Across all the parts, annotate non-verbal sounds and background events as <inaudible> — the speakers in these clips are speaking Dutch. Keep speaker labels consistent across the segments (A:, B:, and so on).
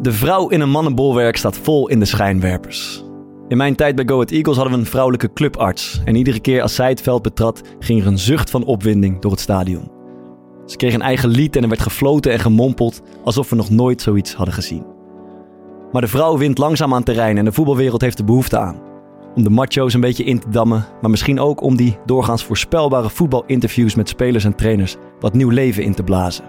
A: De vrouw in een mannenbolwerk staat vol in de schijnwerpers. In mijn tijd bij Go Ahead Eagles hadden we een vrouwelijke clubarts. En iedere keer als zij het veld betrad, ging er een zucht van opwinding door het stadion. Ze kreeg een eigen lied en er werd gefloten en gemompeld alsof we nog nooit zoiets hadden gezien. Maar de vrouw wint langzaam aan terrein en de voetbalwereld heeft er behoefte aan. Om de macho's een beetje in te dammen, maar misschien ook om die doorgaans voorspelbare voetbalinterviews met spelers en trainers wat nieuw leven in te blazen.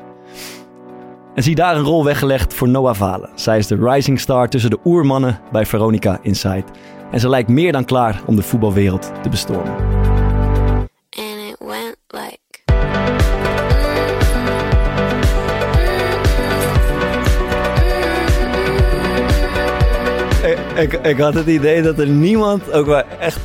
A: En zie daar een rol weggelegd voor Noah Valen. Zij is de rising star tussen de oermannen bij Veronica Inside. En ze lijkt meer dan klaar om de voetbalwereld te bestormen.
B: and it went like
A: Ik, ik, ik had het idee dat er niemand ook maar echt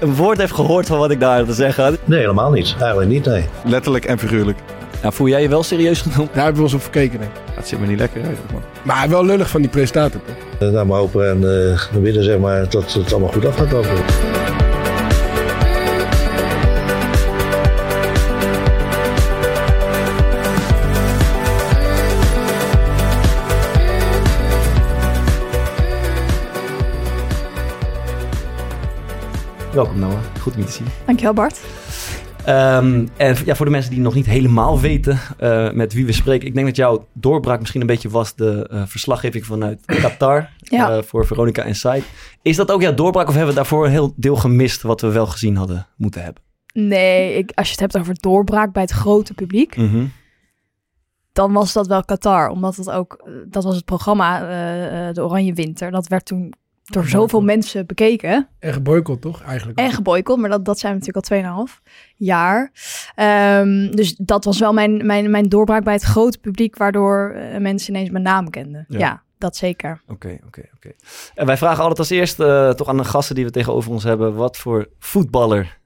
A: een woord heeft gehoord van wat ik daar te zeggen had.
C: Nee, helemaal niet. Eigenlijk niet, nee.
D: Letterlijk en figuurlijk.
A: Nou, voel jij je wel serieus genomen?
E: Daar hebben we ons op verkeken. Denk. ik.
D: Dat zit me niet lekker uit, man.
E: Maar wel lullig van die presentator. toch?
C: Eh, Nou, maar hopen en eh, we willen zeg maar dat het allemaal goed af gaat lopen.
A: Welkom Noah, goed om je te zien.
F: Dankjewel Bart.
A: Ehm, en v- ja, voor de mensen die nog niet helemaal weten eh, met wie we spreken. Ik denk dat jouw doorbraak misschien een beetje was de eh, verslaggeving vanuit Qatar
F: Ja.
A: eh, voor Veronica Inside. Is dat ook jouw doorbraak of hebben we daarvoor een heel deel gemist wat we wel gezien hadden moeten hebben?
F: Nee, ik, als je het hebt over doorbraak bij het grote publiek,
A: Mm.
D: Mhm.
F: dan was dat wel Qatar. Omdat dat ook, eh, dat was het programma, eh, eh, de Oranje Winter. Dat werd toen door zoveel mensen bekeken
E: En geboycott toch eigenlijk?
F: en geboycott. Maar dat, dat zijn we natuurlijk al 2,5 jaar. Ehm, dus dat was wel mijn, mijn, mijn doorbraak bij het grote publiek, waardoor eh, mensen ineens mijn naam kenden.
A: Ja.
F: Ja, dat zeker.
A: Oké, oké, oké. En wij vragen altijd als eerst eh, toch aan de gasten die we tegenover ons hebben, wat voor voetballer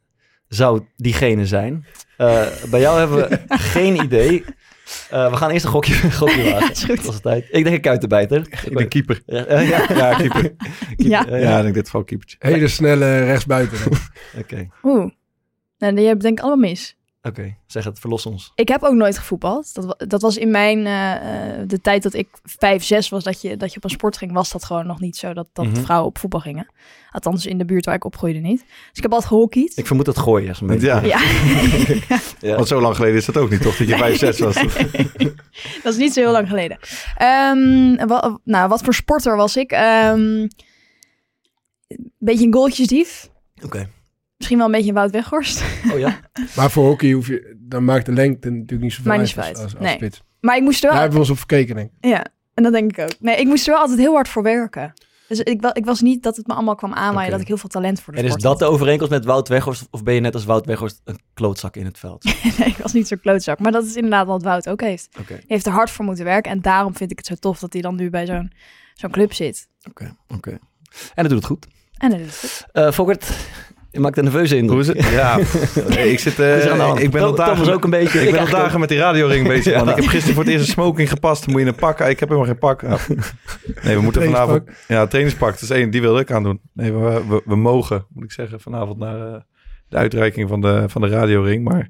A: zou diegene zijn? Eh, bij jou hebben
F: <laughs>
A: we geen idee. Eh, we gaan eerst een gokje, gokje
F: <laughs>
A: wagen.
F: is goed.
A: Als het tijd. Ik denk een kuitenbijter.
D: Ik ben keeper.
A: Ja, eh, ja.
D: <laughs> Ja, keeper.
F: Ja.
A: Eh,
D: Ja, ik denk dit geval keepertje.
E: Hele snelle rechtsbuiten.
F: <laughs>
E: denk ik.
A: Oké,
F: Oeh. Nou, die heb ik denk ik allemaal mis.
A: oké. Zeg het, verlos ons.
F: Ik heb ook nooit gevoetbald. Dat, wa- dat was in mijn, eh, eh, de tijd dat ik vijf, zes was, dat je, dat je op een sport ging, was dat gewoon nog niet zo dat, dat
A: Mhm.
F: vrouwen op voetbal gingen. Althans, in de buurt waar ik opgroeide niet. Dus ik heb altijd gehockeyd.
A: Ik vermoed dat gooien. Is een beetje. <laughs>
D: Ja.
F: Ja, <laughs>
A: Ja.
D: Want zo lang geleden is dat ook niet, toch? Dat je 5-6
A: <laughs>
D: was.
F: dat is niet zo heel lang geleden. Ehm, wa- nou, wat voor sporter was ik? Ehm beetje een goaltjesdief.
A: Oké.
F: Misschien wel een beetje een Wout Weghorst.
A: Oh ja?
E: maar voor hockey hoef je, dan maakt de lengte natuurlijk niet zoveel
F: Maakt niet
E: uit als,
F: zoveel
E: als,
F: uit.
E: als
F: Nee.
E: spits.
F: <laughs> Maar ik moest er
E: Daar
F: wel...
E: hebben we ons op verkeken. Denk. ik.
F: Ja, en dat denk ik ook. Nee, ik moest er wel altijd heel hard voor werken. Dus ik, wa- ik was niet dat het me allemaal kwam aanwaaien,
A: Oké.
F: dat ik heel veel talent voor de
A: En is
F: sport
A: dat de overeenkomst met Wout Weghorst? Of ben je net als Wout Weghorst een klootzak in het <laughs> veld? Oké.
F: <laughs> Nee, ik was niet zo'n klootzak. Maar dat is inderdaad wat Wout ook heeft. Hij heeft er hard voor moeten werken. En daarom vind ik het zo tof dat hij dan nu bij zo'n zo'n club zit.
A: Oké. Oké. En dat doet het goed.
F: En dat is goed.
A: Eh Fokkert, je maakt een nerveuze indruk.
D: Hoe is het? Ja, nee, ik zit... eh,
A: Wat is er aan de hand?
D: ik ben
A: Tom-
D: al
A: Tom
D: dagen,
A: was ook een beetje...
D: ik ben al
A: eigenlijk
D: dagen met die radioring bezig, man.
A: Ja.
D: Ik heb gisteren voor het eerst een smoking gepast. Moet je een pak? Ah, Ik heb helemaal geen pak. Ah. Nee, we moeten vanavond... Ja, trainingspak. Dat is één. Die wilde ik aandoen. Nee, we, we, we mogen, moet ik zeggen, vanavond naar eh, de uitreiking van de, van de radioring. Maar ja,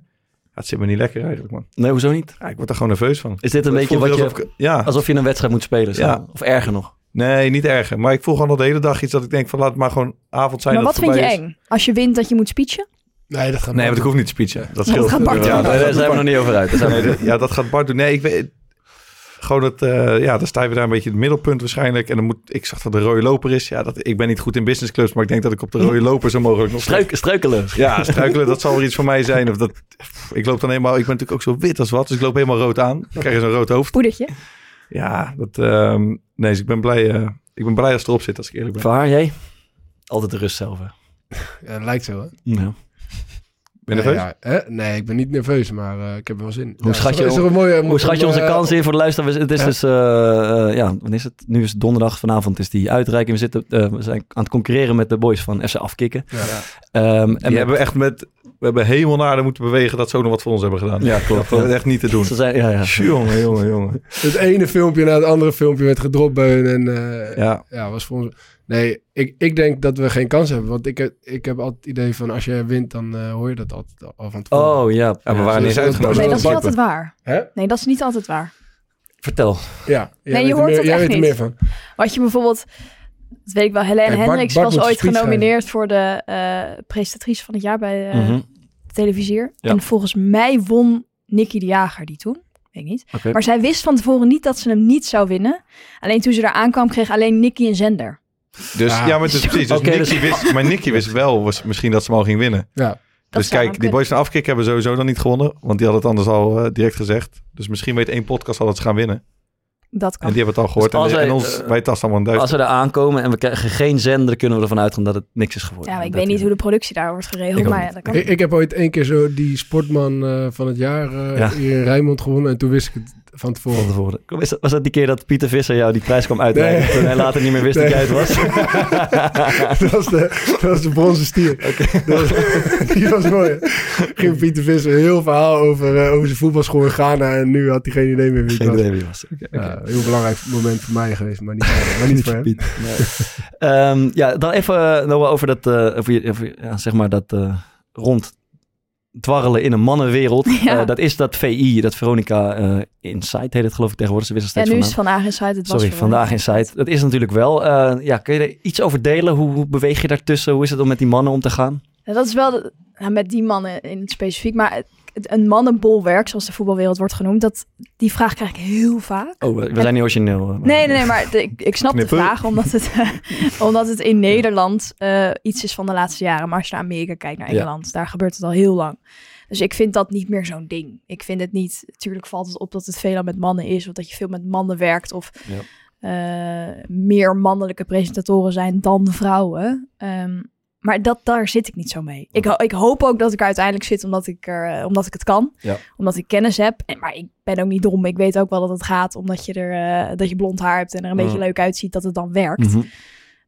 D: het zit me niet lekker eigenlijk, man.
A: Nee, hoezo niet?
D: Ja, ik word er gewoon nerveus van.
A: Is dit een
D: Het
A: beetje
D: voelt
A: wat je,
D: alsof ik- ja,
A: alsof je een wedstrijd moet spelen? zo?
D: Ja.
A: Of erger nog?
D: nee, niet erger. Maar ik voel gewoon al de hele dag iets dat ik denk van laat het maar gewoon avond zijn.
F: Maar
D: dat
F: wat
D: het
F: vind je
D: voorbij is.
F: eng? Als je wint dat je moet speechen?
E: Nee, dat gaat
D: Nee, want ik
E: niet.
D: hoef niet te
F: <laughs>
D: speechen. Dat scheelt.
F: gaat Bart
D: ja,
A: Ja,
F: doen.
D: dat-
A: daar zijn we nog niet over uit. Daar zijn we
D: Nee, dat- ja, dat gaat Bart doen. Nee, ik weet... Gewoon dat, eh, ja, dan sta je daar een beetje in het middelpunt waarschijnlijk. En dan moet, ik zag dat de rode loper is. Ja, dat, ik ben niet goed in businessclubs, maar ik denk dat ik op de rode loper zo mogelijk nog...
A: Struik, struikelen.
D: Ja, struikelen, dat zal weer iets voor mij zijn. Of dat, pff, ik loop dan helemaal, ik ben natuurlijk ook zo wit als wat, dus ik loop helemaal rood aan. Ik krijg zo'n rood hoofd.
F: Poedertje?
D: Ja, dat, ehm, nee, dus ik ben blij, eh, ik ben blij als het erop zit, als ik eerlijk ben.
A: Waar jij? Altijd de rust zelf. hè?
E: Ja, dat lijkt zo, hè?
A: Ja.
D: Ben je nerveus?
E: Nee, ja, hè? nee, ik ben niet nerveus, maar eh, ik heb er wel zin. in.
A: Hoe schat
E: is
A: je-
E: er- is er een mooie,
A: Hoe schat je onze
E: eh,
A: kansen in voor de luisteraars? Het is
E: ja.
A: dus, eh, eh, ja, wanneer is het? Nu is het donderdag, vanavond is die uitreiking. We, zitten, eh, we zijn aan het concurreren met de boys van FC Afkikken.
E: Ja.
A: Ehm, en
D: En we hebben echt met, we hebben helemaal naar de moeten bewegen dat ze ook nog wat voor ons hebben gedaan.
A: Ja, klopt,
D: Dat
A: ja.
D: is echt niet te doen.
A: ze zijn, ja, ja.
D: Jongen, jongen, jongen.
E: Het ene filmpje na het andere filmpje werd gedropt bij hun en eh, ja.
D: Ja,
E: was voor ons... Nee, ik, ik denk dat we geen kans hebben, want ik, heb- ik heb altijd het idee van als je wint, dan eh, hoor je dat altijd al- al van tevoren.
A: Oh ja,
D: Ja, we
A: Ja,
D: waren
E: zo
D: niet
E: is dat-
D: uitgenodigd.
F: Nee,
E: zo
F: dat is
E: type.
F: niet altijd waar.
E: Hè?
F: Nee, dat is niet altijd waar.
A: vertel.
E: Ja, jij
F: je
E: weet er
F: hoort
E: meer,
F: het
E: jij
F: echt
E: weet er
F: niet.
E: meer van.
F: Wat je bijvoorbeeld, dat weet ik wel, Helene
E: Kijk, Bart-
F: Hendricks
E: Bart moet
F: was
E: een
F: ooit
E: speech
F: genomineerd voor de eh, presentatrice van het jaar bij eh,
A: Mhm.
F: de televisier.
A: Ja.
F: En volgens mij won Nicky de Jager die toen. Weet ik niet.
A: Oké.
F: Maar zij wist van tevoren niet dat ze hem niet zou winnen. Alleen toen ze daar aankwam, kreeg alleen Nicky een zender.
D: Dus
E: Ah.
D: ja, maar het is precies. Dus
A: Oké,
D: Nicky wist, maar Nicky wist wel was misschien dat ze hem al ging winnen.
E: Ja,
F: Dat
D: dus
F: zou
D: kijk,
F: wel
D: die
F: kunnen.
D: boys van Afkik hebben sowieso dan niet gewonnen. Want die hadden het anders al eh, direct gezegd. Dus misschien weet één podcast al dat ze gaan winnen.
F: Dat
D: En
F: kan.
D: die hebben het al gehoord.
A: Dus als
D: en,
A: wij,
D: en ons,
A: eh,
D: wij tasten allemaal een duizend.
A: Als we daar aankomen en we krijgen geen zender, kunnen we ervan uitgaan dat het niks is geworden.
F: Ja, maar ik
A: Dat
F: weet niet
A: is-
F: hoe de productie daar wordt
A: Ik
F: geregeld.
A: ook
F: Maar ja,
A: niet.
F: dat kan.
E: ik, ik heb ooit één keer zo die sportman eh, van het jaar eh,
A: Ja.
E: hier in Rijnmond gewonnen en toen wist ik het van tevoren.
A: Van tevoren. Kom, is dat- Was dat die keer dat Pieter Visser jou die prijs kwam uitreiken?
E: Nee.
A: Toen hij later niet meer wist dat jij het was?
E: <laughs> dat, was de, dat was de bronzen stier. Dat was- <laughs> die was mooi. Ging Pieter Visser een heel verhaal over, eh, over zijn voetbalschool in Ghana. En nu had hij geen idee meer wie
A: <laughs>
E: het
A: Geen
E: was.
A: idee wie het was. Oké, oké.
E: Ja, een Eh, heel belangrijk moment voor mij geweest, maar niet, maar <laughs> niet voor hem.
A: <laughs> Ehm, ja, dan even eh, Noah, over dat, eh, over, je- over je- ja, zeg maar dat eh rond dwarrelen in een mannenwereld.
F: <laughs> Ja.
A: Eh, dat is dat VI, dat Veronica eh Insight heet het geloof ik tegenwoordig. Ze wisten
F: Ja,
A: steeds van
F: nu is
A: naam.
F: het vandaag in site. Het was
A: Sorry,
F: voor-
A: vandaag Insight. Dat is natuurlijk wel. eh, ja, kun je er iets over delen? Hoe, hoe beweeg je daartussen? Hoe is het om met die mannen om te gaan?
F: Ja, dat is wel de- nou, met die mannen in het specifiek. Maar het- het- een mannenbolwerk, zoals de voetbalwereld wordt genoemd, dat, die vraag krijg ik heel vaak.
A: Oh, we, we zijn niet origineel. eh, maar-
F: Nee, nee, nee, maar de- ik, ik snap
D: Knippen.
F: de vraag, omdat het, <laughs> omdat het in Nederland eh, iets is van de laatste jaren. Maar als je naar Amerika kijkt, naar
A: Ja.
F: Engeland, daar gebeurt het al heel lang. Dus ik vind dat niet meer zo'n ding. Ik vind het niet, natuurlijk valt het op dat het veelal met mannen is, of dat je veel met mannen werkt, of
A: Ja.
F: eh, meer mannelijke presentatoren zijn dan vrouwen. Ehm, maar dat, daar zit ik niet zo mee. Ik, ho- ik hoop ook dat ik er uiteindelijk zit, omdat ik, er, eh, omdat ik het kan.
A: Ja.
F: Omdat ik kennis heb. En, maar ik ben ook niet dom. Ik weet ook wel dat het gaat, omdat je, er, eh, dat je blond haar hebt en er een
A: Ja.
F: beetje leuk uitziet, dat het dan werkt.
A: Mhm.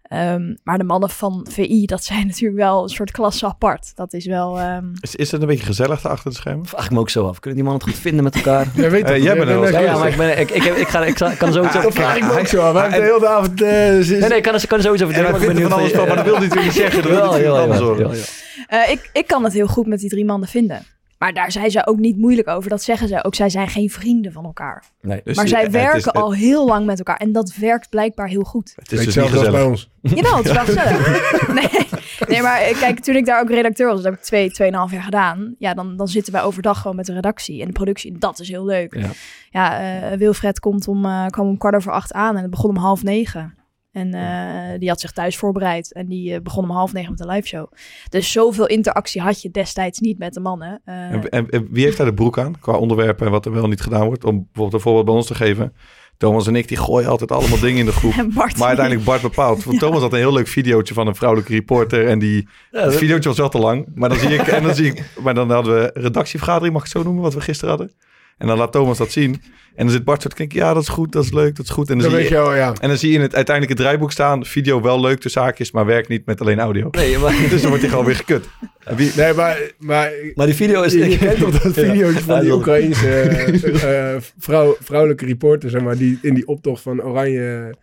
F: Ehm, maar de mannen van VI, dat zijn <laughs> natuurlijk wel een soort klasse apart. Dat is wel... ehm,
D: Is, is het een beetje gezellig daar achter de schermen?
A: Vraag ik me ook zo af. Kunnen die mannen het goed vinden met
E: <laughs>
A: elkaar?
E: Jij weet
D: Eh,
E: het,
D: jij bent er wel
A: ja,
E: bent
A: ja, maar
E: echt-
A: ik, ben, ik, ik, heb- ik, ga, ik zal- kan sowieso...
E: Dat Ah, vraag ik me ook zo af. Wij hebben de hele avond... eh, ze-
A: Nee, nee, ik kan, er- ik kan er sowieso
D: En
A: vertellen.
D: wij
A: maar ik ben
D: vinden van alles
A: benieuwd
D: van, Dus- maar dat
A: je-
D: wil natuurlijk
A: <laughs>
D: niet zeggen. Dat wil
A: Jawel,
D: natuurlijk
A: jawel,
D: niet anders
A: jawel,
D: horen.
A: jawel, jawel.
F: Eh, ik, ik kan het heel goed met die drie mannen vinden. Maar daar zijn ze ook niet moeilijk over. Dat zeggen ze ook. Zij zijn geen vrienden van elkaar.
A: Nee.
D: Dus
F: Maar
D: het
F: zij
D: is-
F: werken
D: het is-
F: al heel lang met elkaar. En dat werkt blijkbaar heel
D: <laughs>
F: goed.
D: Het
E: Weet
D: is dus niet
E: zelfs als bij
D: gezellig.
E: ons.
F: Jawel, het is wel
D: <laughs>
F: gezellig. Nee, nee, maar eh, kijk, toen ik daar ook redacteur was, dat heb ik twee, tweeënhalf jaar gedaan. Ja, dan, dan zitten wij overdag gewoon met de redactie en de productie. En dat is heel leuk.
A: Ja.
F: Ja, eh, Wilfred komt om, eh, kwam om kwart over acht aan en het begon om half negen. En eh, die had zich thuis voorbereid en die eh, begon om half negen met een live show. Dus zoveel interactie had je destijds niet met de mannen. Eh, <laughs>
D: En, en, en wie heeft daar de broek aan qua onderwerpen en wat er wel niet gedaan wordt? Om bijvoorbeeld een voorbeeld bij ons te geven. Thomas en ik die gooien altijd allemaal dingen in de
F: <laughs>
D: groep.
F: en Bart.
D: Maar uiteindelijk Bart bepaalt. Want Thomas had een heel leuk videootje van een vrouwelijke reporter. En die
A: Ja,
D: het
A: dat-
D: videootje was wel te lang. Maar dan, zie ik, en dan
E: <laughs>
D: zie ik. Maar dan hadden we een redactievergadering, mag ik het zo noemen, wat we gisteren hadden. En dan laat Thomas dat zien. En dan zit Bart zo te denken, ja, dat is goed, dat is leuk, dat is goed. En dan,
E: Dat
D: zie
E: weet
D: je,
E: je wel, ja.
D: en dan zie je in het uiteindelijke draaiboek staan, video wel leuk de zaakjes, maar werkt niet met alleen audio.
A: Nee, maar...
D: <laughs> Dus dan wordt hij gewoon weer gekut. Wie,
E: Nee, maar... maar
A: Maar die video is...
E: <laughs> Je, je kent toch
A: <laughs>
E: dat
A: Ja.
E: videootje van
A: Ja,
E: die
A: dat-
E: Oekraïense eh, eh, vrouw, vrouwelijke reporter, zeg maar, die in die optocht van oranje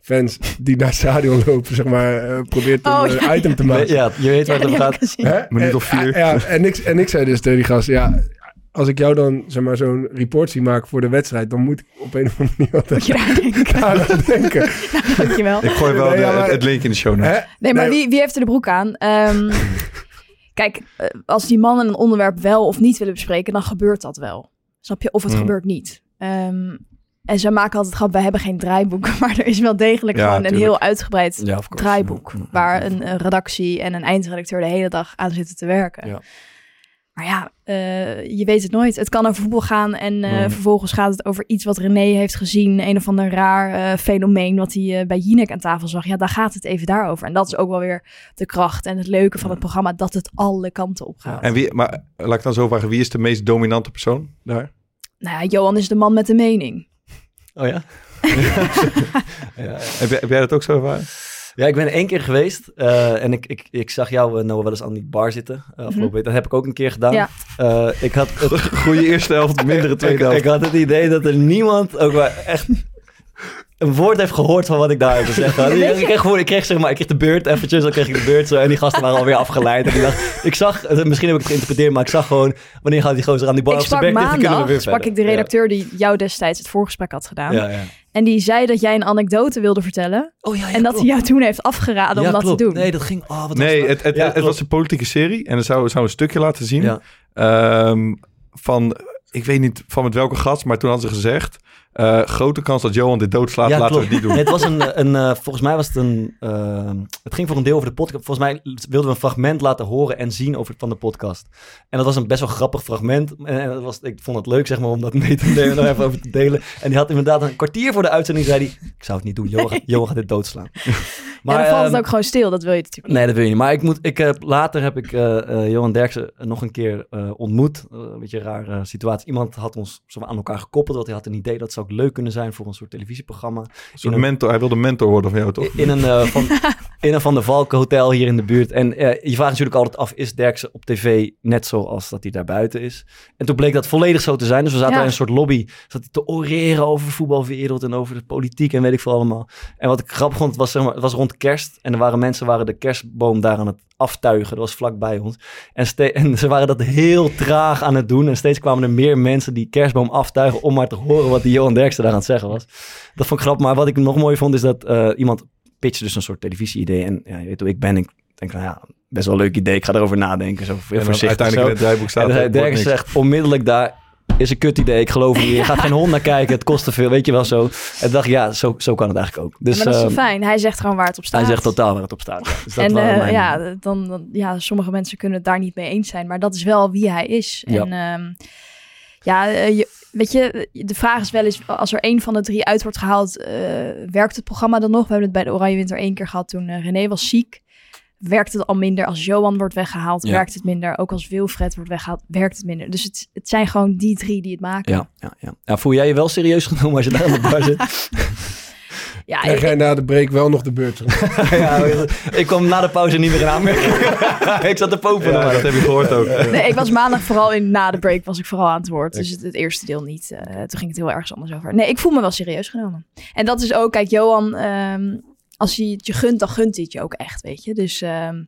E: fans die naar het stadion lopen, zeg maar, eh, probeert een
F: Oh,
E: eh,
F: ja.
E: item te maken.
A: Ja, je weet
F: Ja,
A: waar het
F: die
A: om
F: heb
A: gaat.
F: ik gezien.
E: Hè?
D: Minuut
E: En-
D: of vier.
E: Ja, en, ik, en ik zei dus tegen die gast, ja, als ik jou dan zeg maar, zo'n report zie maken voor de wedstrijd, dan moet ik op een of andere manier
F: <laughs>
E: altijd
F: Moet je daar
D: <laughs>
F: denken.
E: aan denken.
F: Dankjewel.
D: Ik gooi wel
E: Nee,
D: de-
E: ja, maar-
D: het link in de show notes.
E: Hè?
F: Nee, maar
E: Nee.
F: Wie, wie heeft er de broek aan?
D: <laughs>
F: Ehm, kijk, eh, als die mannen een onderwerp wel of niet willen bespreken, dan gebeurt dat wel. Snap je? Of het
D: Mm.
F: gebeurt niet. Ehm, en ze maken altijd grap, we hebben geen draaiboek, <laughs> maar er is wel degelijk
D: Ja,
F: gewoon een
D: tuurlijk.
F: heel uitgebreid
A: Ja, of course.
F: draaiboek. Waar een, een redactie en een eindredacteur de hele dag aan zitten te werken.
A: Ja.
F: Maar ja, eh, je weet het nooit. Het kan over voetbal gaan en eh,
A: Mm.
F: vervolgens gaat het over iets wat René heeft gezien. Een of ander raar eh, fenomeen wat hij eh, bij Jinek aan tafel zag. Ja, daar gaat het even daarover. En dat is ook wel weer de kracht en het leuke van het programma. Dat het alle kanten op gaat.
D: En wie, maar laat ik dan zo vragen, wie is de meest dominante persoon daar?
F: Nou ja, Johan is de man met de mening.
A: Oh ja? ja?
D: Heb, jij- heb jij dat ook zo ervaren?
A: Ja, ik ben één keer geweest eh, en ik, ik, ik zag jou, eh, Noah, wel eens aan die bar zitten. eh, afgelopen
F: Mhm.
A: week. Dat heb ik ook een keer gedaan.
F: Ja.
A: Eh, ik had het
D: <laughs> Goede eerste helft, <laughs> mindere tweede
A: ik,
D: helft.
A: ik had het idee dat er niemand ook maar echt een woord heeft gehoord van wat ik daar heb gezegd. had.
F: weet
A: ik,
F: je-
A: kreeg gewoon, ik kreeg zeg maar, ik kreeg de beurt eventjes, dan kreeg ik de beurt zo en die gasten waren alweer afgeleid. En ik dacht, ik zag, eh, misschien heb ik het geïnterpreteerd, maar ik zag gewoon, wanneer gaat die gozer aan die bar
F: ik
A: op zijn
F: sprak
A: bek dicht, dan kunnen we weer
F: maandag, sprak
A: verder.
F: ik de redacteur die jou destijds het voorgesprek had gedaan.
A: Ja, ja.
F: En die zei dat jij een anekdote wilde vertellen.
A: Oh ja, ja,
F: en dat hij
A: klopt.
F: jou toen heeft afgeraden
A: Ja,
F: om dat
A: klopt.
F: te doen.
A: Nee, dat ging, oh, wat was
D: Nee,
A: dat?
D: het, het,
A: Ja,
D: het
A: klopt.
D: was een politieke serie en dan zou, zou een stukje laten zien.
A: Ja.
D: Ehm, van, ik weet niet van met welke gast, maar toen hadden ze gezegd... eh, grote kans dat Johan dit doodslaat,
A: Ja,
D: Ah, laten we
A: klopt.
D: het niet doen.
A: Nee, het was een, een eh, volgens mij was het een, eh, het ging voor een deel over de podcast. Volgens mij wilden we een fragment laten horen en zien over, van de podcast. En dat was een best wel grappig fragment. En, en dat was, ik vond het leuk, zeg maar, om dat mee te nemen, daar even over te delen. En die had inderdaad een kwartier voor de uitzending, zei hij, ik zou het niet doen, Johan, gaat- Johan gaat dit doodslaan. <laughs>
F: en dan valt het
A: ehm,
F: ook gewoon stil. Dat wil je natuurlijk niet.
A: Nee, dat wil je niet. Maar ik moet, ik heb, later heb ik eh, eh, Johan Derksen nog een keer eh, ontmoet. Eh, een beetje een rare situatie. Iemand had ons zo aan elkaar gekoppeld. Want hij had een idee dat zou ook leuk kunnen zijn voor een soort televisieprogramma.
D: Een
A: <laughs>
D: soort mentor, hij wilde mentor worden van jou, toch?
A: In een, eh, van, in een Van der Valken hotel hier in de buurt. En eh, je vraagt natuurlijk altijd af, is Derksen op tv net zoals dat hij daar buiten is? En toen bleek dat volledig zo te zijn. Dus we zaten
F: Ja.
A: daar in een soort lobby. Zat hij te oreren over de voetbalwereld en over de politiek en weet ik veel allemaal. En wat ik grappig vond, het was, zeg maar, het was rond kerst. En er waren mensen waren de kerstboom daar aan het aftuigen. Dat was vlakbij ons. En, ste- en ze waren dat heel traag aan het doen. En steeds kwamen er meer mensen die kerstboom aftuigen... om maar te horen wat die Johan Derksen daar aan het zeggen was. Dat vond ik grappig. Maar wat ik nog mooi vond, is dat eh, iemand pitchte dus een soort televisie-idee. En ja, je weet hoe ik ben. Ik denk van, ja, best wel een leuk idee. Ik ga erover nadenken. Zo
D: En
A: veel
D: dan
A: voorzichtig.
D: uiteindelijk in
A: zo.
D: het draaiboek staat...
A: En
D: er
A: dan zei
D: wordt
A: Dirk
D: niks.
A: zegt onmiddellijk daar is een kut idee. Ik geloof niet. Je gaat geen hond naar kijken. Het kost te veel. Weet je wel zo. En toen dacht ik, ja, zo, zo kan het eigenlijk ook. Dus
F: maar dat is wel
A: ehm,
F: fijn. Hij zegt gewoon waar het op staat.
A: hij zegt totaal waar het op staat. Ja. Dus dat
F: en
A: waren
F: eh,
A: mijn-
F: ja, dan, dan, ja, sommige mensen kunnen het daar niet mee eens zijn. Maar dat is wel wie hij is.
A: Ja.
F: En ehm, ja, eh, je, weet je, de vraag is wel eens... als er één van de drie uit wordt gehaald... eh, werkt het programma dan nog? We hebben het bij de Oranje Winter één keer gehad toen eh, René was ziek. Werkt het al minder als Johan wordt weggehaald?
A: Ja.
F: Werkt het minder? Ook als Wilfred wordt weggehaald, werkt het minder. Dus het, het zijn gewoon die drie die het maken.
A: Ja, ja, ja. ja, voel jij je wel serieus genomen als je daar aan de bar
D: <laughs>
A: zit?
F: Ja,
E: Krijg jij na de break wel nog de beurt?
A: ja, ik kwam na de pauze niet meer in aanmerking. <laughs> ik zat te popen.
D: Ja, dat heb je gehoord ook.
F: Nee, ik was maandag vooral in na de break was ik vooral aan het woord. Dus het, het eerste deel niet. eh, toen ging het heel ergens anders over. Nee, ik voel me wel serieus genomen. En dat is ook, kijk, Johan, ehm, als hij het je gunt, dan gunt hij het je ook echt, weet je. Dus, ehm,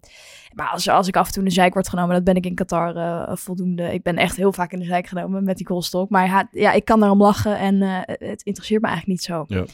F: maar als, als ik af en toe in de zeik word genomen, dat ben ik in Qatar eh, voldoende. Ik ben echt heel vaak in de zeik genomen met die goalstalk. Maar ja, ja, ik kan daarom lachen en eh, het interesseert me eigenlijk niet zo.
D: Ja,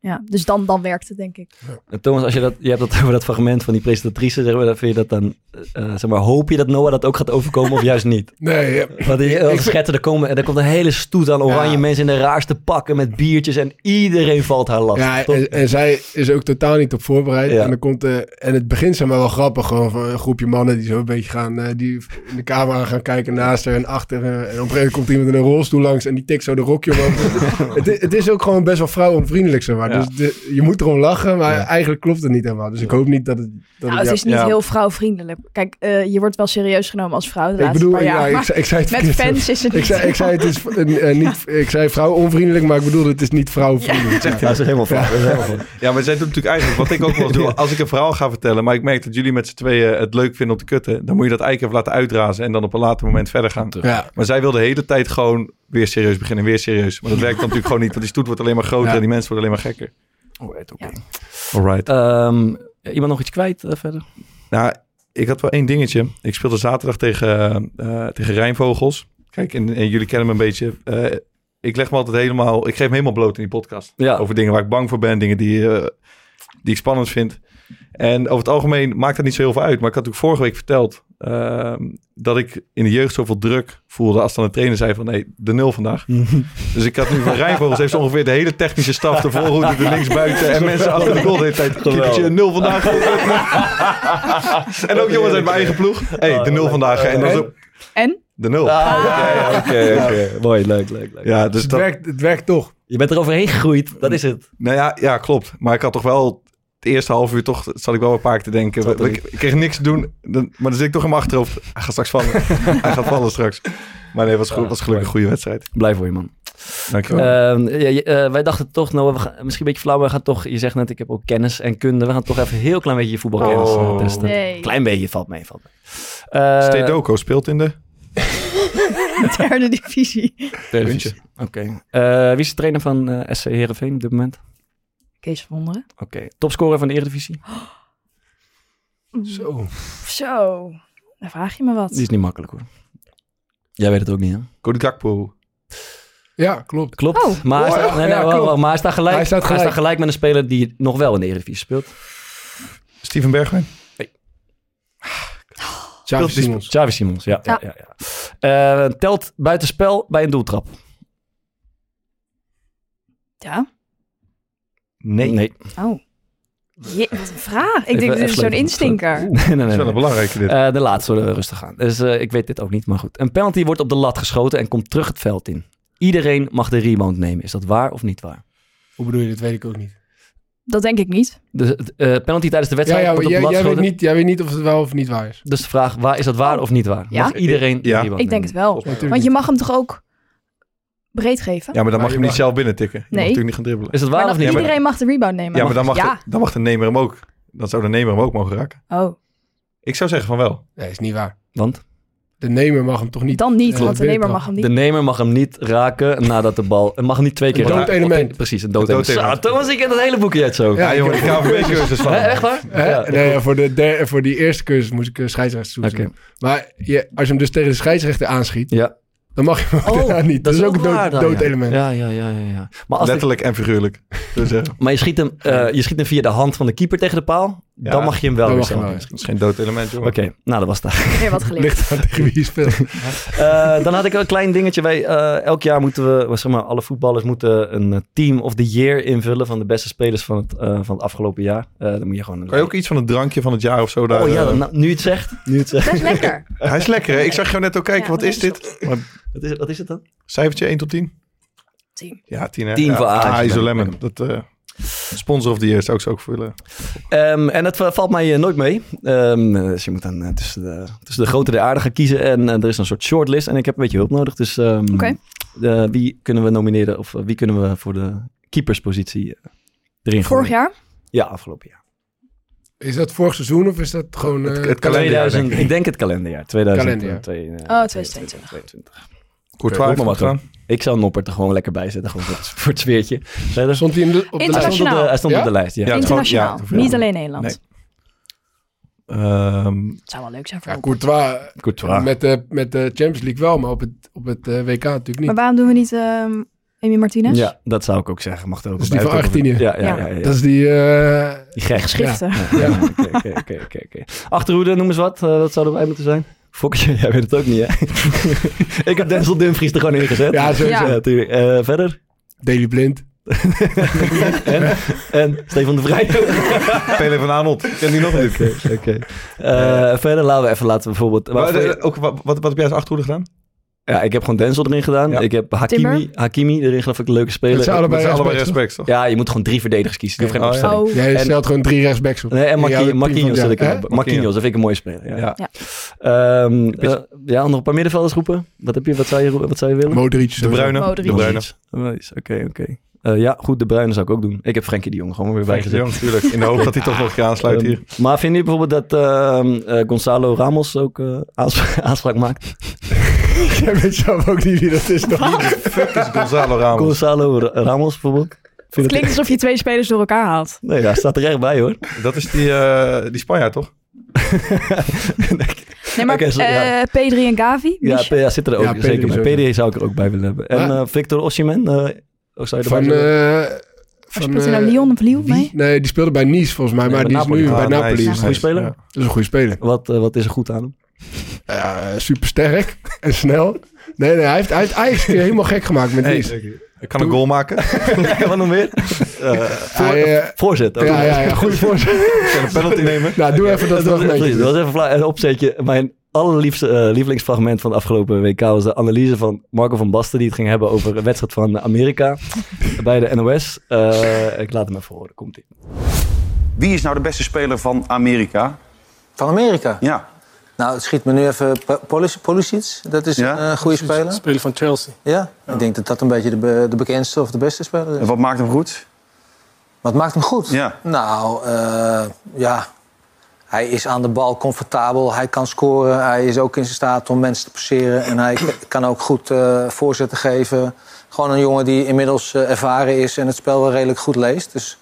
F: Ja, dus dan, dan werkt het, denk ik.
A: En Thomas, als je, dat, je hebt dat <laughs> over dat fragment van die presentatrice, zeg maar, dan vind je dat dan, eh, zeg maar, hoop je dat Noah dat ook gaat overkomen of juist <laughs> niet?
E: Nee, ja.
A: Want die
E: vind-
A: schetten, er, komen, er komt een hele stoet aan oranje
E: Ja.
A: mensen in de raarste pakken met biertjes en iedereen valt haar last.
E: Ja,
A: Toch?
E: en, en zij is ook totaal niet op voorbereid.
A: Ja.
E: En, dan komt, eh, en het begint zeg maar wel grappig. Gewoon van een groepje mannen die zo een beetje gaan... eh, die in de camera gaan kijken naast haar en achter. eh, en op een gegeven moment komt iemand in een rolstoel langs... en die tikt zo de rokje omhoog. het, i- het is ook gewoon best wel vrouwenvriendelijk, zeg maar.
D: Ja.
E: Dus de- je moet erom lachen, maar eigenlijk klopt het niet helemaal. Dus ik hoop niet dat het... Dat
F: Nou,
E: het
F: het is niet
D: ja.
F: heel vrouwvriendelijk. Kijk, eh, je wordt wel serieus genomen als vrouw de
E: jou- ik
F: laatste
E: bedoel,
F: paar
E: ja,
F: jaar.
E: ik,
F: maar
E: zei- ik zei het
F: met
E: verkeerd.
F: fans is het
E: ik zei,
F: niet
E: ik zei het is eh, eh,
F: <laughs>
E: niet, ik zei vrouw onvriendelijk, maar ik bedoel het is niet vrouwvriendelijk.
A: Ja, dat is helemaal fout. dat is helemaal fout.
D: Ja, maar zij doet natuurlijk eigenlijk wat ik ook wel eens
A: <laughs>
D: doe. Als ik een verhaal ga vertellen, maar ik merk dat jullie met z'n tweeën het leuk vinden om te kutten, dan moet je dat eigenlijk even laten uitrazen en dan op een later moment verder gaan.
E: Ja.
D: Maar zij wil de hele tijd gewoon weer serieus beginnen, weer serieus. Maar dat werkt dan natuurlijk gewoon niet, want die stoet wordt alleen maar groter
E: Ja.
D: en die mensen worden alleen maar gekker.
A: Alright, oké.
D: Alright.
A: Ehm, iemand nog iets kwijt eh, verder?
D: Nou, ik had wel één dingetje. Ik speelde zaterdag tegen, eh, tegen Rijnvogels. Ik Kijk, en, en jullie kennen me een beetje. Eh, ik leg me altijd helemaal... Ik geef me helemaal bloot in die podcast.
A: Ja.
D: Over dingen waar ik bang voor ben. Dingen die, eh, die ik spannend vind. En over het algemeen maakt dat niet zo heel veel uit. Maar ik had ook vorige week verteld... ehm, dat ik in de jeugd zoveel druk voelde... als dan een trainer zei van... Nee, de nul vandaag.
A: Mhm.
D: Dus ik had nu van Rijnvogels heeft ze ongeveer de hele technische staf, de voorhoede, de linksbuiten en mensen achter de goal de hele tijd. Kikkertje, een nul vandaag. en ook jongens uit mijn eigen ploeg. <laughs> hey, de
G: Ah,
D: nul vandaag.
G: eh,
D: En dan zo,
F: En?
D: de nul.
A: ja, Ah, oké, oké. Mooi, leuk, leuk, leuk.
D: Ja, dus
E: het,
D: dat,
E: werkt, het werkt toch.
A: Je bent er overheen gegroeid, dat is het.
D: nou ja, ja, klopt. Maar ik had toch wel het eerste half uur toch, zat ik wel een paar keer te denken. Ik, ik kreeg niks te doen, dan- maar dan zit ik toch in mijn achterhoofd. Hij gaat straks <laughs> vallen. Hij gaat vallen straks. Maar nee, was, goed, was gelukkig een goede wedstrijd.
A: Blij voor je, man.
D: Dankjewel.
A: Ehm, ja, je- eh, wij dachten toch, nou, we gaan, misschien een beetje flauw, maar we gaan toch, je zegt net, ik heb ook kennis en kunde. We gaan toch even een heel klein beetje je voetbalkennis eh,
D: Oh.
A: testen.
F: Nee.
A: Klein beetje, valt mee, valt mee. Eh,
D: Stedoco speelt in de...
F: <laughs> Derde divisie.
A: Televisie. Oké. Eh, wie is de trainer van eh, SC Heerenveen op dit moment?
F: Kees van Wonderen.
A: Oké. Topscorer van de Eredivisie?
E: Zo.
F: Zo. Dan vraag je me wat.
A: Die is niet makkelijk hoor. Jij weet het ook niet, hè?
D: Cody Gakpo.
E: Ja, klopt.
A: Klopt.
F: Oh.
A: Maar, hij
E: Oh,
A: staat,
E: ja,
A: nee, nee,
E: ja,
A: wacht,
E: klopt.
A: wacht, maar hij staat gelijk.
E: Hij staat gelijk.
A: met een speler die nog wel in de Eredivisie speelt.
D: Steven Bergwijn.
E: Xavi
D: die-
E: Simons.
A: Xavi Simons, ja. ja. ja, ja, Eh, telt buitenspel bij een doeltrap?
F: Ja.
D: Nee.
A: Nee.
F: Oh. Je, wat een vraag. Ik
A: Even-
F: denk, dit
A: even
F: is zo'n
A: leven.
F: instinker.
A: <laughs> nee, nee,
D: Dat is
A: nee.
D: wel een belangrijke dit.
A: Eh, de laatste, eh, rustig aan. Dus eh, ik weet dit ook niet, maar goed. Een penalty wordt op de lat geschoten en komt terug het veld in. Iedereen mag de rebound nemen. Is dat waar of niet waar?
E: Hoe bedoel je, dat weet ik ook niet.
F: Dat denk ik niet.
A: Dus het, eh, penalty tijdens de
E: Ja,
A: wedstrijd
E: ja,
A: wordt op
E: jij,
A: de lat
E: jij weet
A: geschoten.
E: niet, jij weet niet of het wel of niet waar is.
A: Dus de vraag, waar, is dat waar of niet waar?
F: Ja.
A: Mag iedereen de
D: Ja.
A: rebound
F: Ik denk het
A: nemen?
F: wel.
E: Natuurlijk
F: Want je
E: niet.
F: mag hem toch ook breed geven?
D: Ja, maar dan mag
E: Maar
D: je
E: je
D: hem niet
E: mag-
D: zelf binnentikken. Je
F: Nee.
D: mag natuurlijk niet gaan dribbelen.
A: Is dat waar
F: maar
A: of
F: dan,
A: niet?
D: maar-
F: iedereen mag de rebound nemen.
D: Ja, maar dan mag,
F: Ja.
D: De, dan mag de nemer hem ook. Dan zou de nemer hem ook mogen raken.
F: Oh,
D: Ik zou zeggen van wel.
E: Nee, is niet waar.
A: Want
E: De nemer mag hem toch niet...
F: dan niet,
E: eh,
F: want de nemer mag
E: binnentrappen.
F: hem
A: de
F: niet.
A: nemer mag hem niet raken nadat de bal... Het mag hem niet twee keer
E: Een dood
A: raken.
E: element.
A: Precies, een dood,
D: Een dood
A: element.
D: element.
A: Zo, Thomas, ik ken dat hele boekje uit zo.
E: Ja,
D: Ja, jongen, Ah, ik
E: ik-
D: ga <laughs> een beetje cursus van.
A: Hè, echt waar?
E: Hè?
A: Ja.
E: nee, ja, voor, de der- voor die eerste cursus moest ik eh, een scheidsrechter zoeken.
A: Oké.
E: Maar je, als je hem dus tegen de scheidsrechter aanschiet, <laughs>
A: Ja. Oh,
E: dan mag je hem
F: Oh,
E: ook daarna niet. Dat, is ook een
A: waar
E: dood,
A: dan,
E: dood
A: ja.
E: element.
A: Ja, ja, ja, ja. ja. Maar, als de-
D: Letterlijk en figuurlijk. Dus, eh,
A: maar je, schiet hem, eh, je schiet hem via de hand van de keeper tegen de paal.
D: Ja.
A: Dan mag je hem wel
E: Dan
A: weer
E: mag je
A: zelf
E: hem wel,
A: doen.
D: dat is geen dood element, jongen.
A: Oké, nou dat was het.
F: Weer wat geleerd.
E: Ligt aan <laughs> tegen wie je speelt.
A: <laughs> Eh, dan had ik een klein dingetje. Wij, eh, elk jaar moeten we, zeg maar, alle voetballers moeten een eh, team of the year invullen van de beste spelers van het, eh, van het afgelopen jaar. Eh, dan moet je gewoon...
D: Kan je ook iets van het drankje van het jaar of zo daar...
A: Oh ja,
D: eh,
A: nou, nu het zegt. Nu het zegt.
F: Best lekker.
D: <laughs> Hij is lekker, hè? Ik zag jou net ook kijken.
F: Ja,
D: wat
F: wat
D: is
F: is
D: dit? Maar,
A: Wat is, wat is het dan?
D: cijfertje 1 tot 10?
F: Tien.
D: Ja, 10 hè?
A: 10
D: ja,
A: voor Ajax.
D: Ah, Iso Lemon. Dat, eh, sponsor of the year zou ik zo ook vullen.
A: Ehm, en dat va- valt mij eh, nooit mee. Ehm, eh, dus je moet dan eh, tussen, de, tussen de grote der aarde gaan kiezen. En eh, er is een soort shortlist. En ik heb een beetje hulp nodig. Dus ehm,
F: Oké.
A: eh, wie kunnen we nomineren? Of eh, wie kunnen we voor de keeperspositie eh, erin
F: Vorig
A: gooien?
F: jaar?
A: Ja, afgelopen jaar.
E: Is dat vorig seizoen of is dat gewoon... eh,
D: het kalenderjaar.
A: 2000,
D: denk
A: ik.
D: ik.
A: denk het kalenderjaar. eh, 2022.
E: Kalenderjaar.
F: Oh, 2022.
D: Courtois heeft
A: nog
D: wat
A: wat
D: gedaan.
A: Ik zou Noppert er gewoon lekker bij zetten. Gewoon voor het, voor het sfeertje. Verder.
E: Stond hij in de, op de
A: Hij
F: Internationaal.
E: lijst?
A: stond op de, hij stond op de lijst,
E: Ja?
A: ja.
D: Ja. het is gewoon-
F: Internationaal.
D: hoeveel?
F: Niet alleen Nederland.
D: Nee. Ehm,
F: Het zou wel leuk zijn voor
E: Ja,
F: ons.
E: Courtois
A: Courtois.
E: met de, met de Champions League wel, maar op het, op het eh, WK natuurlijk niet.
F: Maar waarom doen we niet ehm Amy Martinez?
A: Ja, dat zou ik ook zeggen. Mag er ook
E: Dat is
A: bij.
E: die van
A: Ook over-
E: 18e.
A: Ja, ja, ja.
F: Ja.
A: ja.
E: Dat is die... eh,
A: Die gek.
F: Geschriften.
A: Ja, oké, oké, oké, oké, oké. Achterhoede, noem eens wat. Eh, dat zou erbij moeten zijn. Fokkertje, <laughs> jij weet het ook niet, hè? <laughs> ik heb Denzel Dumfries er gewoon in gezet.
E: ja, zo,
F: Ja.
A: natuurlijk. Eh, verder.
E: Daily Blind.
A: En, en Stefan de Vrij.
D: Pele van Aanholt. Ken die nog niet?
A: Oké. <laughs> Eh, verder laten we even laten we bijvoorbeeld...
D: Maar,
A: waarvoor-
D: eh, ook, wat, wat, wat heb jij als achterhoede gedaan?
A: ja, ik heb gewoon Denzel erin gedaan.
D: Ja.
A: Ik heb Hakimi,
F: Timber?
A: Hakimi erin geloof ik een leuke speler.
E: Dat zijn
D: Met
E: allebei
D: z'n allebei
E: rechtsbacks,
D: respect, toch?
A: Ja, je moet gewoon drie verdedigers kiezen. Je hoeft geen
D: Ja.
A: opstelling.
F: Oh,
E: Jij
A: En-
E: stelt gewoon drie rechtsbacks op.
A: Nee, en
E: Ja,
A: Marqui-
E: team van-
A: Marquinhos zet ik
E: ja,
A: erbij.
E: hè?
A: Marquinhos, dat vind ik een mooie speler. Ja.
D: Ja.
F: Ja.
A: Ehm, eh, ja, nog een paar middenvelders roepen. Wat, heb je, wat, zou, je, roe- wat zou je willen?
E: Modric.
D: De
E: <laughs>
D: Bruyne.
F: Modric.
D: De Bruyne.
A: Nice, Oké, oké. Eh, ja, goed, de Bruine zou ik ook doen. Ik heb Frenkie de Jong gewoon weer
D: Frankie de
A: bijgezet.
D: Jong, natuurlijk. In de hoop dat hij toch nog een keer aansluit hier.
A: Ehm, maar vind je bijvoorbeeld dat ehm, eh, Gonzalo Ramos ook eh, aanspraak, <laughs> aanspraak maakt?
E: Jij weet zelf ook niet wie dat is. Toch?
D: Fuck is Gonzalo Ramos.
A: Gonzalo Ra- Ramos bijvoorbeeld? Vind je
F: het
A: dat-
F: klinkt alsof je twee spelers door elkaar haalt.
A: Nee, ja, staat er echt bij hoor.
D: Dat is die, eh, die Spanjaard, toch?
F: Nee, maar
A: Oké, sorry, ja.
F: eh, P3 en Gavi.
A: Ja,
F: Mich-
A: P- ja, zit er ook
E: Ja, Pedri
A: zeker bij.
E: sowieso.
A: PDA zou ik er ook bij willen hebben. En
E: Ja.
A: eh, Victor Osimhen, eh, ook zou je erbij
E: Van,
A: willen?
E: eh van
F: speelt hij
E: eh,
F: nou Lyon of Lille?
E: wie?
F: Nee?
E: Nee, die speelde bij Nice volgens mij,
A: Nee,
E: maar
A: bij
E: die is
A: Napoli.
E: nu
A: Ah,
E: bij Napoli.
D: nice,
A: Goeie
D: nice,
A: speler.
D: ja.
E: Dat is een goede speler.
A: wat, eh, wat is er goed aan hem?
E: Ja, super sterk en snel. Nee, nee, hij heeft, hij heeft Ajax weer helemaal gek gemaakt met
D: Hey,
E: Nice.
D: ik kan een goal maken.
A: <laughs>
D: Wat nog
E: <laughs>
D: meer?
E: Hij, eh,
A: Voorzet. ook.
E: ja, ja, ja, goede
A: <laughs>
E: voorzet.
D: Ik kan een penalty nemen.
E: nou, doe even dat
A: Dat was,
E: fragmentje.
A: dat was even vla- een opzetje. Mijn allerliefste eh, lievelingsfragment van de afgelopen WK was de analyse van Marco van Basten. Die het ging hebben over de wedstrijd van <laughs> Amerika bij de NOS. Eh, ik laat hem even horen. Komt ie.
H: Wie is nou de beste speler van Amerika?
G: Van Amerika?
H: Ja,
G: Nou, het schiet me nu even P- Polis- Pulisic. Dat is
H: Ja.
G: een eh, goede speler. Speler van Chelsea. Ja? ik denk dat dat een beetje de, be- de bekendste of de beste speler
H: en
G: is.
H: wat maakt hem goed?
G: Wat maakt hem goed?
H: Ja.
G: Nou, eh, ja. Hij is aan de bal comfortabel. Hij kan scoren. Hij is ook in staat om mensen te passeren. En hij k- kan ook goed eh, voorzetten geven. Gewoon een jongen die inmiddels eh, ervaren is en het spel wel redelijk goed leest. Dus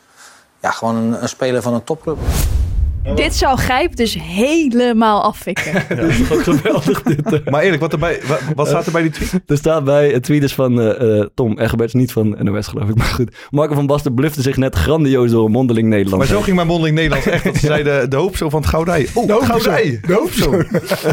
G: ja, gewoon een, een speler van een topclub.
A: Oh.
F: Dit zou Gijp dus helemaal afvikken.
A: geweldig dit. eh.
D: Maar eerlijk, wat, erbij, wa- wat, staat er bij die tweet?
A: Er staat bij het tweet is van eh, eh, Tom Egberts, niet van NOS geloof ik, maar goed. Marco van Basten blufte zich net grandioos door een mondeling Nederland.
D: Maar zo ging mijn mondeling Nederlands echt. Dat ze zeiden eh, de hoop zo van het Goudij.
E: De
D: Oh,
E: hoofdpersoon.
D: Goudij.
E: De hoofdpersoon.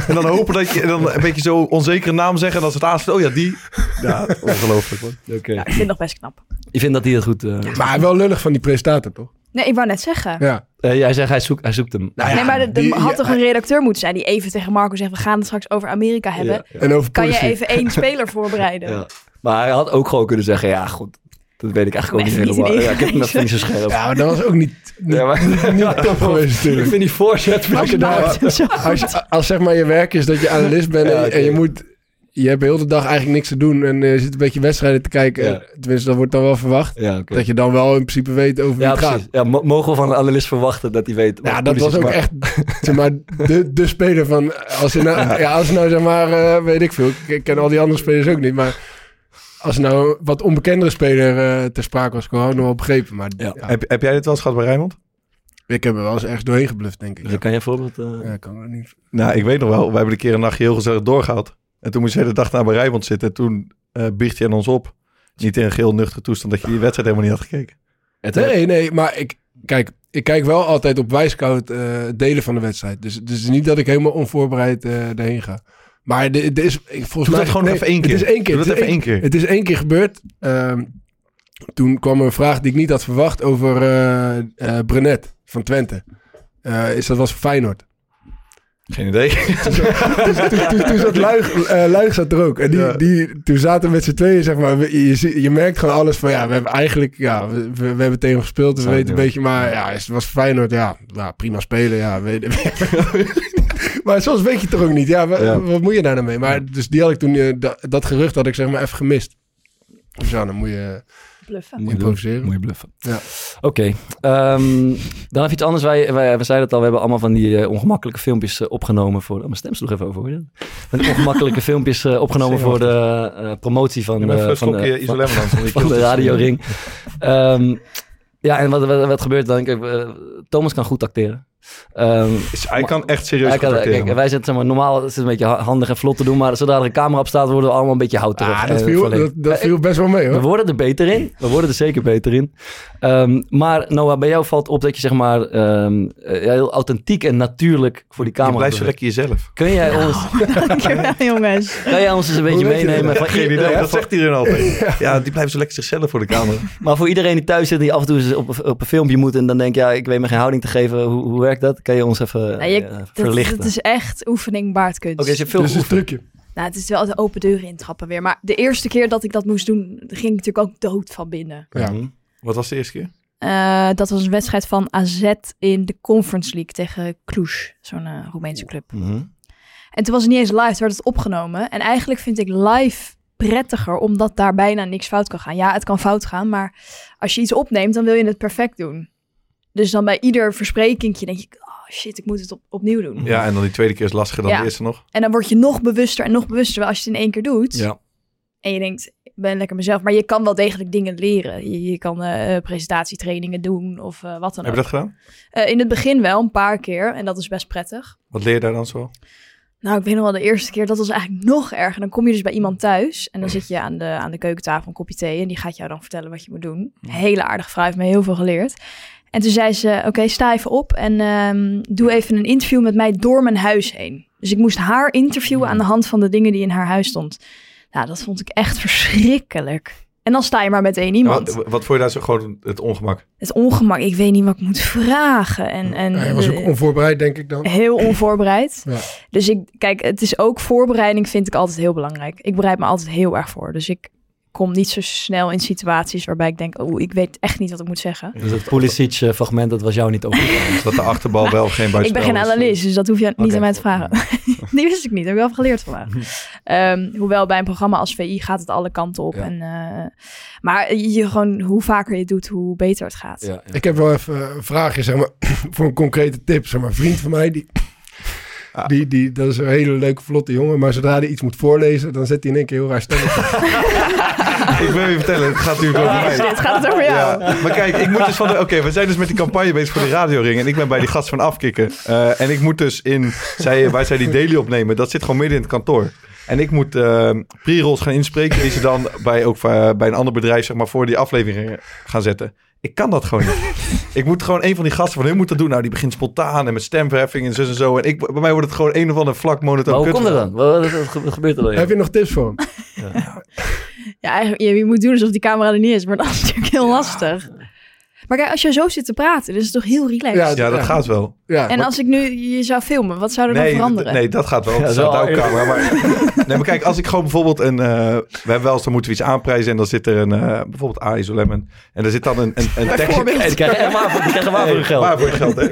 D: En dan hopen dat je en dan een beetje zo onzekere naam zeggen. En als het aansluit, oh ja, die.
A: <laughs>
D: Ja, ongelooflijk. man.
A: Oké.
F: Ja, ik vind het nog best knap.
A: Je vindt dat hij het goed... eh,
E: Maar wel lullig van die presentator, toch?
F: Nee, ik wou net zeggen.
E: Ja.
A: eh, jij zegt hij zoekt, hij zoekt hem.
E: Nou ja,
F: nee, maar er- er
E: die-
F: had toch
E: ja,
F: een redacteur moeten zijn die even tegen Marco zegt: We gaan het straks over Amerika hebben.
A: Ja, ja.
E: En over
F: Kan je
E: policy.
F: even één speler voorbereiden?
A: Ja. Maar hij had ook gewoon kunnen zeggen, ja goed, dat weet ik eigenlijk ook
F: Nee,
A: niet
F: niet
A: helemaal.
F: in
A: Ja, ik heb hem even niet zo scherp.
E: Ja, maar dat was ook niet, niet,
A: Ja, maar-
E: niet
A: <laughs>
E: top geweest
A: Ik
E: natuurlijk.
A: vind die voorzet van
E: Als je daar-
A: <laughs>
E: Als, je- als zeg maar je werk is dat je analist bent en,
A: Ja, oké.
E: en je moet... Je hebt heel de dag eigenlijk niks te doen en eh, je zit een beetje wedstrijden te kijken. Eh,
A: Ja.
E: Tenminste, dat wordt dan wel verwacht.
A: Ja, oké.
E: Dat je dan wel in principe weet over wie
A: Ja,
E: het gaat.
A: precies. Ja, mo- mogen we van een analist verwachten dat hij weet... wat
E: Ja, dat
A: politie
E: was
A: is,
E: ook
A: maar-
E: echt zeg maar, de, de speler van...
A: <laughs>
E: Als je nou, ja, als je nou zeg maar, eh, weet ik veel. Ik- Ik ken al die andere spelers ook niet, maar... Als er nou een wat onbekendere speler eh ter sprake was, kon ik had nog wel begrepen. Maar
A: Ja.
E: ja,
D: Heb, heb jij dit wel eens gehad bij Rijnmond?
E: ik heb er wel eens echt doorheen gebluft, denk ik.
A: Dus dan kan je een voorbeeld... eh,
E: Ja, kan wel niet.
D: Nou, ik weet nog wel. We hebben een keer een nachtje heel gezellig doorgehaald. En toen moest je de hele dag naar bij Rijnmond zitten. En toen eh biecht je aan ons op. Niet in een geel nuchter toestand dat je die wedstrijd helemaal niet had gekeken.
A: het-
E: Nee, nee, maar ik... Kijk, ik kijk wel altijd op wijscout eh delen van de wedstrijd. Dus, dus het is niet dat ik helemaal onvoorbereid eh daarheen ga. Maar dit dit is ik- volgens
D: Doe
E: mij...
D: dat gewoon
E: nee,
D: even één keer.
E: Het is één keer.
D: Doe dat
E: het is
D: even één keer.
E: Het is één keer gebeurd. Ehm, toen kwam er een vraag die ik niet had verwacht over eh eh, Brenet van Twente. Eh, is dat was voor Feyenoord.
D: Geen idee. <laughs>
E: Toen, toen, toen zat Luig, eh, Luig zat er ook. En die,
D: Ja.
E: die, toen zaten we met z'n tweeën, zeg maar. we- Je, zie- je merkt gewoon alles van, ja, we hebben eigenlijk, ja, we, we- we hebben tegen hem gespeeld. Dus we
A: Zou het
E: weten een beetje, maar ja, is- het was voor Feyenoord. Ja, nou, prima spelen, ja. Weet, <laughs> maar soms weet je het toch ook niet. Ja, wa-
A: Ja.
E: wat moet je daar nou mee? Maar dus die had ik toen, eh, da- dat gerucht had ik zeg maar even gemist. Dus ja, dan moet je...
F: Bluffen.
A: Moet je
E: Improviseren.
A: bluffen. Moet je bluffen.
E: Ja.
A: Oké. ehm, dan even iets anders. Wij, wij, we zeiden het al, we hebben allemaal van die eh, ongemakkelijke filmpjes eh, opgenomen voor... Oh, mijn stem sloeg even over, hoor je dat? Van die
E: <laughs>
A: ongemakkelijke filmpjes eh, opgenomen voor de eh, promotie van,
D: Ik ben
A: eh,
D: even een
A: van,
D: slokje
A: de, van,
D: Isolemmerland.
A: van de radioring. Ehm, ja, en wat, wat, wat gebeurt dan? Kijk, eh, Thomas kan goed acteren. Ehm,
D: Hij kan echt serieus
A: hij kan-
D: contacteren,
A: kijk,
D: man.
A: wij zitten zeg maar, normaal is het een beetje ha- handig en vlot te doen, maar zodra er een camera op staat, worden we allemaal een beetje houterig.
E: Ah, dat
A: eh,
E: viel,
A: verlegen.
E: dat, dat viel best wel mee
A: We
E: hoor.
A: worden er beter in. We worden er zeker beter in. Ehm, maar Noah, bij jou valt op dat je zeg maar ehm, eh, heel authentiek en natuurlijk voor die
D: Je
A: camera
D: blijft zo
A: beweegt.
D: lekker jezelf.
A: Kun jij, ons,
F: Dankjewel, jongens.
A: kun jij ons eens een beetje
E: weet je
A: meenemen? Van
D: Geen
A: i-
D: idee,
A: eh,
D: dat
A: van-
D: zegt iedereen <laughs> altijd. Ja, die blijft zo lekker zichzelf voor de camera.
A: maar voor iedereen die thuis zit en die af en toe eens op, op een filmpje moet en dan denkt, ja, ik weet me geen houding te geven. Hoe, hoe werkt dat? Kan je ons even
F: Nou, je-
A: eh,
F: dat,
A: verlichten?
F: dat is echt oefening baardkunst.
A: Oké, dus je hebt veel
E: Dus een
A: geoefend.
E: trucje.
F: Nou, het is wel de open deuren intrappen weer. Maar de eerste keer dat ik dat moest doen, ging ik natuurlijk ook dood van binnen.
E: Ja.
A: Mhm.
D: Wat was de eerste keer?
F: Eh, dat was een wedstrijd van AZ in de Conference League tegen Cluj, zo'n eh, Roemeense club.
A: Mhm.
F: En toen was het niet eens live, toen werd het opgenomen. En eigenlijk vind ik live prettiger, omdat daar bijna niks fout kan gaan. Ja, het kan fout gaan, maar als je iets opneemt, dan wil je het perfect doen. Dus dan bij ieder versprekingje denk je, oh shit, ik moet het op- opnieuw doen.
D: Ja, en dan die tweede keer is lastiger dan
F: Ja.
D: de eerste nog.
F: En dan word je nog bewuster en nog bewuster. Terwijl als je het in één keer doet,
A: Ja.
F: En je denkt, ik ben lekker mezelf. Maar je kan wel degelijk dingen leren. Je, je kan eh, presentatietrainingen doen of eh, wat dan
D: Heb
F: ook.
D: je dat gedaan?
F: Eh, in het begin wel, een paar keer. En dat is best prettig.
D: Wat leer je daar dan zo?
F: Nou, ik weet nog wel de eerste keer, dat was eigenlijk <laughs> nog erger. Dan kom je dus bij iemand thuis en dan zit je aan de, aan de keukentafel een kopje thee en die gaat jou dan vertellen wat je moet doen. Hele aardige vrouw, heeft me heel veel geleerd. En toen zei ze, oké, sta even op en ehm, doe even een interview met mij door mijn huis heen. Dus ik moest haar interviewen aan de hand van de dingen die in haar huis stond. Nou, dat vond ik echt verschrikkelijk. En dan sta je maar met één
D: Ja,
F: iemand.
D: Wat, wat vond je daar zo gewoon het ongemak?
F: Het ongemak, ik weet niet wat ik moet vragen. En, en
E: Hij was ook onvoorbereid, denk ik dan.
F: Heel onvoorbereid.
E: Ja.
F: Dus ik, kijk, het is ook voorbereiding vind ik altijd heel belangrijk. Ik bereid me altijd heel erg voor. Dus ik kom niet zo snel in situaties waarbij ik denk, oh, ik weet echt niet wat ik moet zeggen.
A: Dus het Pulisic-fragment, dat was jou niet opgevallen.
D: dat de achterbal wel geen
F: ik ben geen
D: eh,
F: analist, dus dat hoef je niet aan mij te vragen. <laughs> Die wist ik niet, daar heb ik wel geleerd vandaag. Ehm, hoewel bij een programma als VI gaat het alle kanten op. En, eh, maar je, gewoon, hoe vaker je het doet, hoe beter het gaat.
E: Ik heb wel even eh, een vraagje, zeg maar, <clears throat> voor een concrete tip. Zeg maar, een vriend van mij, die,
D: Ah.
E: die, die, dat is een hele leuke, vlotte jongen. Maar zodra hij iets moet voorlezen, dan zet hij in één keer heel
D: <laughs>
E: raar stemmetje.
D: <laughs> Ik wil je vertellen, het gaat
F: <laughs>
D: natuurlijk over mij.
F: Dus Dit gaat het over jou.
D: Ja, maar kijk, ik moet dus van de. Oké, we zijn dus met die campagne bezig voor de radioring. En ik ben bij die gast van Afkikken. Eh, en ik moet dus in. Zij, waar zij die daily opnemen, dat zit gewoon midden in het kantoor. En ik moet eh, pre-rolls gaan inspreken. Die ze dan bij, ook, eh, bij een ander bedrijf, zeg maar, voor die aflevering gaan zetten. Ik kan dat gewoon niet. Ik moet gewoon een van die gasten van hun moet dat doen. Nou, die begint spontaan en met stemverheffing en zo en zo. En ik, bij mij wordt het gewoon een of ander vlak monotoon.
A: Maar hoe
D: kut
A: komt dat
D: verhaal.
A: dan? Wat, wat- wat- wat gebeurt er dan? <laughs>
E: Heb je nog tips voor hem?
F: Ja, eigenlijk, je, je moet doen alsof die camera er niet is, maar dat is natuurlijk heel lastig. Maar kijk, als je zo zit te praten, dan is het toch heel relaxed.
E: Ja,
D: Ja, dat gaat wel.
E: Ja,
F: en als ik nu je zou filmen, wat zou er dan
D: Nee,
F: veranderen?
D: d- nee, dat gaat wel.
A: Ja,
D: dat
A: dat is
D: staat
A: wel
D: ook camera. Maar, nee, maar <laughs> kijk, als ik gewoon bijvoorbeeld een... eh, we hebben wel eens, dan moeten we iets aanprijzen... en dan zit er een... eh, bijvoorbeeld A is Lemon. En daar zit dan een, een, een tekst...
A: Hey, die krijgen helemaal voor, die krijgen waar voor hun geld.
D: <laughs> Waar voor je geld, hè?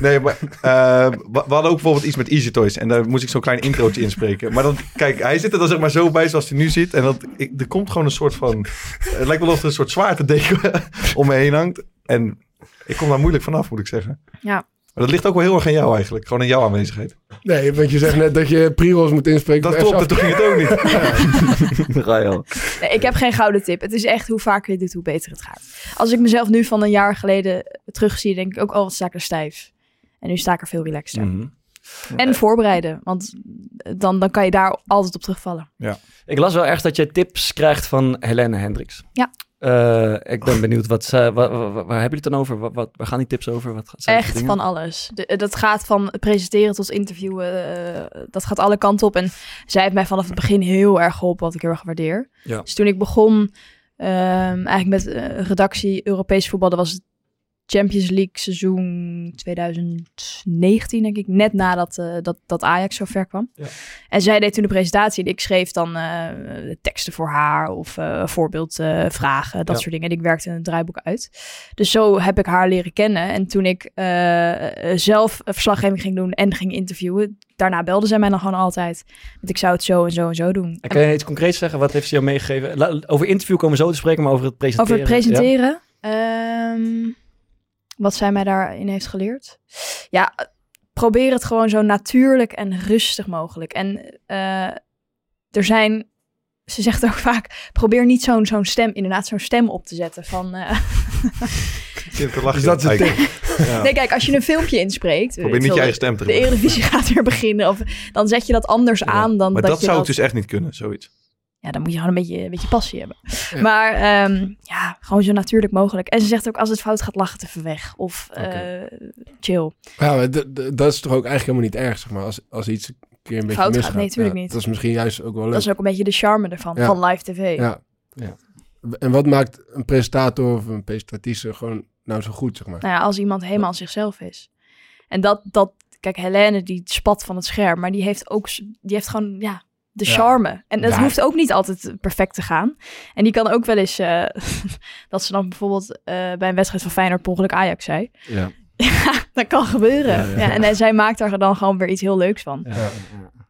D: Nee, maar eh, we we hadden ook bijvoorbeeld iets met Easy Toys. En daar moest ik zo'n klein introotje inspreken. Maar dan, kijk, hij zit er dan zeg maar zo bij zoals hij nu zit. En dat, ik, er komt gewoon een soort van... Het lijkt wel of er een soort zwaartedeken <laughs> om me heen hangt. En ik kom daar moeilijk vanaf, moet ik zeggen.
F: Ja.
D: Maar dat ligt ook wel heel erg aan jou eigenlijk. Gewoon aan jouw aanwezigheid.
E: Nee, want je zegt net dat je pre-rolls moet inspreken.
D: Dat
E: voor
D: klopt,
E: FC
D: dat ging het ook
F: <laughs>
D: niet.
A: Daar ga je al.
F: Nee, ik heb geen gouden tip. Het is echt hoe vaker je dit, hoe beter het gaat. Als ik mezelf nu van een jaar geleden terugzie, denk ik ook, oh, wat sta ik er stijf. En nu sta ik er veel relaxter.
D: Mm.
A: Mhm.
F: En voorbereiden, want dan, dan kan je daar altijd op terugvallen.
A: Ik las wel ergens dat jij tips krijgt van Helene Hendricks.
F: Ja.
A: Eh, ik ben benieuwd, wat, ze- wa- wa- wa- waar hebben jullie het dan over? Wat, wat, waar gaan die tips over? Wat zijn dat
F: Echt
A: voor
F: van
A: dingen?
F: alles. De- eh, dat gaat van presenteren tot interviewen. eh, dat gaat alle kanten op. En zij heeft mij vanaf het begin heel erg geholpen, wat ik heel erg waardeer.
A: Ja.
F: Dus toen ik begon, ehm, eigenlijk met eh, redactie Europees voetbal, dat was het Champions League seizoen 2019, denk ik. Net nadat eh, dat, dat Ajax zo ver kwam.
A: Ja.
F: En zij deed toen de presentatie en ik schreef dan eh, teksten voor haar of eh voorbeeldvragen, dat
A: Ja.
F: soort dingen. En ik werkte een draaiboek uit. Dus zo heb ik haar leren kennen. En toen ik eh, eh, zelf een verslaggeving ging doen en ging interviewen, daarna belde zij mij dan gewoon altijd. Want ik zou het zo en zo en zo doen.
A: En kan je iets concreets zeggen? Wat heeft ze jou meegegeven? La- over interview komen we zo te spreken, maar over het presenteren.
F: Over het presenteren. ehm, wat zij mij daarin heeft geleerd. Ja, eh, probeer het gewoon zo natuurlijk en rustig mogelijk. En eh, er zijn. Ze zegt ook <laughs> vaak: probeer niet zo'n zo'n stem, inderdaad, zo'n stem op te zetten. Van, eh,
D: Ik zit te lachen.
E: Dus dat is het
D: Eigenlijk.
F: <laughs>
D: Ja.
F: Nee, kijk, als je een filmpje inspreekt.
D: Probeer niet je eigen stem te
F: De
D: gebruiken.
F: Eredivisie <laughs> gaat weer beginnen. Of, dan zet je dat anders aan dan
D: Maar
F: dat,
D: dat,
F: je
D: zou
F: dat...
D: ik dus echt niet kunnen, zoiets.
F: Ja, dan moet je gewoon een beetje, een beetje passie hebben. Maar ehm, ja, gewoon zo natuurlijk mogelijk. En ze zegt ook, als het fout gaat, lach het even weg. Of eh, chill.
E: Ja, maar d- d- dat is toch ook eigenlijk helemaal niet erg, zeg maar. Als, als iets een keer een beetje
F: Fout gaat,
E: misgaat.
F: nee, tuurlijk
E: Ja,
F: niet.
E: Dat is misschien juist ook wel leuk.
F: Dat is ook een beetje de charme ervan,
E: Ja.
F: van live tv.
E: Ja. ja. En wat maakt een presentator of een presentatrice gewoon nou zo goed, zeg maar?
F: Nou ja, als iemand helemaal zichzelf is. En dat, dat kijk, Helene die spat van het scherm, maar die heeft ook, s- die heeft gewoon, ja, de
E: Ja.
F: charme. En dat
E: Ja.
F: hoeft ook niet altijd perfect te gaan. En die kan ook wel eens, eh, <laughs> dat ze dan bijvoorbeeld eh, bij een wedstrijd van Feyenoord per ongeluk Ajax zei. <laughs>
A: Ja.
F: dat kan gebeuren. Ja, en, eh, zij maakt daar dan gewoon weer iets heel leuks van.
A: Ja.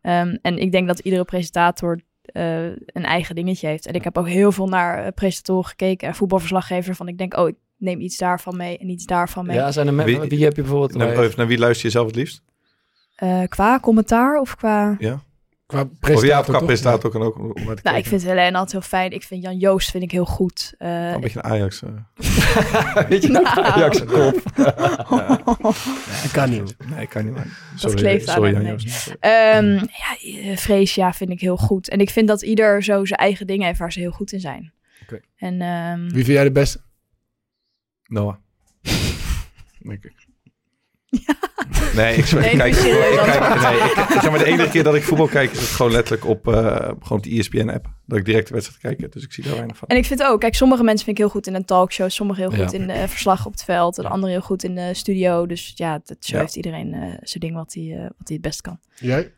F: Ehm, en ik denk dat iedere presentator eh, een eigen dingetje heeft. En ik heb ook heel veel naar eh, presentatoren gekeken en voetbalverslaggever. Van ik denk, oh, ik neem iets daarvan mee en iets daarvan mee.
A: Ja, zijn er me-
D: Wie-
A: wie, heb je bijvoorbeeld?
D: Naar, naar wie luister je zelf het liefst?
F: Eh, qua commentaar of qua...
D: Ja.
E: Qua
D: Of Oh ja,
E: presentator,
D: of qua
E: toch?
D: prestator kan ook. Maar het
F: Nou,
D: kan-
F: ik vind Helene altijd heel fijn. Ik vind Jan Joost vind ik heel goed. Eh,
D: Een beetje een Ajax. eh.
A: Weet je,
F: <laughs>
A: <laughs>
F: Nou.
A: Ajax kop.
E: Dat kan niet.
D: Nee, kan niet. man.
F: dat
D: Sorry,
F: kleeft aan
D: sorry,
F: hem,
D: Jan
F: nee.
D: Joost. Sorry.
F: Ehm, ja, eh, Freesia vind ik heel goed. En ik vind dat ieder zo zijn eigen dingen heeft waar ze heel goed in zijn.
D: Oké.
F: En ehm,
E: Wie vind jij de beste?
D: Noah.
F: <laughs>
D: Denk ik. Nee, ik,
F: Nee,
D: ik
F: nu
D: kijk,
F: is
D: ik,
F: het serieus
D: kijk, nee, ik, zeg maar de enige keer dat ik voetbal kijk is het gewoon letterlijk op, eh, gewoon op de ESPN-app. Dat ik direct de wedstrijd kijk, dus ik zie daar weinig van.
F: En ik vind ook, kijk, sommige mensen vind ik heel goed in een talkshow, sommige heel
D: Ja.
F: goed in de verslag op het veld, en anderen heel goed in de studio. Dus ja, dat, zo
D: Ja.
F: heeft iedereen eh, zijn ding wat hij eh, wat hij het best kan.
E: Jij?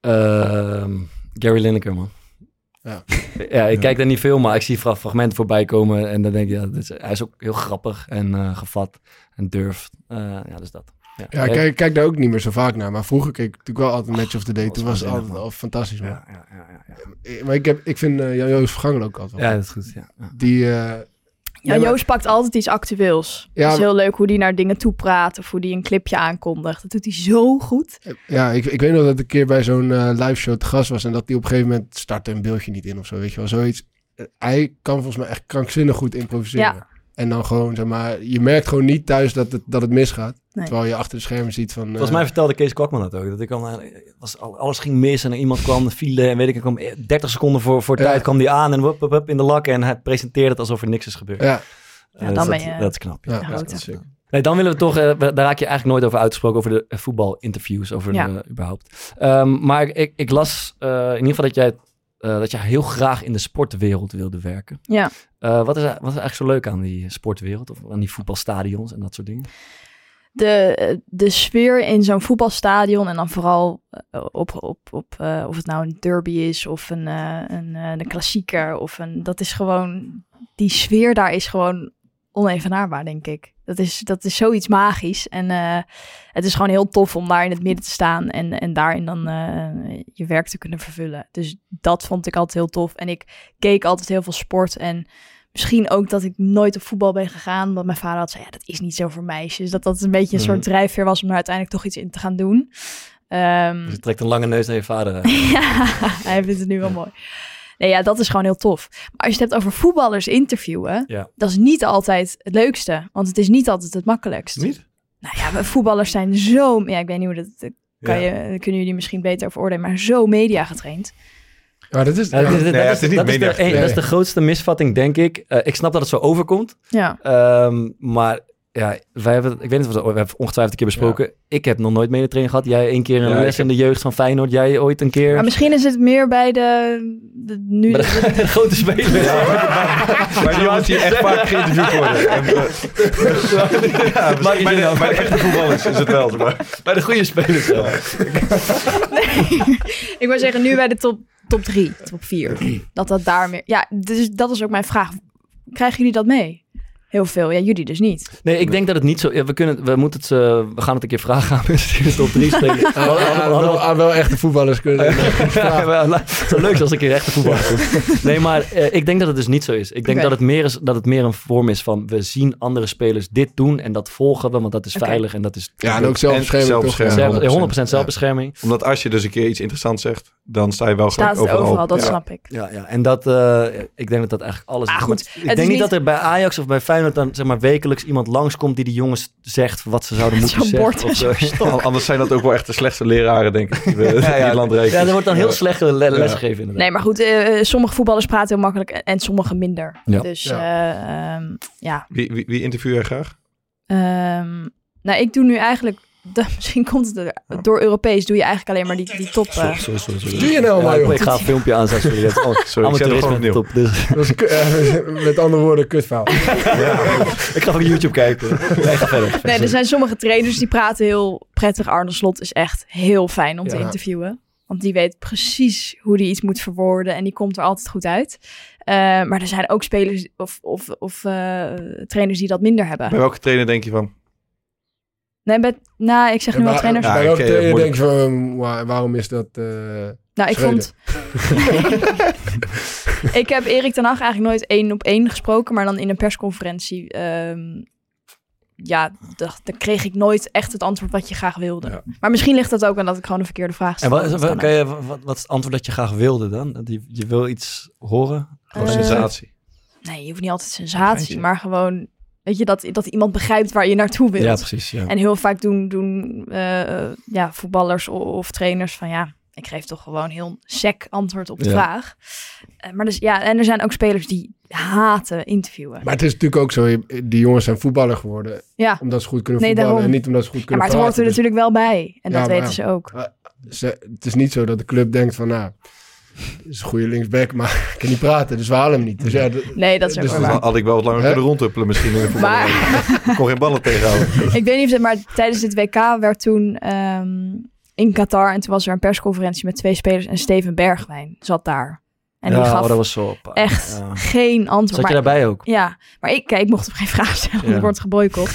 A: Ehm, Gary Lineker, man.
E: Ja.
A: <laughs> Ja, ik
D: Ja.
A: kijk daar niet veel, maar ik zie fra- fragmenten voorbij komen. En dan denk ik, ja, dit is- hij is ook heel grappig en eh, gevat en durft. Eh, ja, dus dat.
E: Ja, ik kijk, kijk daar ook niet meer zo vaak naar. Maar vroeger keek ik natuurlijk wel altijd Match of the Day.
A: dat
E: Toen
A: was
E: was het altijd
A: waanzinnig,
E: al fantastisch. man.
A: Ja, ja, ja, ja, ja.
E: Eh, Maar ik, heb, ik vind eh, Jan-Joost Vergangel ook altijd wel.
A: Ja, dat is goed. Ja. Ja.
E: Die, eh,
F: Ja,
E: maar-
F: Joost pakt altijd iets actueels.
E: Ja,
F: het is
E: maar-
F: heel leuk hoe hij naar dingen toe praat of hoe hij een clipje aankondigt. Dat doet hij zo goed.
E: Ja, ik, ik weet nog dat ik een keer bij zo'n eh live show te gast was en dat die op een gegeven moment startte een beeldje niet in of zo, weet je wel, zoiets. Eh, Hij kan volgens mij echt krankzinnig goed improviseren.
F: Ja.
E: En dan gewoon, zeg maar, je merkt gewoon niet thuis dat het, dat het misgaat.
F: Nee.
E: Terwijl je achter de schermen ziet van... eh,
A: Volgens mij vertelde Kees Kwakman dat ook. Dat ik al, was, al- alles ging mis en iemand kwam, file en weet ik, ik kwam eh, 30 seconden voor, voor
E: Ja.
A: tijd kwam die aan en wup, wup, wup, in de lak. En hij presenteerde het alsof er niks is gebeurd.
E: Ja,
A: Eh,
F: dan
A: dus
F: ben
A: dat,
F: je
A: dat is knap.
E: Ja,
F: de
A: dat is
F: grote.
A: knap, ja. Nee, dan willen we toch, eh, we- daar raak je eigenlijk nooit over uitgesproken, over de eh, voetbalinterviews, over
F: Ja.
A: de- eh, überhaupt. Ehm, maar ik, ik las eh, in ieder geval dat jij, eh, dat jij heel graag in de sportwereld wilde werken.
F: Ja.
A: Eh, wat, is, er- wat is er eigenlijk zo leuk aan die sportwereld, of aan die voetbalstadions en dat soort dingen?
F: De, eh, de sfeer in zo'n voetbalstadion en dan vooral eh, op, op, op eh, of het nou een derby is of een, eh, een, eh, een klassieker of een, dat is gewoon, die sfeer daar is gewoon onevenaarbaar denk ik. Dat is, dat is zoiets magisch en eh, het is gewoon heel tof om daar in het midden te staan en, en daarin dan eh, je werk te kunnen vervullen. Dus dat vond ik altijd heel tof en ik keek altijd heel veel sport en Misschien ook dat ik nooit op voetbal ben gegaan. Omdat mijn vader had zei, ja, dat is niet zo voor meisjes. Dat dat een beetje een soort
A: Mhm.
F: drijfveer was om er uiteindelijk toch iets in te gaan doen. Ehm,
A: Dus je trekt een lange neus naar je vader. eh.
F: <laughs> ja, hij vindt het nu wel mooi. Nee, ja, dat is gewoon heel tof. Maar als je het hebt over voetballers interviewen,
A: Ja.
F: dat is niet altijd het leukste. Want het is niet altijd het makkelijkst.
D: Niet?
F: Nou ja, maar voetballers zijn zo... Ja, ik weet niet hoe dat... dat Kan je, daar kunnen jullie misschien beter over oordelen, maar zo media getraind.
E: maar dat is...
A: Ja,
E: ja,
A: dat is-
E: <laughs>
D: Nee,
A: dat
D: het
A: is-
D: is niet
A: dat is de-
D: media.
A: eh, dat is de grootste misvatting, denk ik. Eh, ik snap dat het zo overkomt.
F: Ja,
A: Ehm, maar ja, wij hebben, ik weet niet of we, we hebben het ongetwijfeld een keer besproken. Ik heb nog nooit medetraining gehad. Jij één keer een
D: Ja,
A: les
D: ik
A: in de jeugd van Feyenoord. Jij ooit een keer.
F: maar Ah, misschien is het meer bij de, de nu.
A: Bij de, de grote speler.
D: Maar nu moet hier echt vaak geïnterviewd worden. En, eh, ja,
A: Maak je
D: bij,
A: zin
D: de,
A: over.
D: bij de echte voetballers is het wel. Maar.
A: Bij de goede spelers. wel.
F: Ik wou zeggen, nu bij de <laughs> top, top drie, top vier. Dat dat daar meer... Ja, dus dat is ook mijn vraag. Krijgen jullie dat mee? Heel veel. Ja, jullie dus niet.
A: Nee, ik denk dat het niet zo. ja, we, kunnen, we, moeten het, eh, we gaan het een keer vragen aan mensen die in de top 3
F: <laughs>
A: spelen. We Eh, hadden- we hadden- we hadden-
E: wel, ah, wel echte voetballers kunnen
A: Ja, maar Zo leuk als ik in echte voetbal kom. Nee, maar eh, ik denk dat het dus niet zo is. Ik denk
F: Oké.
A: dat, het meer is, dat het meer een vorm is van we zien andere spelers dit doen en dat volgen we, want dat is
F: Oké.
A: veilig en dat is.
E: Ja, en ook
D: En
E: zelfbescherming. toch?
D: zelfbescherming.
A: Zelf- 100%,
E: 100%.
A: zelfbescherming.
D: Omdat als je dus een keer iets interessants zegt, dan sta je wel gewoon
F: Staat het
D: overal.
F: overal, dat
D: Ja.
F: snap ik.
A: Ja, ja. En dat, eh, ik denk dat dat eigenlijk alles
F: Ah,
A: is.
F: goed.
A: Maar
F: Het
A: Ik
F: is
A: denk niet
F: niet-
A: dat er bij Ajax of bij Feyenoord dan zeg maar wekelijks iemand langskomt die die jongens zegt wat ze
F: <laughs>
A: zouden moeten
F: Zo'n
A: zeggen.
F: bord
A: of
F: en
A: zo. <laughs>
F: zo'n stok.
D: Al- Anders zijn dat ook wel echt de slechtste leraren, denk ik, die we- die het land
A: Ja,
D: rekenen.
A: er wordt dan heel slecht le- lesgegeven inderdaad.
F: Nee, maar goed, eh, eh, sommige voetballers praten heel makkelijk en- en sommige minder.
A: Ja.
F: Dus
E: Ja.
F: eh, ehm, ja.
D: Wie, wie, wie interview jij graag?
F: Ehm, nou, ik doe nu eigenlijk... <laughs> de- misschien komt het er, door Europees doe je eigenlijk alleen maar die, die top... eh,
A: Sorry, sorry, sorry.
E: Doe je
F: Oh,
E: nou maar,
A: Ja, ik-
E: joh.
A: ik ga een filmpje aanzetten. <laughs> Sorry, dat is allemaal-
D: Sorry, ik zet hem
A: amateurisme
D: gewoon
A: op de
D: opnieuw.
A: top. Dus-
E: Dat is, ku- eh, met andere woorden, kutverhaal.
A: Ik ga van YouTube kijken. Nee, ga verder.
F: Nee, er zijn sommige trainers die praten heel prettig. Arne Slot is echt heel fijn om te
E: Ja.
F: interviewen. Want die weet precies hoe die iets moet verwoorden. En die komt er altijd goed uit. Eh, maar er zijn ook spelers of, of, of eh, trainers die dat minder hebben.
D: Bij welke trainer denk je van?
F: Nee, bij, nou, ik zeg nu
E: En
F: wel
E: waar-
F: trainers.
E: Bij
D: Ja,
E: welke
D: oké,
A: eh,
E: trainer denk
D: moeilijk.
E: je van, wa- waarom is dat...
F: <laughs>
E: eh,
F: nou, ik
E: Schreuder.
F: vond... ik heb Erik ten Hag eigenlijk nooit één op één gesproken. Maar dan in een persconferentie ehm, ja, dat, dan kreeg ik nooit echt het antwoord wat je graag wilde. Maar misschien ligt dat ook aan dat ik gewoon een verkeerde vraag
A: En
F: stel.
A: wat, is-
F: Dat kan
A: wat, kan je, wat, wat is het antwoord dat je graag wilde dan? Dat Je, je wil iets horen?
F: Gewoon Eh, sensatie. Nee, je hoeft niet altijd sensatie,
A: Geintje.
F: maar gewoon weet je, dat, dat iemand begrijpt waar je naartoe wilt.
A: Ja, precies, ja.
F: En heel vaak doen, doen eh, ja, voetballers o- of trainers van ja, ik geef toch gewoon heel sec antwoord op de
E: Ja.
F: vraag. Eh, maar dus, ja, en er zijn ook spelers die haten interviewen.
E: Maar het is natuurlijk ook zo, je- die jongens zijn voetballer geworden.
F: Ja.
E: Omdat ze goed kunnen
F: Nee,
E: voetballen
F: daarom.
E: en niet omdat ze goed
F: ja,
E: kunnen
F: maar het
E: praten. dus-
F: hoort er natuurlijk wel bij. En
E: Ja,
F: dat
E: maar
F: weten
E: ja.
F: ze ook.
E: Ze- het is niet zo dat de club denkt van, nou, dit is een goede linksback, <laughs> maar ik kan niet praten, dus we halen hem niet. Dus ja, d-
F: Nee, dat is ook
E: dus
F: wel
E: dat-
F: waar.
D: Dan had ik wel wat langer kunnen rondhuppelen misschien. In de voetbal.
F: Maar <laughs>
D: Ik kon geen ballen tegenhouden.
F: ik weet niet of het, maar tijdens dit WK werd toen ehm, in Qatar en toen was er een persconferentie met twee spelers en Steven Bergwijn zat daar. En die
A: Ja,
F: gaf
A: oh, dat was zo op.
F: echt
A: Ja.
F: geen antwoord.
A: Zat je
F: Maar-
A: daarbij ook?
F: Ja, maar ik, kijk, ik mocht op geen vraag stellen, want
D: Ja.
F: ik
A: <laughs>
F: word geboycott.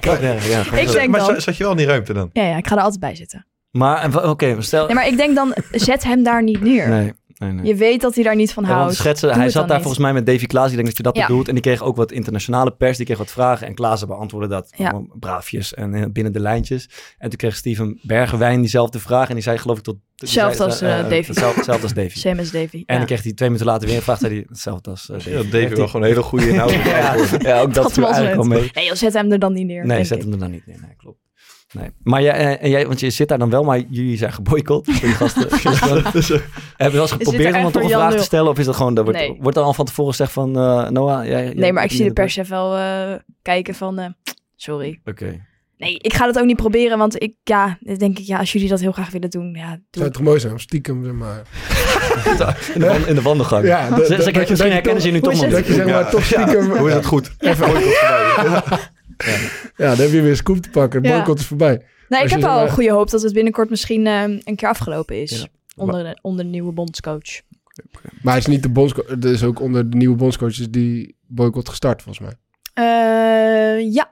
A: Ja, ja, gewoon
F: Ik
A: zo.
F: denk
D: maar
F: dan-
D: za- zat je wel in die ruimte dan?
F: Ja, ja, ik ga er altijd bij zitten.
A: Maar, en wa- oké, maar stel...
F: Nee, maar ik denk dan, zet hem daar niet neer.
A: Nee, nee, nee.
F: Je weet dat hij daar niet van
A: Ja, want
F: houdt.
A: schetsen,
F: Doe
A: hij
F: het
A: zat
F: dan
A: daar
F: niet.
A: volgens mij met Davy Klaas. Ik denk dat je dat
F: Ja.
A: bedoelt. En die kreeg ook wat internationale pers. Die kreeg wat vragen. En Klaassen beantwoordde dat.
F: Ja.
A: Allemaal Braafjes en eh, binnen de lijntjes. En toen kreeg Steven Bergewijn diezelfde vraag. En die zei geloof ik tot... die
F: Hetzelfde
A: zei-
F: als,
A: eh,
F: eh,
A: eh,
F: Davy.
A: hetzelfde- Hetzelfde als
F: <laughs>
A: Davy.
F: Same as Davy.
A: En
F: ja.
A: dan kreeg hij twee minuten later weer een vraag. Zei hij hetzelfde als eh, Davy.
D: Ja, Davy wel
A: die-
D: gewoon een hele
A: <laughs>
D: goede inhoud.
F: <laughs>
A: ja, ja, ook dat,
F: Dat
A: viel
F: was
A: eigenlijk
F: het.
A: al mee.
F: Nee, joh, zet hem er dan niet neer.
A: Nee,
F: denk
A: zet
F: ik.
A: hem er dan niet in. Nee, klopt. Nee. Maar jij, eh, en jij, want je zit daar dan wel, maar jullie zijn geboycott. door die
F: <laughs>
A: gasten. Dus dan- Hebben we wel eens
F: er
A: geprobeerd om
F: echt
A: dan toch
F: voor
A: een
F: Jan
A: vraag te
F: Nul?
A: stellen? Of is dat gewoon, dat wordt,
F: Nee.
A: wordt dan al van tevoren gezegd van eh, Noah? Jij, jij-
F: Nee, maar ik
A: jij
F: zie
A: bent-
F: de perschef wel eh, kijken van, eh, sorry.
A: Oké.
E: <laughs>
F: Nee, ik ga dat ook niet proberen, want ik, ja, dan denk ik, ja, als jullie dat heel graag willen doen, ja,
E: zou
F: doe
E: het
F: het.
E: toch mooi zijn om stiekem, zeg maar...
A: In, de wan- in de wandelgang.
E: Ja, dat-
A: Ze- ze-
E: dat- dat je- "Oh,
A: misschien
E: dat je
A: herkennen ze je nu
F: toch-
A: toch nog
F: hoe
E: Dat je
A: niet.
E: zeg maar
D: Ja,
E: toch
D: ja.
E: stiekem...
D: Hoe is het goed? Even boycott voorbij.
I: nou
E: Ja, dan heb je weer scoop te pakken. Het
F: Ja.
E: boycott is voorbij.
F: Nee, ik
E: Als je
F: heb
E: zeg
F: al
E: maar-
F: goede hoop dat het binnenkort misschien eh, een keer afgelopen is.
A: Ja.
F: Onder, de, onder de nieuwe bondscoach.
E: Maar hij is niet de bondscoach. Er is ook onder de nieuwe bondscoaches die boycott gestart, volgens mij.
F: Eh, ja,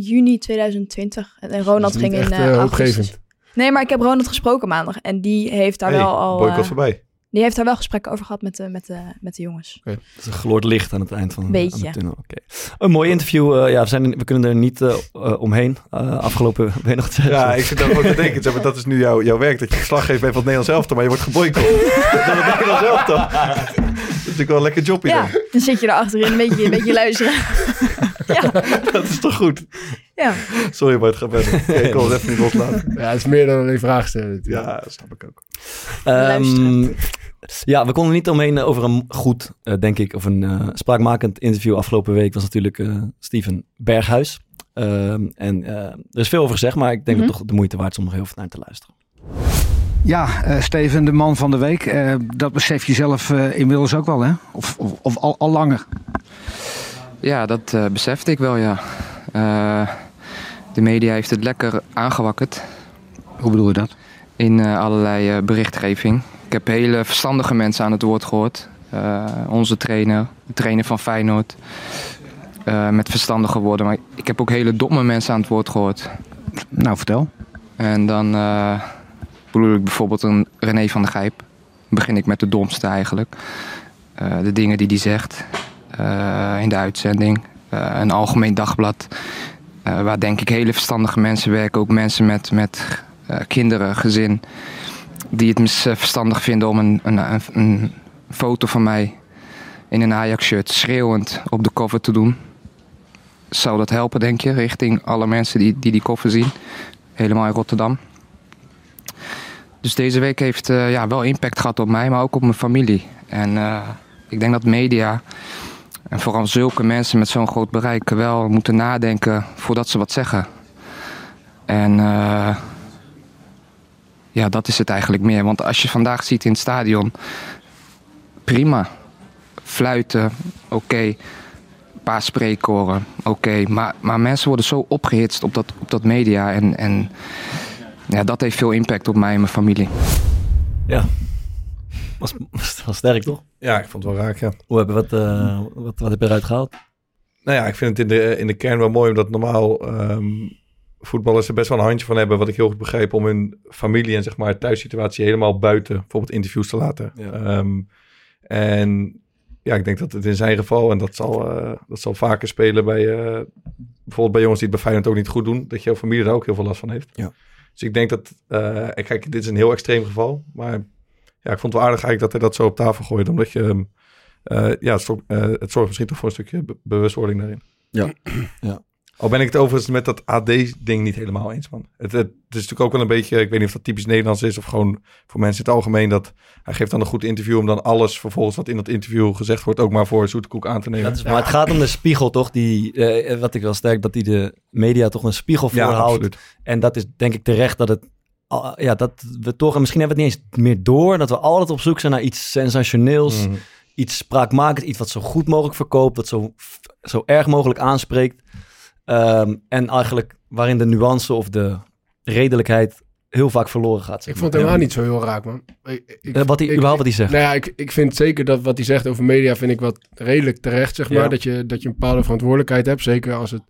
F: juni 2020. En- En Ronald
E: Dat is niet
F: ging in
E: echt,
F: eh,
E: eh,
F: augustus.
E: hoopgevend.
F: Nee, maar ik heb Ronald gesproken maandag. En die heeft daar
D: Hey,
F: wel al...
D: boycott
F: eh,
D: voorbij.
F: die heeft daar wel gesprekken over gehad met de, met de, met de jongens.
A: Het is een gloord licht aan het eind van
F: Beetje.
A: aan de tunnel. Oké. Een mooi interview. eh, ja, we, zijn, er- we kunnen er niet eh, eh, omheen. Eh, afgelopen weet je nog te
D: Ja, ik zit daar gewoon te denken. zeg maar, Dat is nu jouw, jouw werk, dat je verslag geeft bij van het Nederlands elftal, maar je wordt <laughs> geboycott. Dat is het Nederlands elftal. Dat is natuurlijk wel een lekker jobje
F: Ja, dan zit je daar achterin een beetje, een beetje
E: <laughs>
F: luisteren.
D: dan. Dat is toch goed?
F: Ja.
D: Sorry, maar het gaat verder. <laughs> Oké, ik kon het even niet loslaten.
E: Ja, het is meer dan alleen vragen stellen. natuurlijk.
D: Ja, dat snap ik ook.
A: Ehm,
F: Luisteraar.
A: ja, we konden niet omheen eh, over een goed, eh, denk ik, of een eh, spraakmakend interview afgelopen week was natuurlijk eh, Steven Berghuis. Ehm, en eh, er is veel over gezegd, maar ik denk dat
F: Mhm.
A: het toch de moeite waard is om er heel veel naar te luisteren. <laughs>
J: Ja, eh, Steven, de man van de week. Eh, dat besef je zelf eh, inmiddels ook wel, hè? Of, of, of al, al langer.
I: Ja, dat eh, besefte ik wel, ja. Eh, de media heeft het lekker aangewakkerd
J: Hoe bedoel je dat?
I: in eh, allerlei eh, berichtgeving. Ik heb hele verstandige mensen aan het woord gehoord. Eh, onze trainer, de trainer van Feyenoord. eh, met verstandige woorden. Maar ik heb ook hele domme mensen aan het woord gehoord.
J: Nou, vertel.
I: En dan eh, bedoel ik bijvoorbeeld een René van der Gijp. Begin ik met de domste eigenlijk. Eh, de dingen die hij zegt eh, in de uitzending. Eh, een algemeen dagblad. eh, waar denk ik hele verstandige mensen werken. Ook mensen met, met eh, kinderen, gezin. Die het mis- eh, verstandig vinden om een, een, een, een foto van mij in een Ajax-shirt schreeuwend op de cover te doen. Zou dat helpen, denk je, richting alle mensen die die, die koffer zien? helemaal in Rotterdam. Dus deze week heeft eh, ja, wel impact gehad op mij, maar ook op mijn familie. En eh, ik denk dat media en vooral zulke mensen met zo'n groot bereik wel moeten nadenken voordat ze wat zeggen. En eh, ja, dat is het eigenlijk meer. Want als je vandaag ziet in het stadion, prima. Fluiten, oké. Een paar spreekkoren, oké. Maar, maar mensen worden zo opgehitst op dat, op dat media. En, en ja, dat heeft veel impact op mij en mijn familie.
A: Ja, was, was, was sterk toch?
D: Ja, ik vond het wel raak, ja.
A: Hoe hebben we wat, eh, wat, wat heb je eruit gehaald?
D: Nou ja, ik vind het in de, in de kern wel mooi, omdat normaal ehm, voetballers er best wel een handje van hebben, wat ik heel goed begrijp, om hun familie en zeg maar thuissituatie helemaal buiten, bijvoorbeeld interviews te laten.
A: Ja.
D: Ehm, en ja, ik denk dat het in zijn geval, en dat zal, eh, dat zal vaker spelen bij, eh, bijvoorbeeld bij jongens die het bij Feyenoord ook niet goed doen, dat jouw familie daar ook heel veel last van heeft.
A: Ja.
D: Dus ik denk dat, eh, en kijk, dit is een heel extreem geval, maar ja, ik vond het wel aardig eigenlijk dat hij dat zo op tafel gooide, omdat je, ehm, eh, ja, het, zorgt- eh, het zorgt misschien toch voor een stukje be- bewustwording daarin.
E: <clears throat>
A: Ja. ja.
D: Al ben ik het overigens met dat AD-ding niet helemaal eens, man. Het, het, het is natuurlijk ook wel een beetje, ik weet niet of dat typisch Nederlands is of gewoon voor mensen in het algemeen, dat hij geeft dan een goed interview om dan alles vervolgens wat in dat interview gezegd wordt ook maar voor zoete koek aan te nemen.
A: Dat is- maar het gaat om de spiegel, toch? Die, eh, wat ik wel sterk, dat die de media toch een spiegel
D: Ja,
A: voorhoudt.
D: absoluut.
A: en dat is denk ik terecht dat het. ah, ja, dat we toch. En misschien hebben we het niet eens meer door. Dat we altijd op zoek zijn naar iets sensationeels.
D: Mhm.
A: Iets spraakmakends. Iets wat zo goed mogelijk verkoopt. Wat zo, f- zo erg mogelijk aanspreekt. Ehm, en eigenlijk waarin de nuance of de redelijkheid heel vaak verloren gaat. zeg
E: Ik
A: maar.
E: vond het helemaal niet zo heel raak, man. Ik, ik-
A: Eh, wat hij-
E: ik-
A: überhaupt wat hij zegt.
E: Nou ja, ik, ik vind zeker dat wat hij zegt over media vind ik wat redelijk terecht, zeg maar.
A: Ja.
E: Dat, je, dat je een bepaalde verantwoordelijkheid hebt. Zeker als het,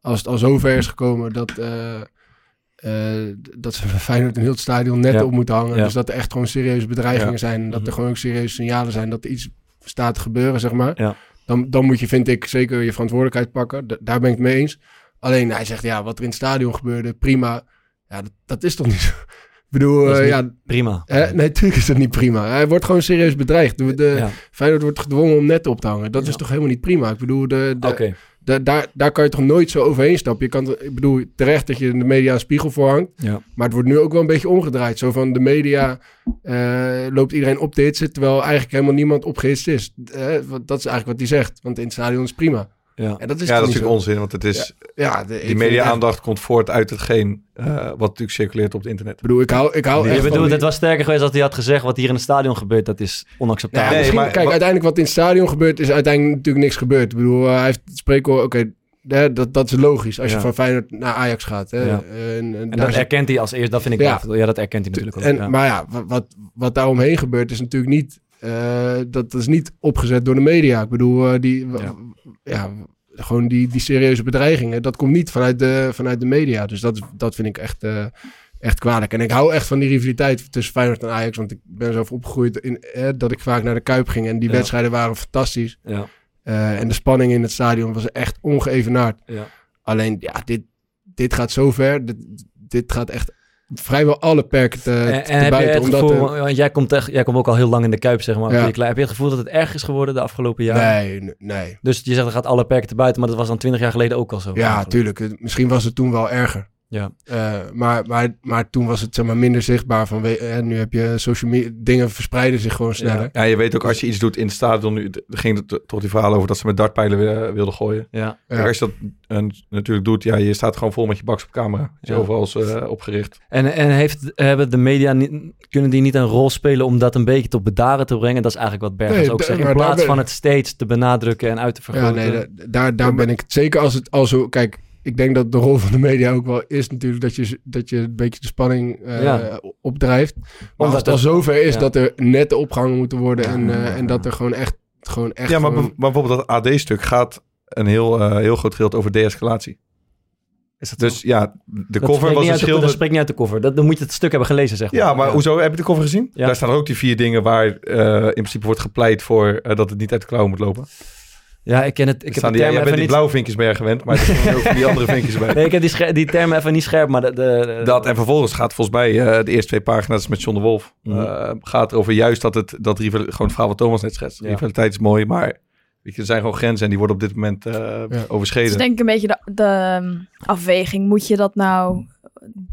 E: als het al zover is gekomen dat, eh, eh, d- dat ze bij Feyenoord een heel het stadion net
A: Ja.
E: op moeten hangen.
A: Ja.
E: Dus dat er echt gewoon serieuze bedreigingen
A: Ja.
E: zijn. Dat er
A: Mhm.
E: gewoon ook serieuze signalen zijn dat er iets staat te gebeuren, zeg maar.
A: Ja.
E: Dan, dan moet je, vind ik, zeker je verantwoordelijkheid pakken. Da- daar ben ik het mee eens. Alleen hij zegt, ja, wat er in het stadion gebeurde, prima. Ja, dat, dat is toch niet zo. <laughs> Ik bedoel,
A: Dat is
E: eh,
A: niet
E: ja,
A: prima.
E: Hè? Nee, natuurlijk is dat niet prima. Hij wordt gewoon serieus bedreigd. De, de,
A: Ja.
E: Feyenoord wordt gedwongen om net op te hangen. Dat is toch helemaal niet prima? Ik bedoel, de, de,
A: Oké.
E: de- daar, daar kan je toch nooit zo overheen stappen? Je kan, t- ik bedoel, terecht dat je de media een spiegel voor hangt.
A: Ja.
E: Maar het wordt nu ook wel een beetje omgedraaid. Zo van de media eh, loopt iedereen op te hitsen... terwijl eigenlijk helemaal niemand opgehitst is. Eh, want dat is eigenlijk wat hij zegt. Want in het stadion is prima.
A: Ja,
E: En dat is toch
D: ja, dat is
E: niet
D: natuurlijk
E: zo?
D: onzin, want het is,
E: Ja, ja, de- ik
D: die
E: vind het echt-
D: media-aandacht komt voort uit hetgeen eh, wat natuurlijk circuleert op het internet. Ik
E: bedoel, ik hou, ik hou
A: Je
E: echt van
A: bedoelt,
E: die-
A: het was sterker geweest als hij had gezegd wat hier in het stadion gebeurt. Dat is
E: Nou, ja,
A: onacceptabel.
E: misschien- kijk,
A: maar-
E: uiteindelijk wat in het stadion gebeurt, is uiteindelijk natuurlijk niks gebeurd. Ik bedoel, eh, hij heeft het spreekwoord, oké, hè, dat, dat is logisch als
A: Ja.
E: je van Feyenoord naar Ajax gaat. Hè. Eh,
A: Ja.
E: En, en
A: En
E: daar
A: dat
E: zit-
A: herkent hij als eerst. Dat vind ik
E: Ja.
A: wel- ja dat herkent hij natuurlijk ook.
E: en,
A: ja.
E: Maar ja, wa- wat, wat daar omheen gebeurt, is natuurlijk niet, eh, dat, dat is niet opgezet door de media. Ik bedoel, eh, die, wa- ja. gewoon die, die serieuze bedreigingen, dat komt niet vanuit de, vanuit de media. Dus dat, is- dat vind ik echt... eh, Echt kwalijk. En ik hou echt van die rivaliteit tussen Feyenoord en Ajax. Want ik ben zelf opgegroeid in, eh, dat ik vaak naar de Kuip ging. En die
A: Ja.
E: wedstrijden waren fantastisch.
A: Ja.
E: Eh, en de spanning in het stadion was echt ongeëvenaard.
A: Ja.
E: Alleen, ja, dit, dit gaat zo ver. Dit, dit gaat echt vrijwel alle perken te,
A: En,
E: te
A: en Eh, heb je
E: buiten.
A: het
E: omdat
A: gevoel,
E: er-
A: want jij komt, echt, jij komt ook al heel lang in de Kuip, zeg maar.
E: Ja.
A: Vind je- Heb je het gevoel dat het erg is geworden de afgelopen jaren?
E: Nee, nee, nee.
A: Dus je zegt, er gaat alle perken te buiten, maar dat was dan twintig jaar geleden ook al zo.
E: Ja, tuurlijk. Het- Misschien was het toen wel erger.
A: Ja.
E: Eh, maar, maar, maar toen was het zeg maar, minder zichtbaar. Van, we- eh, nu heb je social media. Dingen verspreiden zich gewoon sneller.
D: Ja, je weet ook als je iets doet in het stadion. Nu er ging het t- toch die verhalen over dat ze met dartpijlen weer- eh, wilden gooien.
A: Ja.
D: Kijk,
A: Ja.
D: Als je dat eh, natuurlijk doet, ja, je staat gewoon vol met je baks op camera. Is
A: Ja.
D: Overal is, eh, opgericht.
A: En, en heeft, hebben de media niet, kunnen die niet een rol spelen om dat een beetje tot bedaren te brengen? Dat is eigenlijk wat Bergers
E: Nee,
A: ook
E: d-
A: zegt. In
E: maar daar
A: plaats
E: ben-
A: van het steeds te benadrukken en uit te
E: Ja,
A: vergroten.
E: nee, da- daar, daar ben ik het. Zeker als het al zo. Kijk, ik denk dat de rol van de media ook wel is natuurlijk dat je, dat je een beetje de spanning eh,
A: Ja.
E: opdrijft. Maar
A: Omdat
E: als het al
A: het-
E: zover is
A: ja.
E: dat er netten opgehangen moeten worden en, eh, en dat er gewoon echt. Gewoon echt
A: eh,
D: ja, maar,
E: gewoon-
D: bijv- maar bijvoorbeeld dat AD-stuk gaat een heel, eh, heel groot gedeelte over de-escalatie. dus ja, de
A: Dat
D: cover
A: spreekt niet
D: was een
A: uit de- Dat
D: schilder.
A: spreekt niet uit de cover. Dat, dan moet je het stuk hebben gelezen, zeg maar.
D: Ja, maar hoezo? Heb je de cover gezien? Daar staan er ook die vier dingen waar eh, in principe wordt gepleit voor eh, dat het niet uit de klauwen moet lopen.
A: Ja, ik ken het. Ik heb
D: staan
A: de
D: die, jij
A: term even
D: bent die
A: niet-
D: blauwe vinkjes meer gewend, maar er zijn ook die
A: <laughs>
D: andere vinkjes bij.
A: Nee, ik heb die, scher- die term even niet scherp, maar de, de-
D: Dat en vervolgens gaat volgens mij eh, de eerste twee pagina's met John de Wolf.
A: Mhm.
D: eh, gaat erover juist dat het dat rival, gewoon het verhaal wat Thomas net schetst.
A: Ja.
D: Rivaliteit is mooi, maar weet je, er zijn gewoon grenzen en die worden op dit moment eh,
F: Het is
D: overschreden.
F: denk ik een beetje de, de ehm, afweging. Moet je dat nou,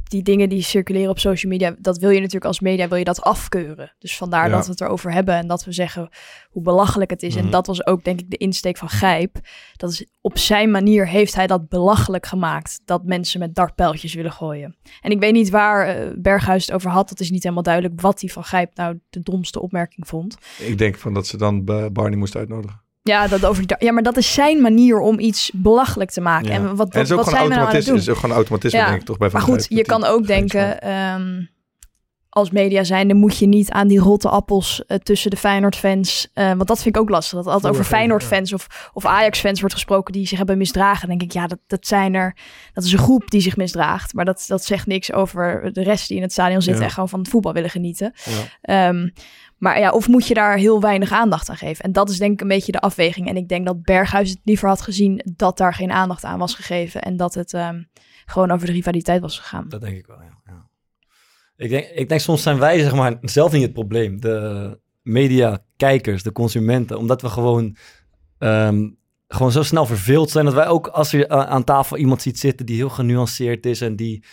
F: die dingen die circuleren op social media, dat wil je natuurlijk als media, wil je dat afkeuren. Dus vandaar
K: Ja.
F: dat we het erover hebben en dat we zeggen hoe belachelijk het is.
K: Mhm.
F: En dat was ook denk ik de insteek van Gijp. Dat is, op zijn manier heeft hij dat belachelijk gemaakt, dat mensen met dartpijltjes willen gooien. En ik weet niet waar eh, Berghuis het over had, dat is niet helemaal duidelijk wat hij van Gijp nou de domste opmerking vond.
D: Ik denk van dat ze dan eh, Barney moest uitnodigen.
F: Ja, dat over die dar- ja, maar dat is zijn manier om iets belachelijk te maken. Ah, En wat, wat,
D: het is ook
F: wat
D: gewoon
F: zijn we nou aan het
D: automatisme,
F: doen?
D: is ook gewoon automatisme denk ik toch bij Van
F: Maar goed,
D: Gijp, dat
F: je
D: die-
F: kan ook denken... ehm, als media zijn, dan moet je niet aan die rotte appels eh, tussen de Feyenoord-fans. eh, want dat vind ik ook lastig. Dat altijd over
K: Voorgeven,
F: Feyenoord-fans of, of Ajax-fans wordt gesproken die zich hebben misdragen. Dan denk ik, ja, dat, dat zijn er. Dat is een groep die zich misdraagt. Maar dat, dat zegt niks over de rest die in het stadion zitten
K: Ja.
F: en gewoon van het voetbal willen genieten. Ehm, maar ja, of moet je daar heel weinig aandacht aan geven? En dat is denk ik een beetje de afweging. En ik denk dat Berghuis het liever had gezien dat daar geen aandacht aan was gegeven. En dat het ehm, gewoon over de rivaliteit was gegaan.
A: Dat denk ik wel, ja. Ik denk, ik denk soms zijn wij zeg maar, zelf niet het probleem. De media, kijkers, de consumenten. Omdat we gewoon, ehm, gewoon zo snel verveeld zijn. Dat wij ook als je a- aan tafel iemand ziet zitten die heel genuanceerd is en die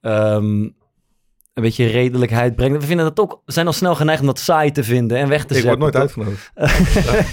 A: ehm, een beetje redelijkheid brengt. We vinden dat ook, zijn al snel geneigd om dat saai te vinden en weg te
D: Ik
A: zetten.
D: word nooit
A: toch?
D: uitgenodigd.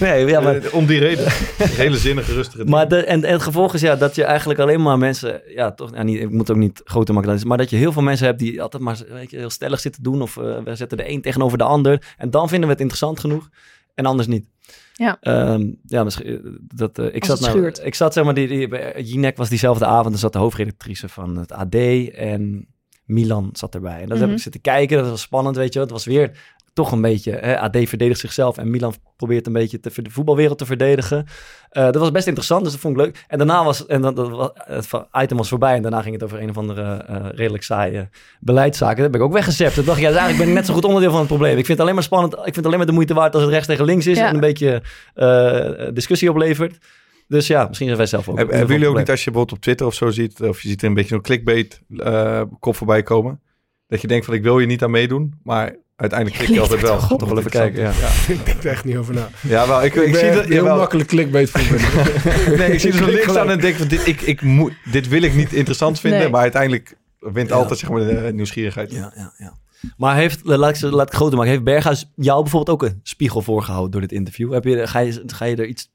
A: <laughs> nee, ja, maar...
D: Eh, Om die reden. Hele zinnige, rustige dingen.
A: Maar de, en, en het gevolg is ja, dat je eigenlijk alleen maar mensen, ja, toch, ja, niet, ik moet ook niet groter maken, dan is- maar dat je heel veel mensen hebt die altijd maar weet je, heel stellig zitten doen of eh, we zetten de een tegenover de ander en dan vinden we het interessant genoeg en anders niet.
F: Ja.
A: Ehm, ja, misschien, eh, dat, eh, ik,
F: Als
A: zat
F: het
A: nou,
F: schuurt.
A: ik zat, zeg maar, die, die, bij Jinek was diezelfde avond, er zat de hoofdredactrice van het AD en Milan zat erbij. En dat heb
L: Mhm.
A: ik zitten kijken, dat was spannend, weet je wel. Het was weer toch een beetje, hè, AD verdedigt zichzelf en Milan probeert een beetje te, ver- de voetbalwereld te verdedigen. Eh, dat was best interessant, dus dat vond ik leuk. En daarna was, en dat, dat was- het va- item was voorbij en daarna ging het over een of andere eh, redelijk saaie beleidszaken. Dat heb ik ook weggezept. Dat dacht ik, ja, dus eigenlijk ben ik net zo goed onderdeel van het probleem. Ik vind het alleen maar spannend, ik vind het alleen maar de moeite waard als het rechts tegen links is
F: Ja.
A: en een beetje eh, discussie oplevert. Dus ja, misschien zijn wij zelf ook.
D: Heb- hebben jullie ook niet als je bijvoorbeeld op Twitter of zo ziet, of je ziet er een beetje zo'n clickbait eh, kop voorbij komen, dat je denkt van ik wil je niet aan meedoen, maar uiteindelijk klik je altijd wel.
E: Toch
D: Omdat
E: wel
D: het interessant is.
E: <laughs> ik denk er echt niet over na.
D: Ja. Ja, wel, ik, ik,
E: ben
D: zie
E: echt
D: dat
E: heel
D: jawel.
E: makkelijk clickbait
D: <laughs>
E: voetballer.
D: nee, ik zie er zo'n
E: Klik
D: link staan
E: gelijk.
D: en denk van dit, ik, ik moet, dit wil ik niet interessant vinden,
A: Nee.
D: maar uiteindelijk wint
A: Ja.
D: altijd zeg maar de eh, nieuwsgierigheid.
A: Maar heeft, laat ik, ze- laat ik het groter maken, heeft Berghuis jou bijvoorbeeld ook een spiegel voorgehouden door dit interview? Heb je, ga, je, ga je er iets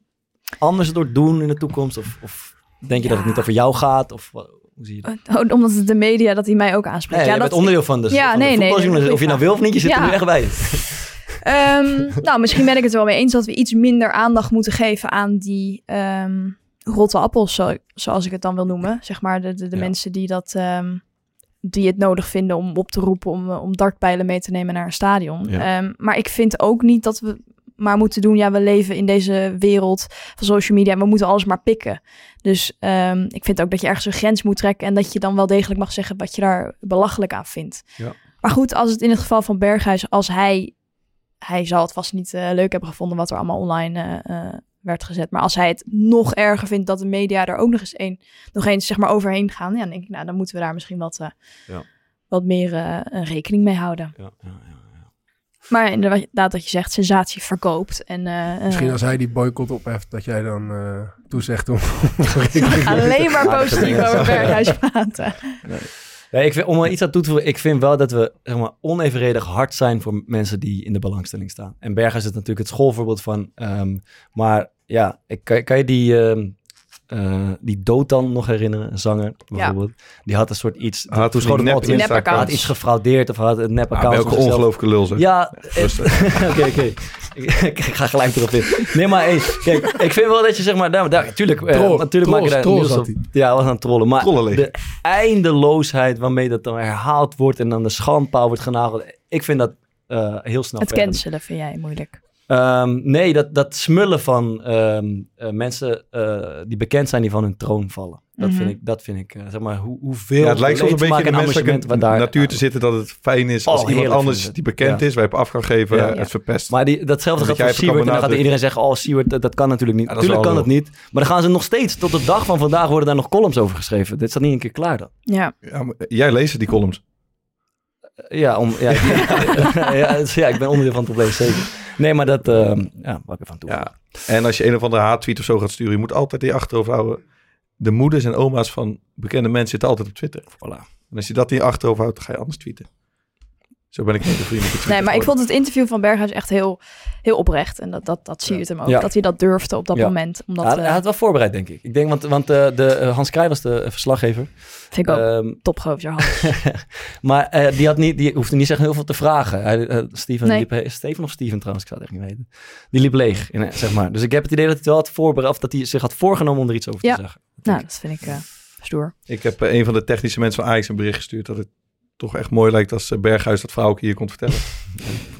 A: anders door doen in de toekomst? Of, of denk je dat het niet over jou gaat? Of wa- hoe zie je dat?
F: Oh, omdat het de media dat hij mij ook aanspreekt.
A: Nee,
F: ja,
A: jij
F: dat...
A: bent onderdeel van de,
F: Ja,
A: van de
F: nee, nee,
A: voetbaljournalist.
F: nee,
A: of je nou
F: goeie
A: wil of niet, je zit er
F: vraag.
A: nu echt bij.
F: Ehm, nou, misschien ben ik het er wel mee eens dat we iets minder aandacht moeten geven aan die ehm, rotte appels, zo- zoals ik het dan wil noemen. Zeg maar de, de, de mensen die, dat, ehm, die het nodig vinden om op te roepen om, eh, om dartpijlen mee te nemen naar een stadion.
K: Ja.
F: Ehm, maar ik vind ook niet dat we maar moeten doen, ja, we leven in deze wereld van social media en we moeten alles maar pikken. Dus ehm, ik vind ook dat je ergens een grens moet trekken en dat je dan wel degelijk mag zeggen wat je daar belachelijk aan vindt.
K: Ja.
F: Maar goed, als het in het geval van Berghuis, als hij, hij zal het vast niet eh, leuk hebben gevonden wat er allemaal online eh, eh, werd gezet. Maar als hij het nog erger vindt dat de media er ook nog eens, een, nog eens zeg maar overheen gaan, ja, dan denk ik, nou, dan moeten we daar misschien wat, eh,
A: Ja.
F: wat meer eh, eh, rekening mee houden.
A: Ja,
F: Maar inderdaad, dat je zegt, sensatie verkoopt. En, eh, eh,
E: Misschien als hij die boycott opheft, dat jij dan eh, toezegt om...
A: <laughs>
F: alleen maar positief over Berghuis praten.
A: Nee, ik vind, om er iets aan toe te voegen, ik vind wel dat we zeg maar, onevenredig hard zijn voor mensen die in de belangstelling staan. En Berghuis is natuurlijk het schoolvoorbeeld van. ehm, maar ja, ik, kan, kan je die, ehm eh die Dotan nog herinneren? Een zanger bijvoorbeeld. Die had een soort iets. toen
D: Had die
A: schoot hem
D: nep
A: altijd in.
D: Instagram.
A: Had iets gefraudeerd of had een nep
D: Ah,
A: account.
D: welke
A: voor zichzelf.
D: ongelooflijke lul, zeg.
A: Ja,
D: Echt
A: eh, oké, <laughs> oké. Ik, ik ga gelijk erop in. Nee, maar hey, kijk, ik vind wel dat je zeg maar, daar, daar, tuurlijk, eh,
E: Troll,
A: natuurlijk maak je
E: trolls,
A: daar
E: trolls
A: nieuws
E: had
A: op.
E: hij.
A: Ja, hij was aan het trollen. Maar
E: Trollenleger.
A: de eindeloosheid waarmee dat dan herhaald wordt en dan de schandpaal wordt genageld. Ik vind dat eh, heel snel.
F: Het
A: verder.
F: cancelen vind jij moeilijk.
A: Ehm, nee, dat, dat smullen van ehm, eh, mensen eh, die bekend zijn die van hun troon vallen. Dat
D: Mhm.
A: vind ik, dat vind ik eh, zeg maar, hoe, hoeveel
D: Ja, het lijkt soms een
A: leedvermaak
D: beetje in
A: en
D: de menselijke
A: amusement we daar
D: natuur te zitten dat het fijn is
A: Oh,
D: als iemand
A: heerlijk
D: anders
A: vind ik
D: die
A: het.
D: bekend
A: Ja.
D: is, wij hebben af gaan geven, eh,
A: Ja.
D: het verpest.
A: Maar die, datzelfde
D: Omdat
A: gaat voor
D: jij even
A: Siewert. En dan gaat
D: kan benadrukken.
A: iedereen zeggen, oh Siewert, dat, dat kan natuurlijk niet.
D: Ja, dat is
A: Tuurlijk kan
D: wel
A: het niet. Maar dan gaan ze nog steeds, tot de dag van vandaag worden daar nog columns over geschreven. Dit staat niet een keer klaar dan.
F: Ja.
D: Ja, maar eh, jij leest die columns. Eh,
A: Ja, om, ja, die- <laughs> ja, dus ja, ik ben onderdeel van het probleem, zeker. Nee, maar dat, ehm ja, wat ik ervan toe.
D: Ja. En als je een of andere haattweet of zo gaat sturen, je moet altijd die achterhoofd houden. De moeders en oma's van bekende mensen zitten altijd op Twitter. En als je dat in je achterhoofd houdt, dan ga je anders tweeten. Zo ben ik niet de vriend.
F: Nee, maar ik vond het interview van Berghuis echt heel, heel oprecht. En dat, dat, dat zie je het hem ook.
A: Ja.
F: Dat hij dat durfde op dat
A: Ja.
F: moment. Omdat,
A: Ja, hij,
F: eh,
A: had wel voorbereid, denk ik. Ik denk, want, want eh, de, eh, Hans Krij was de eh, verslaggever.
F: Vind ik ook
A: Ehm, <laughs>
F: topgozer Hans.
A: maar eh, die, had niet, die hoefde niet echt heel veel te vragen. Hij, eh, Steven,
F: Nee.
A: liep, Steven of Steven trouwens, ik zou het echt niet weten. Die liep leeg, in, eh, zeg maar. Dus ik heb het idee dat hij het wel had voorbereid, of dat hij zich had voorgenomen om er iets over te
F: ja,
A: zeggen.
F: nou, dat vind ik eh, stoer.
D: Ik heb eh, een van de technische mensen van Ajax een bericht gestuurd dat het toch echt mooi lijkt als eh, Berghuis dat verhaal ook hier komt
A: <laughs>
D: vertellen.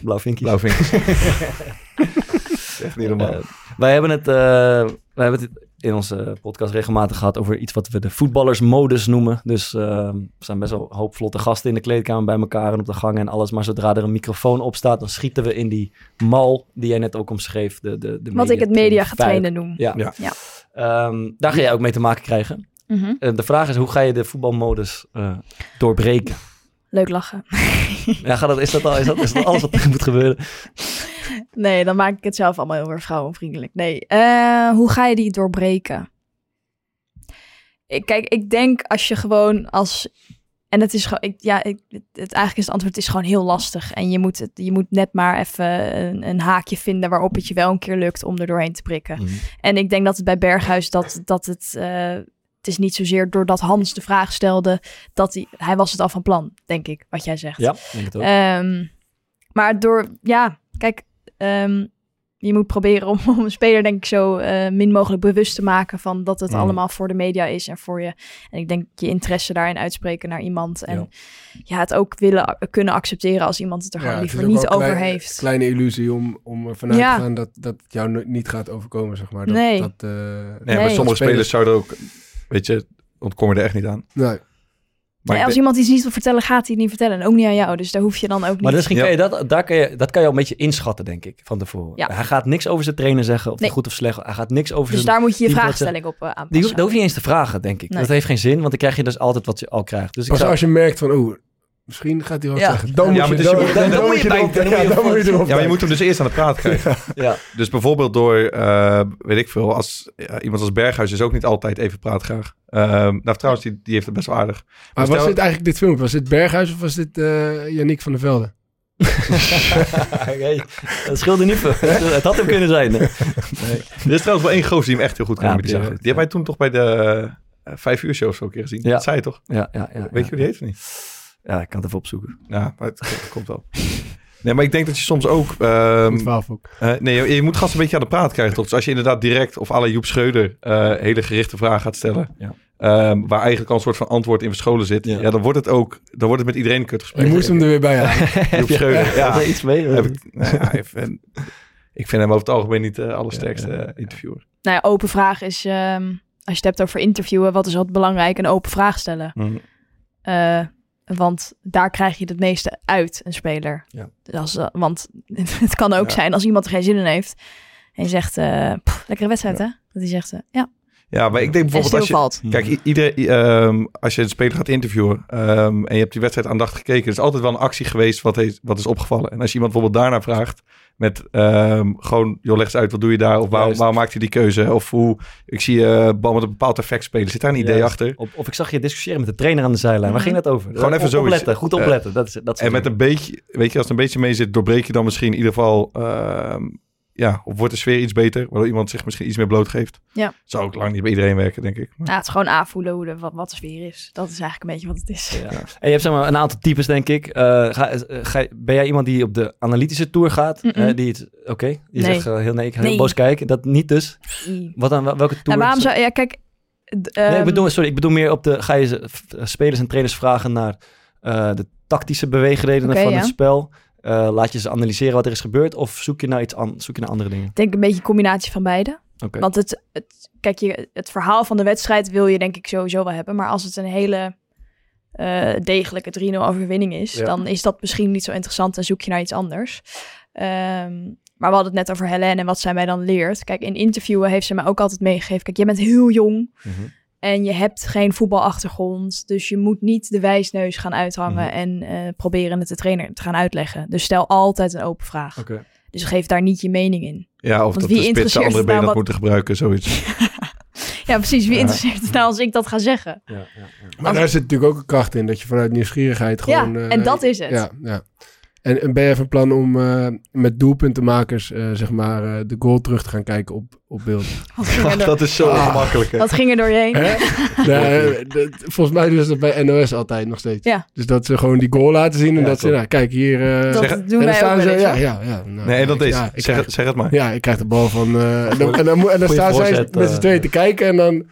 A: Blauw vinkjes.
D: Blauw vinkjes. <laughs> echt niet normaal.
A: Eh, wij, hebben het, eh, wij hebben het in onze podcast regelmatig gehad over iets wat we de voetballersmodus noemen. Dus eh, er zijn best wel een hoop vlotte gasten in de kleedkamer bij elkaar en op de gang en alles. Maar zodra er een microfoon op staat, dan schieten we in die mal die jij net ook omschreef. De, de, de
F: Wat ik het mediagetrainde
A: vijf.
F: noem.
A: Ja.
F: Ja.
A: Ehm, daar ga jij ook mee te maken krijgen.
F: Mhm.
A: Eh, de vraag is, hoe ga je de voetbalmodus eh,
F: <laughs>
A: doorbreken?
F: Leuk lachen. <laughs>
A: ja, gaat dat, is, dat al, is, dat, is dat alles wat er moet gebeuren?
F: Nee, dan maak ik het zelf allemaal heel erg vrouwenvriendelijk. Nee, eh, hoe ga je die doorbreken? Ik, kijk, ik denk als je gewoon als... En het is gewoon, ik, ja, ik, het, het- eigenlijk is het antwoord het is gewoon heel lastig. En je moet, het, je moet net maar even een, een haakje vinden waarop het je wel een keer lukt om er doorheen te prikken.
K: Mhm.
F: En ik denk dat het bij Berghuis dat, dat het... eh, het is niet zozeer doordat Hans de vraag stelde dat hij... Hij was het al van plan, denk ik, wat jij zegt.
A: Ja, denk het ook.
F: Ehm, maar door, ja, kijk, ehm, je moet proberen om, <laughs> om een speler, denk ik, zo eh, min mogelijk bewust te maken van dat het
K: Mm.
F: allemaal voor de media is en voor je. En ik denk je interesse daarin uitspreken naar iemand. En ja, het ook willen a- kunnen accepteren als iemand het er gewoon
E: het is
F: liever
E: ook
F: niet
E: wel een
F: over
E: klein-
F: heeft.
E: kleine illusie om, om ervan uit
F: Ja.
E: te gaan dat, dat het jou no- niet gaat overkomen, zeg maar. Dat,
F: Nee.
E: Dat, eh,
D: Nee, maar sommige spelers zouden ook, weet je, ontkom je er echt niet aan.
E: Nee.
D: Maar
F: Nee,
D: ik
F: als
D: denk-
F: iemand iets niet wil vertellen, gaat hij het niet vertellen. En ook niet aan jou. Dus daar hoef je dan ook
A: Maar
F: niet...
A: misschien kan je dat, daar kan je, dat kan je al een beetje inschatten, denk ik, van tevoren.
F: Ja.
A: Hij gaat niks over zijn trainer zeggen, of hij
F: Nee.
A: goed of slecht. Hij gaat niks over
F: Dus
A: zijn
F: daar moet je je
A: team
F: vraagstelling op eh,
A: zeggen. Die, hoef-
F: aanpassen.
A: dat hoef je niet eens te vragen, denk ik.
F: Nee.
A: Dat heeft geen zin, want dan krijg je dus altijd wat je al krijgt. Dus ik
E: Pas
A: zou- <laughs>
E: als je merkt van, oeh, misschien gaat hij wat
A: Ja.
E: zeggen. Dan
A: Ja,
E: moet
A: maar
E: je
A: dus je moet- dan- dan moet je
E: erop-
A: bij- dan moet
E: <laughs> ja,
A: je
E: dan
A: erop-
E: moet je erop
D: Ja, maar je
E: bij.
D: moet hem dus eerst aan de praat
A: <laughs>
D: krijgen.
A: Ja.
D: Dus bijvoorbeeld door, eh, weet ik veel, als, ja, iemand als Berghuis is ook niet altijd even praatgraag. Ehm nou, trouwens, die, die heeft het best wel aardig.
E: Maar
A: Dus
E: was
D: stel-
E: dit eigenlijk dit filmpje? Was dit Berghuis of was dit eh Yannick van
A: <laughs>
E: der Velde?
A: Oké, dat scheelde niet veel. Het had hem kunnen zijn. hè?
D: Er is trouwens wel één gozer die hem echt heel goed kan
A: Ja,
D: imiteren.
A: die is
D: Die
A: goed,
D: hebben wij toen toch bij de eh, vijf uur show of zo een keer gezien.
A: Ja.
D: Dat zei je toch?
A: Ja, ja, ja,
D: Weet
A: ja.
D: je hoe die heet of niet?
A: Ja, ik kan het even opzoeken.
D: Ja, maar het, het komt wel. Nee, maar ik denk dat je soms ook... ehm,
E: Goed verhaal, Fok.
D: eh, nee, je, je moet gasten een beetje aan de praat krijgen, toch? Dus als je inderdaad direct of alle Joep Schreuder eh, hele gerichte vragen gaat stellen...
A: Ja.
D: ehm, waar eigenlijk al een soort van antwoord in verscholen zit... Ja. dan wordt het ook... Dan wordt het met iedereen een kutgesprek.
E: Je moest hem er weer
A: <laughs>
E: bij halen.
D: Joep Schreuder, ja.
A: Had er iets mee?
D: Heb ik, <laughs> nou ja, ik, vind, ik vind hem over het algemeen niet de allersterkste eh, interviewer.
F: Nou ja, open vraag is... ehm, als je het hebt over interviewen, wat is wat belangrijk? Een open vraag stellen.
E: Mm.
F: Eh, want daar krijg je het meeste uit, een speler.
A: Ja.
F: Dus als, eh, want <laughs> het kan ook
D: Ja.
F: zijn als iemand er geen zin in heeft. En je zegt, eh, "Pff, lekkere wedstrijd hè? Dat hij zegt, eh, ja.
D: Ja, maar ik denk bijvoorbeeld als je...
F: stilvalt.
D: Kijk,
E: Mhm.
D: i- iedereen, i- ehm, als je een speler gaat interviewen ehm, en je hebt die wedstrijd aandachtig gekeken, er is altijd wel een actie geweest wat, heeft, wat is opgevallen. En als je iemand bijvoorbeeld daarna vraagt met ehm, gewoon, joh, leg eens uit, wat doe je daar? Of waarom,
A: Juist.
D: waarom maakt je die keuze? Of hoe, ik zie eh bal met een bepaald effect spelen. Zit daar een idee
A: Juist.
D: achter?
A: Op, of ik zag je discussiëren met de trainer aan de zijlijn.
F: Mhm.
A: Waar ging dat over?
D: Gewoon even
A: Op-
D: zo.
A: opletten, goed opletten. dat is, dat is
D: en met een beetje, weet je, als het een beetje mee zit, doorbreek je dan misschien in ieder geval, ehm, ja, of wordt de sfeer iets beter, waardoor iemand zich misschien iets meer blootgeeft.
F: Ja.
D: Zou ook lang niet bij iedereen werken, denk ik.
F: Nou, het is gewoon aanvoelen hoe de, wat, wat de sfeer is. Dat is eigenlijk een beetje wat het is.
A: Ja. En je hebt zeg maar, een aantal types, denk ik. Eh, ga, eh, ga- ben jij iemand die op de analytische tour gaat?
F: Mm-mm.
A: Eh, die het, oké, die
F: Nee.
A: zegt eh, heel nee, ik ga heel
F: Nee.
A: boos kijken. Dat niet dus.
F: Nee.
A: Wat dan, wel- welke tour?
F: Nou, waarom zou... Ja, kijk... d-
A: Nee, ik
F: ehm,
A: bedoel, sorry, ik bedoel meer op de, ga je ze- f- eh, spelers en trainers vragen naar eh, de tactische beweegredenen
F: Oké,
A: van
F: ja.
A: het spel? Eh, laat je ze analyseren wat er is gebeurd? Of zoek je naar iets an- zoek je naar andere dingen?
F: Ik denk een beetje een combinatie van beide.
A: Oké.
F: Want het, het, kijk, je, het verhaal van de wedstrijd wil je denk ik sowieso wel hebben. Maar als het een hele eh, degelijke 3-0 overwinning is,
K: Ja.
F: dan is dat misschien niet zo interessant en zoek je naar iets anders. Ehm, maar we hadden het net over Helen en wat zij mij dan leert. Kijk, in interviewen heeft ze mij ook altijd meegegeven. Kijk, jij bent heel jong.
A: Mhm.
F: En je hebt geen voetbalachtergrond. Dus je moet niet de wijsneus gaan uithangen
A: Mhm.
F: en eh, proberen het de trainer te gaan uitleggen. Dus stel altijd een open vraag.
A: Oké.
F: Dus geef daar niet je mening in.
D: Ja, of
F: Want
D: dat de spits de
F: interesseert
D: andere
F: het
D: been
F: nou wat-
D: had moeten gebruiken, zoiets.
F: Ja, precies. Wie
E: Ja.
F: interesseert het nou als ik dat ga zeggen?
E: Maar daar zit natuurlijk ook een kracht in, dat je vanuit nieuwsgierigheid
F: Ja,
E: gewoon... eh,
F: en dat is het.
E: Ja, ja. En, en ben je van plan om eh, met doelpuntenmakers, eh, zeg maar, eh, de goal terug te gaan kijken op, op beeld?
F: Wat ging er door-
E: Ah.
F: Wat ging er door je heen?
E: Hè? <laughs> Nee, eh, dat- volgens mij doen ze dat bij NOS altijd nog steeds.
F: Ja.
E: Dus dat ze gewoon die goal laten zien en
D: Ja,
E: dat ze,
D: klopt.
E: nou, kijk hier. eh,
F: Dat
E: en
F: doen
E: dan
F: wij
E: staan
F: ook
E: ze,
F: wel eens,
E: Ja,
F: hoor.
E: ja, ja. nou,
D: nee, en dan
E: ik-
D: deze.
E: ja, ik
D: zeg,
E: krijg-
D: het- zeg het maar. <laughs>
E: Ja, ik krijg de bal van. eh, en dan, en dan, moet- en dan
D: Goeie
E: staan zij
D: voorzet,
E: met z'n
D: eh.
E: tweeën te kijken en dan.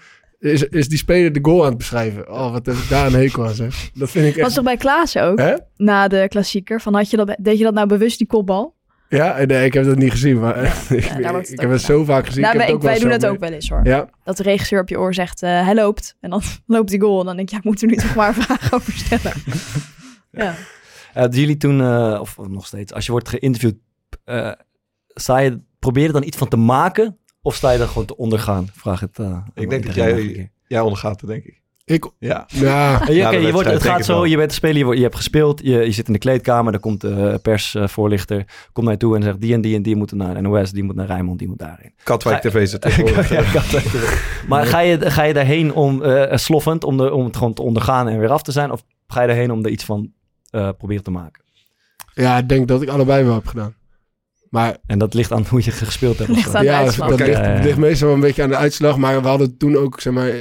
E: is, is die speler de goal aan het beschrijven. Oh, wat heb ik daar een hekel aan, zeg. Dat vind ik echt...
F: Was toch bij Klaas ook?
E: Hè?
F: Na de klassieker. Van, had je dat, deed je dat nou bewust, die kopbal?
E: Ja, eh, nee, ik heb dat niet gezien, maar <laughs> ik,
F: daar wordt het
E: ik
F: ook
E: heb het zo vaak gezien.
F: Nou,
E: ik heb
F: wij-
E: het ook
F: wij
E: wel
F: doen
E: zo
F: dat
E: mee-
F: ook wel eens hoor.
E: Ja,
F: Dat de regisseur op je oor zegt, eh, hij loopt. En dan <laughs> loopt die goal. En dan denk je, ja, ik moet er nu toch maar <laughs> een vraag over stellen. ja.
A: Eh, doen jullie toen, eh, of nog steeds, als je wordt geïnterviewd, eh, sta je, probeer je dan iets van te maken? Of sta je er gewoon te ondergaan? Vraag het. eh, aan
D: Ik denk dat
A: iedereen nog een
D: jij,
A: keer.
D: jij ondergaat het, denk ik.
E: Ik?
D: Ja.
E: Ja.
D: Na
A: Eh,
D: de
A: ja, oké, je wordt,
D: wedstrijd
A: het
D: denk
A: gaat
D: ik
A: zo,
D: wel.
A: je bent een speler, je, wordt- je hebt gespeeld, je, je zit in de kleedkamer, dan komt eh, de persvoorlichter, komt naar je toe en zegt die en die en die moeten naar NOS, die moet naar Rijnmond, die moet
D: <laughs>
A: daarin.
D: Katwijk
A: Ga- <laughs>
D: TV zit tegenwoordig.
A: Ja, Katwijk TV. Maar ga je, ga je daarheen om, eh, sloffend, om, de, om het gewoon te ondergaan en weer af te zijn? Of ga je daarheen om er iets van eh, proberen te maken?
E: ja, ik denk dat ik allebei wel heb gedaan. Maar
A: En dat ligt aan hoe je gespeeld hebt. of
F: Ligt
A: zo.
F: aan de
E: ja,
F: uitslag.
E: dat
A: Oké.
E: ligt,
A: Ja, ja.
E: ligt meestal wel een beetje aan de uitslag. Maar we hadden toen ook, zeg maar, eh,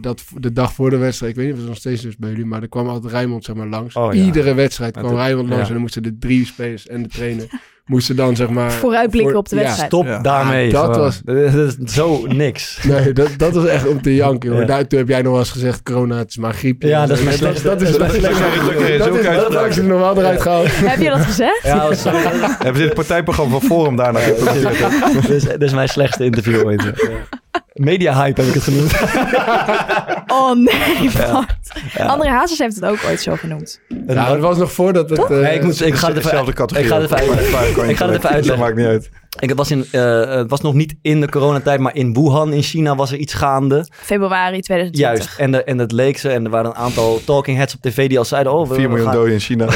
E: dat v- de dag voor de wedstrijd. Ik weet niet of het nog steeds is bij jullie, maar er kwam altijd Rijnmond, zeg maar, langs.
A: Oh, ja.
E: Iedere wedstrijd
A: Maar
E: kwam
A: dat-
E: Rijnmond langs
A: ja.
E: en dan moesten de drie spelers en de trainer, <laughs> moesten dan, zeg maar...
F: Vooruitblikken op de wedstrijd.
A: Stop
D: Ja.
A: daarmee.
E: Dat
A: gewoon.
E: was-
A: Dat is zo
E: <laughs>
A: niks.
E: Nee, dat, dat was echt om te janken, hoor.
A: Ja.
E: Daar, toen heb jij nog wel eens gezegd, corona, het is maar griep.
A: Ja, dat is mijn
E: dat,
A: slechtste-
E: dat is
A: dat
E: mijn
A: is
D: mijn
E: slechtste.
D: slechtste-
E: Dat is-
D: dat is ook
E: Dat had ik ze normaal eruit gehaald.
F: Heb je dat gezegd?
A: Ja, dat is, dat
D: <laughs> Hebben ze het partijprogramma van Forum Nou, daarna geïntroduceerd?
A: <laughs> is, dat is mijn slechtste interview ooit. Ja. Media hype heb ik het genoemd.
F: Oh nee, Bart. André Hazes heeft het ook ooit zo
A: <laughs>
F: genoemd.
E: Ja, dat was nog voordat het... eh,
A: Nee, ik, moet, ik ga het even
D: Dezelfde categorie.
A: Ik ga het even
D: Maar-
A: uitleggen.
D: maar kan je
A: Ik ga het even
D: correct. Dat
A: uitleggen.
D: maakt niet uit.
A: Ik, het, was in, eh, het was nog niet in de coronatijd, maar in Wuhan in China was er iets gaande.
F: Februari 2020.
A: Juist. En, de, en dat leek ze. En er waren een aantal talking heads op tv die al zeiden... Oh, we,
D: 4
A: we
D: miljoen
A: gaan,
D: doden in China.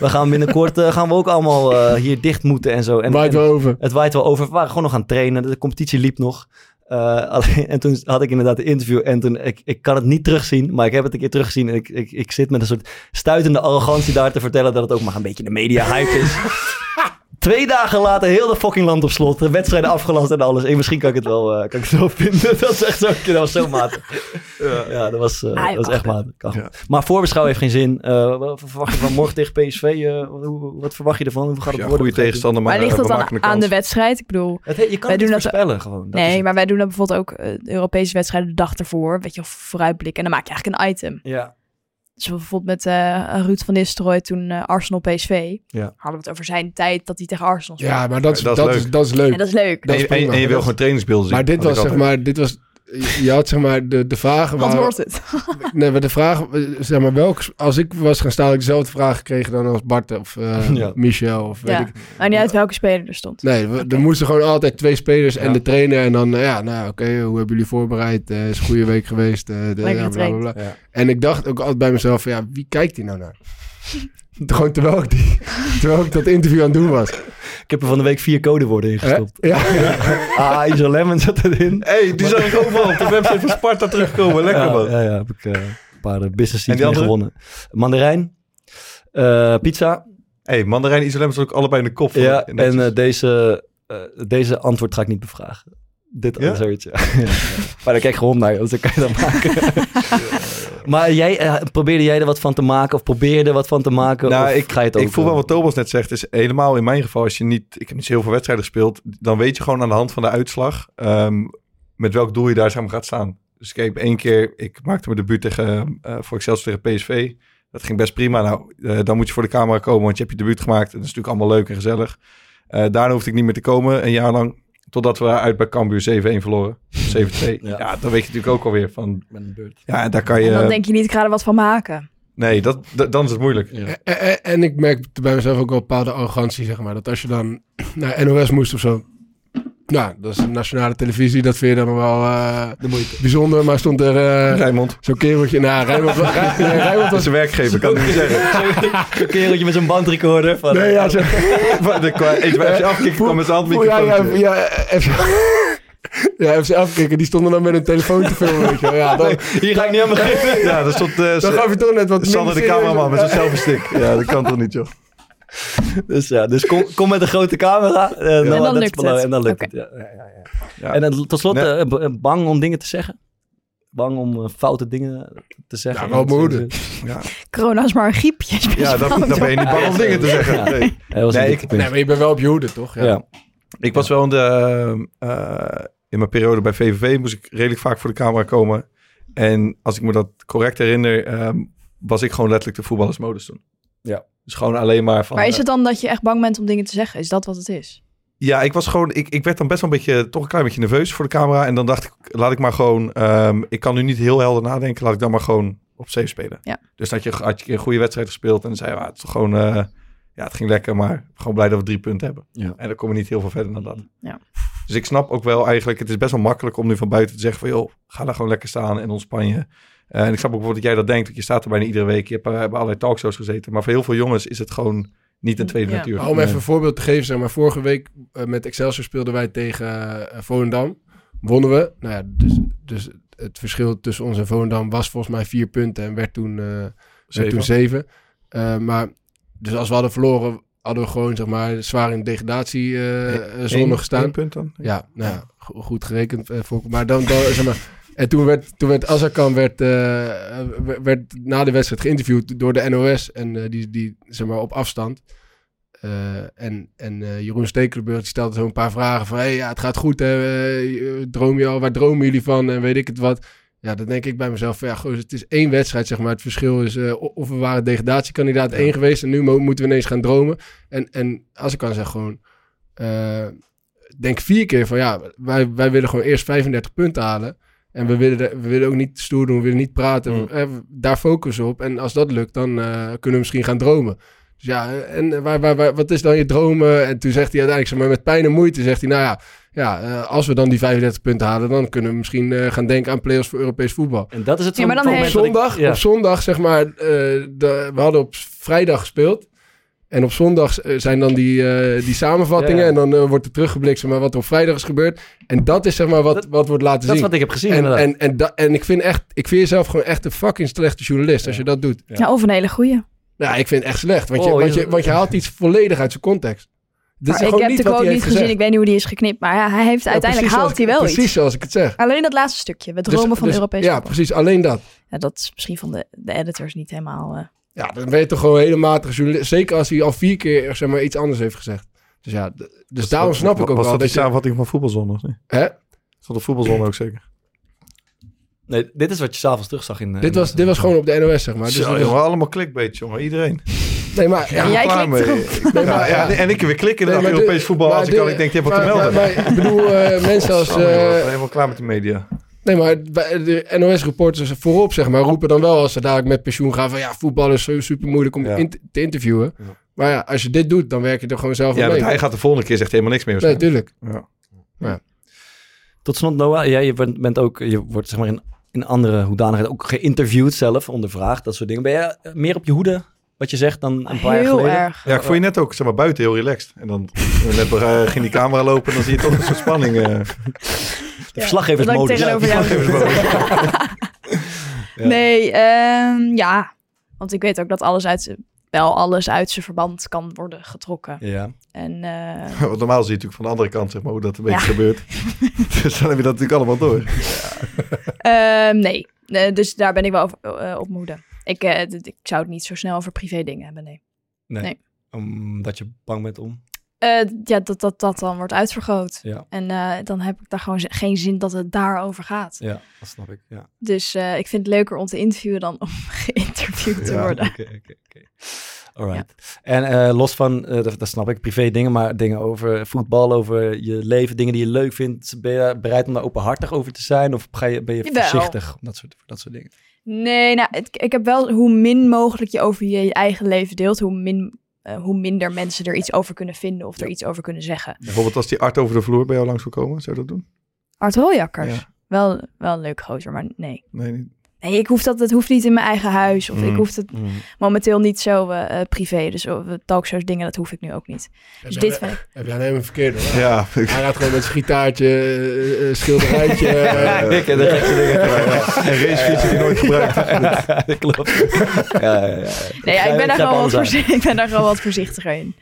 A: we gaan binnenkort eh, gaan we ook allemaal eh, hier dicht moeten en zo. En,
E: waait
A: en-
E: wel over.
A: Het waait wel over. We waren gewoon nog aan het trainen. De competitie liep nog. Eh, <laughs> alleen, en toen had ik inderdaad de interview. En toen, ik, ik kan het niet terugzien, maar ik heb het een keer teruggezien. En ik, ik, ik zit met een soort stuitende arrogantie daar te vertellen dat het ook maar een beetje de media-hype
D: <laughs>
A: is. Twee dagen later, heel de fucking land op slot. De wedstrijden afgelast en alles. En misschien kan ik het wel, eh, kan ik het wel vinden. <laughs> Dat is echt zo, dat was zo matig. Ja, dat was, eh,
F: Ah,
A: dat was
F: wacht.
A: echt matig. Kan goed. Maar voorbeschouwen heeft geen zin. Eh, wat verwacht je van morgen tegen PSV? Eh, hoe- wat verwacht je ervan? Hoe gaat het
D: Ja,
A: worden?
D: goede tegenstander, maar,
F: Maar ligt
D: eh,
F: dat
D: we
F: dan
D: maken
F: aan de
D: kans.
F: wedstrijd? Ik bedoel,
A: Het, he- je kan
F: Wij
A: het
F: doen
A: niet
F: dat-
A: voorspellen gewoon. Dat is
F: nee,
A: het.
F: maar wij doen dat bijvoorbeeld ook eh, de Europese wedstrijden de dag ervoor. Weet je, of vooruitblikken. En dan maak je eigenlijk een item.
A: Ja.
F: Dus bijvoorbeeld met eh, Ruud van Nistelrooy toen eh, Arsenal PSV.
A: Ja.
F: Hadden we het over zijn tijd dat hij tegen Arsenal speelde.
E: Ja, maar dat is,
D: Dat
E: dat
D: is
E: is,
D: leuk.
E: dat is leuk.
F: En dat is leuk.
E: Dat is
D: En, en-
E: prima.
D: en je wil
E: Dat-
D: gewoon trainingsbeelden zien.
E: Maar dit
D: Had ik
E: was, zeg
D: altijd.
E: maar, dit was... je- Je had, zeg maar, de, de vragen...
F: Wat
E: waren-
F: wordt het?
E: Nee, maar de vraag, eh, zeg maar, welke, sp- als ik was gaan staan, had ik dezelfde vraag gekregen dan als Bart of
A: <laughs>
E: eh,
A: Ja.
E: Michel of weet
F: Ja.
E: ik.
F: Maar niet uit welke speler er stond.
E: Nee, we-
F: Oké.
E: er moesten gewoon altijd twee spelers en
A: Ja.
E: de trainer en dan, eh, ja, nou oké, hoe hebben jullie voorbereid? Eh, is een goede week geweest. eh, de,
F: Lekker
E: ja, bla, bla, bla.
A: Ja.
E: En ik dacht ook altijd bij mezelf, van, ja, wie kijkt hier nou
F: <laughs>
E: naar? gewoon terwijl ik, die, terwijl ik dat interview aan het doen was.
A: Ik heb er van de week vier codewoorden in
E: Hè?
A: gestopt.
E: Ja,
A: Ah, Angel Lemon zat <laughs> erin.
D: hey, die zag ik ook wel op de website van Sparta terugkomen. Lekker
A: ja,
D: man.
A: ja, ja, heb ik eh, een paar eh, business seats
D: die
A: mee
D: andere?
A: gewonnen. Mandarijn. eh, pizza.
D: hey, Mandarijn en Isolem zat ook allebei in de kop. van-
A: Ja, en
D: netjes.
A: eh, deze, eh, deze antwoord ga ik niet bevragen. Dit
D: Ja?
A: antwoordje. <laughs> Ja. maar dan kijk gewoon naar je, dus dan kan je dat <laughs> maken. maar jij, eh, probeerde jij er wat van te maken? Of probeerde er wat van te maken?
D: Nou,
A: of
D: ik,
A: ga je het
D: ik
A: ook,
D: voel
A: eh,
D: wel wat Thomas net zegt. Is helemaal in mijn geval, als je niet. Ik heb niet zo heel veel wedstrijden gespeeld. Dan weet je gewoon aan de hand van de uitslag. ehm, met welk doel je daar samen gaat staan. Dus kijk, één keer. Ik maakte mijn debuut tegen. eh voor Excelsior tegen PSV. Dat ging best prima. Nou, eh, dan moet je voor de camera komen. Want je hebt je debuut gemaakt. En dat is natuurlijk allemaal leuk en gezellig. Eh, daarna hoefde ik niet meer te komen. Een jaar lang. Totdat we uit bij Cambuur 7-1 verloren. 7-2.
A: Ja.
D: Ja. dan weet je natuurlijk ook alweer van.
A: Ik ben aan de beurt.
D: Ja, daar kan
F: En dan
D: je.
F: denk je niet, ik ga er wat van maken.
D: Nee, dat, dat- dan is het moeilijk.
A: Ja.
E: En, en- Eh, en ik merk bij mezelf ook wel een bepaalde arrogantie, zeg maar. Dat als je dan <clears throat> naar NOS moest of zo. Nou, dat is een nationale televisie. Dat vind je dan nog wel eh,
A: De moeite.
E: bijzonder. Maar stond er eh,
D: Rijmond.
E: zo'n kereltje...
D: <laughs>
E: Nou, Rijnmond, Rij- nee, Rijnmond
D: Dat
E: was...
D: is een werkgever, kan ik niet zeggen. <laughs>
A: Zo'n kereltje met zo'n bandrecorder. Van,
E: Nee, ja, zo-
D: Van <laughs> de kwa- Eentje bij FC Afkikken kwam met zijn
E: Oh, ja, ja,
D: handmicrofoontje.
E: ja, eh, FC <laughs> ja, FC afkikken. Die stonden dan met hun telefoon te filmen, weet je wel. Ja, dan,
A: Hier ga ik niet aan beginnen.
D: Ja, daar stond eh,
E: dan gaf je toch net wat
D: Sander de
E: minder serieus
D: cameraman
E: op.
D: met <laughs> zijn selfie stick. Ja, dat kan toch niet, joh.
A: Dus ja, dus kom, kom met een grote camera. eh, nou,
F: dan
A: dat is
F: lukt
A: belangrijk,
F: het.
A: En dan lukt
F: Oké.
A: het, ja. Ja, ja, ja.
D: Ja.
A: En dan, tot slot,
D: Nee.
A: eh, b- eh, bang om dingen te zeggen? Bang om eh, foute dingen te zeggen?
E: Ja, wel moedig.
F: Corona is maar een griepje.
E: Oh,
F: is best
D: Ja, dan,
F: wel
D: dan ben je niet bang
A: Ja,
D: om <laughs>
A: dat
D: dingen te
A: is-
D: zeggen.
A: ja.
D: Nee.
A: eh, Hij was
D: Nee,
A: een
D: ik-
A: dikke
E: Nee,
A: punt.
E: maar je bent wel op je hoede, toch?
A: Ja.
D: Ik was wel in de... eh, eh, in mijn periode bij VVV moest ik redelijk vaak voor de camera komen. En als ik me dat correct herinner, ehm, was ik gewoon letterlijk de voetballersmodus toen.
A: Ja.
D: Dus gewoon alleen maar van...
F: maar is
D: eh,
F: het dan dat je echt bang bent om dingen te zeggen? Is dat wat het is?
D: ja, ik was gewoon, ik, ik werd dan best wel een beetje, toch een klein beetje nerveus voor de camera. En dan dacht ik, laat ik maar gewoon, ehm, ik kan nu niet heel helder nadenken, laat ik dan maar gewoon op safe spelen.
F: Ja.
D: Dus dat je, had je een goede wedstrijd gespeeld en dan zei je, "Ah, het is toch gewoon, eh, ja, het ging lekker, maar gewoon blij dat we drie punten hebben.
A: Ja.
D: En dan kom je niet heel veel verder dan dat.
F: Ja.
D: Dus ik snap ook wel eigenlijk, het is best wel makkelijk om nu van buiten te zeggen van, joh, ga daar gewoon lekker staan en ontspan je. Eh, en ik snap ook bijvoorbeeld dat jij dat denkt, want je staat er bijna iedere week, je hebt eh, bij allerlei talkshows gezeten. Maar voor heel veel jongens is het gewoon niet een tweede
E: Ja.
D: natuur.
E: Maar Om even een voorbeeld te geven, zeg maar. Vorige week eh, met Excelsior speelden wij tegen eh, Volendam. Wonnen we. Nou ja, dus, dus het verschil tussen ons en Volendam was volgens mij vier punten en werd toen, eh, werd
D: Zeven.
E: toen zeven. Eh, maar dus als we hadden verloren, hadden we gewoon zeg maar zwaar in de degradatie eh, eh, zone
D: Eén-
E: gestaan.
D: één punt dan?
E: Ja, nou ja, go- goed gerekend. eh, voor, maar dan, dan zeg maar. En toen werd, toen werd Azarkan werd, eh, eh, werd na de wedstrijd geïnterviewd door de NOS. En eh, die, die, zeg maar, op afstand. Eh, en en eh, Jeroen Stekelenburg die stelde zo een paar vragen van... Hey, ja, het gaat goed, hè? Eh, droom je al? Waar dromen jullie van? En weet ik het wat. Ja, dan denk ik bij mezelf, van, ja, goh, het is één wedstrijd, zeg maar. Het verschil is eh, of we waren degradatiekandidaat één geweest... en nu mo- moeten we ineens gaan dromen. En, en Azarkan zegt gewoon... eh, denk vier keer van ja, wij, wij willen gewoon eerst 35 punten halen. En we willen, de- we willen ook niet stoer doen, we willen niet praten. Eh, daar focussen op. En als dat lukt, dan eh, kunnen we misschien gaan dromen. Dus ja, eh, en eh, waar, waar, waar- wat is dan je dromen? En toen zegt hij uiteindelijk, zeg maar, met pijn en moeite, zegt hij, nou ja, ja eh, als we dan die 35 punten halen, dan kunnen we misschien eh, gaan denken aan players voor Europees voetbal.
A: En dat is het
F: Ja, maar dan
A: zo'n
F: heeft-
E: Op
A: moment dat ik-
E: zondag,
A: ja.
E: op zondag zeg maar, eh, de- we hadden op vrijdag gespeeld. En op zondag eh, zijn dan die, eh, die samenvattingen.
A: Ja, ja.
E: En dan eh, wordt er teruggeblikt zeg maar, wat er op vrijdag is gebeurd. En dat is zeg maar, wat, wat wordt laten
A: dat is
E: zien.
A: wat ik heb gezien,
E: En, en,
A: inderdaad.
E: en, da- en ik vind echt, ik vind jezelf gewoon echt een fucking slechte journalist als je dat doet.
F: Ja, of een hele goeie.
E: Nou, ik vind het echt slecht. Want, je,
A: Oh,
E: want,
A: je-
E: je, want je haalt iets volledig uit zijn context. Dit
F: Maar
E: is
F: ik
E: gewoon
F: heb de
E: niet wat
F: quote
E: hij heeft
F: niet gezien.
E: gezegd.
F: Ik weet niet hoe die is geknipt. Maar ja, hij heeft,
E: Ja,
F: uiteindelijk
E: precies
F: haalt
E: zoals-
F: hij wel
E: Precies
F: iets.
E: zoals ik het zeg.
F: Alleen dat laatste stukje. We
E: Dus-
F: dromen van
E: dus-
F: Europees
E: Ja,
F: voetbal.
E: precies. Alleen dat.
F: Ja, dat is misschien van de, de editors niet helemaal... eh,
E: Ja, dan ben je toch gewoon een hele matige journalist. Zeker als hij al vier keer zeg maar, iets anders heeft gezegd. Dus ja, d- dus daarom snap ik ook
D: was
E: wel.
D: dat die
E: Dat je,
D: samenvatting van voetbalzone of niet?
E: hè?
D: Zat de voetbalzone ook zeker?
A: Nee, dit is wat je s'avonds terugzag in... eh,
E: Dit, was, dit was gewoon op de NOS, zeg maar. Dus
D: Zo,
E: dat is-
D: jongen, allemaal clickbait, jongen. Iedereen.
E: nee, maar... Ja,
F: Ja, jij
D: Klaar
F: klikt
D: mee.
F: erop.
E: nee,
D: Ja,
E: maar-
D: ja,
E: ja.
D: en ik weer klikken
E: Nee,
D: naar
E: maar
D: Europees
E: de-
D: voetbal als
E: maar
D: ik
E: de-
D: al ik denk, je hebt wat te
E: maar-
D: melden.
E: maar- maar Ik bedoel,
D: <laughs>
E: eh, mensen als...
D: Samen, jongen, we zijn
E: eh,
D: helemaal klaar met de media.
E: Nee, maar bij de NOS-reporters voorop, zeg maar, roepen dan wel als ze dadelijk met pensioen gaan van ja, voetbal is zo super moeilijk om
D: Ja.
E: in te- te interviewen. Maar ja, als je dit doet, dan werk je er gewoon zelf
D: Ja,
E: aan
D: want
E: mee.
D: hij gaat de volgende keer zegt helemaal niks meer.
E: Nee,
D: waarschijnlijk.
E: tuurlijk.
D: Ja.
A: Tot slot, Noah. Jij je bent, bent ook, je wordt zeg maar in, in andere hoedanigheid ook geïnterviewd zelf, ondervraagd, dat soort dingen. Ben jij eh, meer op je hoede, wat je zegt, dan een paar jaar
F: Heel
A: geleden?
F: erg.
D: Ja, ik vond je net ook zeg maar, buiten heel relaxed. En dan net, eh, ging die camera lopen en dan zie je toch een soort
E: <laughs>
D: spanning. eh.
A: De
F: Ja,
A: verslaggeversmodus.
F: dat ik tegenover jou zit.
D: Ja.
F: Nee, ehm, ja. Want ik weet ook dat alles uit, z'n- wel alles uit zijn verband kan worden getrokken.
A: Ja.
F: En eh,
D: Want normaal zie je natuurlijk van de andere kant zeg maar, hoe dat een beetje
F: Ja.
D: gebeurt. <laughs> dus dan heb je dat natuurlijk allemaal door.
F: ehm, nee. Eh, dus daar ben ik wel over, eh, op moede. Ik, eh, d- ik zou het niet zo snel over privé dingen hebben, nee.
A: Nee.
F: Nee.
A: Omdat je bang bent om.
F: Eh, ja, dat, dat dat dan wordt uitvergroot.
A: Ja.
F: En eh, dan heb ik daar gewoon z- geen zin dat het daarover gaat.
A: Ja, dat snap ik. Ja.
F: Dus eh, ik vind het leuker om te interviewen dan om <laughs> geïnterviewd te
A: Ja,
F: worden.
A: Oké, oké, oké. Alright. En eh, los van, eh, dat, dat snap ik, privé dingen, maar dingen over voetbal, over je leven, dingen die je leuk vindt. Ben je bereid om daar openhartig over te zijn? Of ga je, ben je
F: Jawel.
A: voorzichtig? om Dat soort, dat soort dingen.
F: Nee, nou, het- ik heb wel hoe min mogelijk je over je eigen leven deelt, hoe, min, eh, hoe minder mensen er iets over kunnen vinden of er iets over kunnen zeggen.
D: Bijvoorbeeld als die Art over de vloer bij jou langs wil komen, zou je dat doen?
F: Art Hojakkers,
D: Ja.
F: wel, wel een leuk gozer, maar nee.
D: Nee, niet.
F: Nee, ik hoef dat, het hoeft niet in mijn eigen huis of ik
D: Mm,
F: hoef het
A: mm.
F: momenteel niet zo eh, eh, privé. Dus eh, talkshows, dingen, dat hoef ik nu ook niet. Dus
E: jij-
F: dit vind ik-
E: Heb jij helemaal verkeerd hoor.
D: Ja, ik-
E: Hij gaat gewoon met zijn gitaartje, eh, eh,
D: <laughs>
E: schilderijtje. eh,
A: ik en de gekste dingen.
D: <laughs> Een racefiets die je nooit
A: <laughs>
D: gebruikt. <laughs>
A: dat klopt. Ja, ja, ja.
F: Nee, ja,
A: Jij-
F: ik, ben
A: jij
F: daar gewoon
A: kan
F: wat
A: zijn.
F: <laughs> voorzi- ik ben daar gewoon wat voorzichtiger in.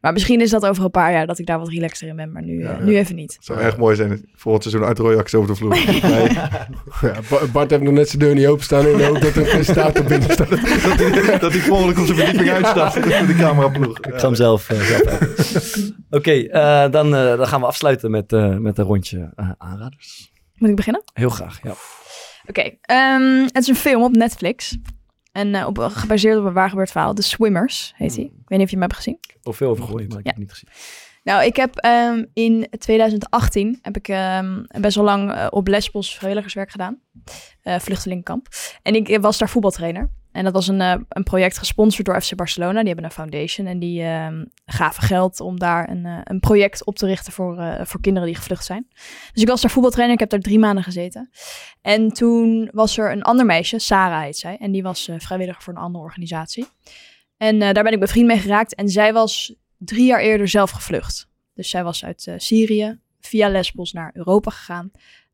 F: Maar misschien is dat over een paar jaar dat ik daar wat relaxter in ben. Maar nu, eh, nu even niet.
D: Het zou erg mooi zijn. Volgend seizoen uit Royax over de vloer.
E: Ja, eh, Ba- Bart heeft nog net zijn deur niet openstaan in de hoop dat er een staat <laughs> op binnen staat.
D: dat hij mogelijk op zijn verdieping uitstapt met de cameraploeg.
A: Ik ga hem zelf. eh, zelf uit. Oké, eh, dan, eh, dan gaan we afsluiten met, eh, met een rondje eh, aanraders.
F: Moet ik beginnen?
A: Heel graag, ja.
F: Oké, ehm, het is een film op Netflix. En eh, op, gebaseerd op een waargebeurd verhaal. The Swimmers heet hij. Ik weet niet of je hem hebt gezien.
A: Of veel over gegooid, maar ik heb het niet gezien.
F: Nou, ik heb ehm, in 2018 heb ik ehm, best wel lang eh, op Lesbos vrijwilligerswerk gedaan. Eh vluchtelingenkamp. En ik eh, was daar voetbaltrainer. En dat was een, eh, een project gesponsord door FC Barcelona. Die hebben een foundation en die ehm, gaven geld om daar een, eh, een project op te richten voor, eh, voor kinderen die gevlucht zijn. Dus ik was daar voetbaltrainer. Ik heb daar drie maanden gezeten. En toen was er een ander meisje, Sarah heet zij. En die was eh, vrijwilliger voor een andere organisatie. En eh, daar ben ik bevriend mee geraakt. En zij was drie jaar eerder zelf gevlucht. Dus zij was uit eh, Syrië via Lesbos naar Europa gegaan.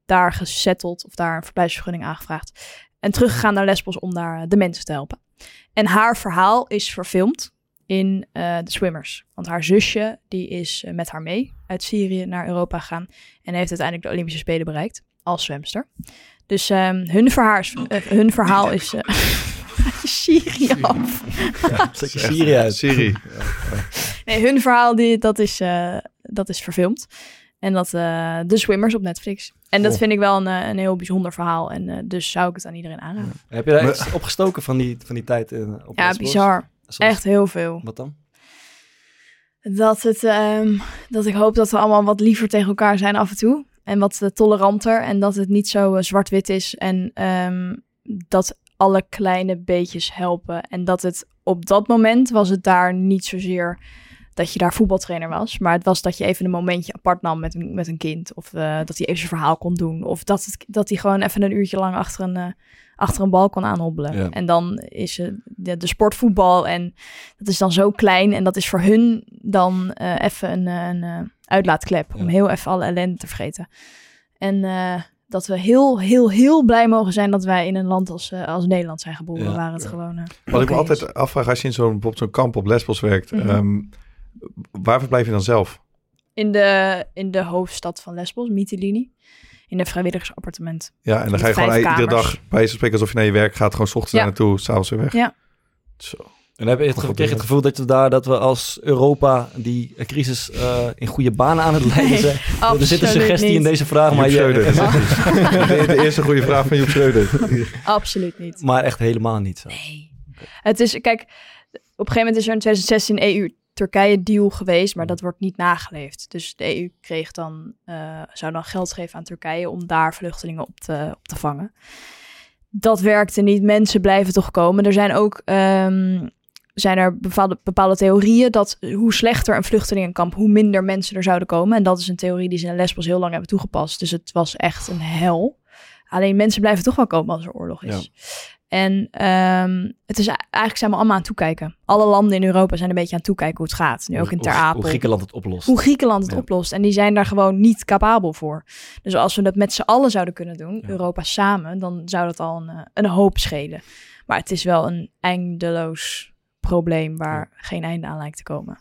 F: Daar gezetteld of daar een verblijfsvergunning aangevraagd. En teruggegaan naar Lesbos om daar eh, de mensen te helpen. En haar verhaal is verfilmd in eh The Swimmers. Want haar zusje die is eh, met haar mee uit Syrië naar Europa gegaan. En heeft uiteindelijk de Olympische Spelen bereikt als zwemster. Dus ehm, hun, verhaars, eh, hun verhaal is... eh, <laughs> Syrië af.
A: Stukje Syrië uit.
D: Syrië.
F: Nee, hun verhaal die, dat, is, eh, dat is verfilmd. En dat eh de Swimmers op Netflix. En dat
A: Goh.
F: vind ik wel een, eh, een heel bijzonder verhaal. En eh, dus zou ik het aan iedereen aanraden.
A: Heb je daar iets opgestoken van die, van die tijd? eh, op
F: Ja,
A: Lesbos?
F: bizar.
A: Zoals-
F: Echt heel veel.
A: Wat dan?
F: Dat, het, ehm, dat ik hoop dat we allemaal wat liever tegen elkaar zijn af en toe. En wat eh, toleranter. En dat het niet zo eh, zwart-wit is. En ehm, dat alle kleine beetjes helpen. En dat het op dat moment was het daar niet zozeer dat je daar voetbaltrainer was. Maar het was dat je even een momentje apart nam met een, met een kind. Of eh, dat hij even zijn verhaal kon doen. Of dat, het, dat hij gewoon even een uurtje lang achter een, eh, achter een bal kon aanhobbelen.
K: Ja.
F: En dan is eh, de, de sportvoetbal. En dat is dan zo klein. En dat is voor hun dan eh, even een, eh, een eh, uitlaatklep. Om heel even alle ellende te vergeten. En eh, dat we heel, heel, heel blij mogen zijn dat wij in een land als, eh, als Nederland zijn geboren.
D: Ja.
F: Waar het gewoon... eh,
D: Wat ik
F: oké
D: me
F: is.
D: altijd afvraag, als je in zo'n, bijvoorbeeld zo'n kamp op Lesbos werkt,
F: Mhm.
D: ehm, waar verblijf je dan zelf?
F: In de, in de hoofdstad van Lesbos, Mytilini. In een vrijwilligersappartement.
D: Ja, en dan
F: Met
D: ga je gewoon
F: vijf
D: iedere
F: kamers.
D: dag bij wijze van spreken alsof je naar je werk gaat, gewoon 's ochtends
F: Ja.
D: daar naartoe, s'avonds weer weg.
F: Ja.
D: Zo.
A: En heb je het,
D: Wat
A: gekregen het
D: gebeurt?
A: gevoel dat we daar dat we als Europa die eh, crisis eh, in goede banen aan het leiden
F: <laughs>
A: zijn? er zit een
F: absoluut
A: suggestie
F: niet.
A: in deze vraag,
D: Joep
A: maar je,
D: Schreuder. <laughs> de, de eerste goede vraag van Joep Schreuder.
F: Absoluut
A: <laughs>
F: niet.
A: maar echt helemaal niet. Zo.
F: Het is, kijk, op een gegeven moment is er in 2016 een EU-Turkije-deal geweest, maar dat wordt niet nageleefd. Dus de EU kreeg dan, eh, zou dan geld geven aan Turkije om daar vluchtelingen op te, op te vangen. Dat werkte niet. Mensen blijven toch komen. Er zijn ook ehm, zijn er bepaalde, bepaalde theorieën dat hoe slechter een vluchtelingenkamp, hoe minder mensen er zouden komen. En dat is een theorie die ze in Lesbos heel lang hebben toegepast. Dus het was echt een hel. Alleen mensen blijven toch wel komen als er oorlog is. En ehm, het is, eigenlijk zijn we allemaal aan het toekijken. Alle landen in Europa zijn een beetje aan het toekijken hoe het gaat. Nu ook in Ter
A: Hoe-
F: Apel.
A: Hoe Griekenland het oplost.
F: Hoe Griekenland het
A: Ja.
F: oplost. En die zijn daar gewoon niet capabel voor. Dus als we dat met z'n allen zouden kunnen doen, Europa samen, dan zou dat al een, eh, een hoop schelen. Maar het is wel een eindeloos probleem waar geen einde aan lijkt te komen.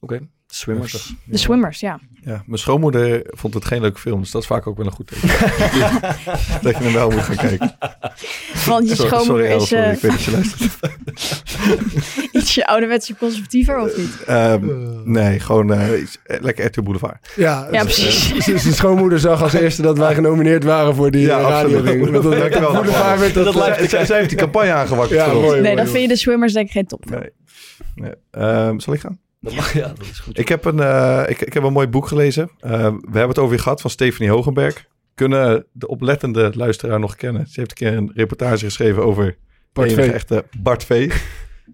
A: Oké, swimmers.
F: De Swimmers, ja.
D: Ja, mijn schoonmoeder vond het geen leuke film, dus dat is vaak ook wel een goed
F: <laughs>
D: teken. dat je hem wel moet gaan kijken.
F: Want je
D: Sorry-
F: schoonmoeder
D: sorry,
F: is
D: Elf,
F: eh,
D: ik weet dat je luistert.
F: ietsje ouderwetse conservatiever of niet?
D: Ehm, nee, gewoon eh, iets- eh, lekker Ertoe Boulevard.
E: Ja,
F: Ja,
E: dus,
F: precies.
E: eh, <laughs> z- zijn schoonmoeder zag als eerste dat wij genomineerd waren voor die
D: <laughs> Ja,
E: eh, radio
D: absoluut.
E: ding. Want dat-
D: Dank je wel.
E: Goede vaar werd dat,
D: Dat
E: eh,
D: lijkt- <laughs> zij, zij heeft die campagne aangewakkerd.
E: Ja,
D: voor ons.
E: mooi,
F: nee, dan vind je de Swimmers denk ik geen top.
D: Nee. Nee. Ehm, zal ik gaan?
A: Dat mag, ja, dat is goed.
D: Ik heb een, eh, ik, ik heb een mooi boek gelezen. Eh, we hebben het over je gehad van Stephanie Hogenberg. Kunnen de oplettende luisteraar nog kennen? Ze heeft een keer een reportage geschreven over
E: Bart
D: Bart enige
E: Vee.
D: echte Bart V.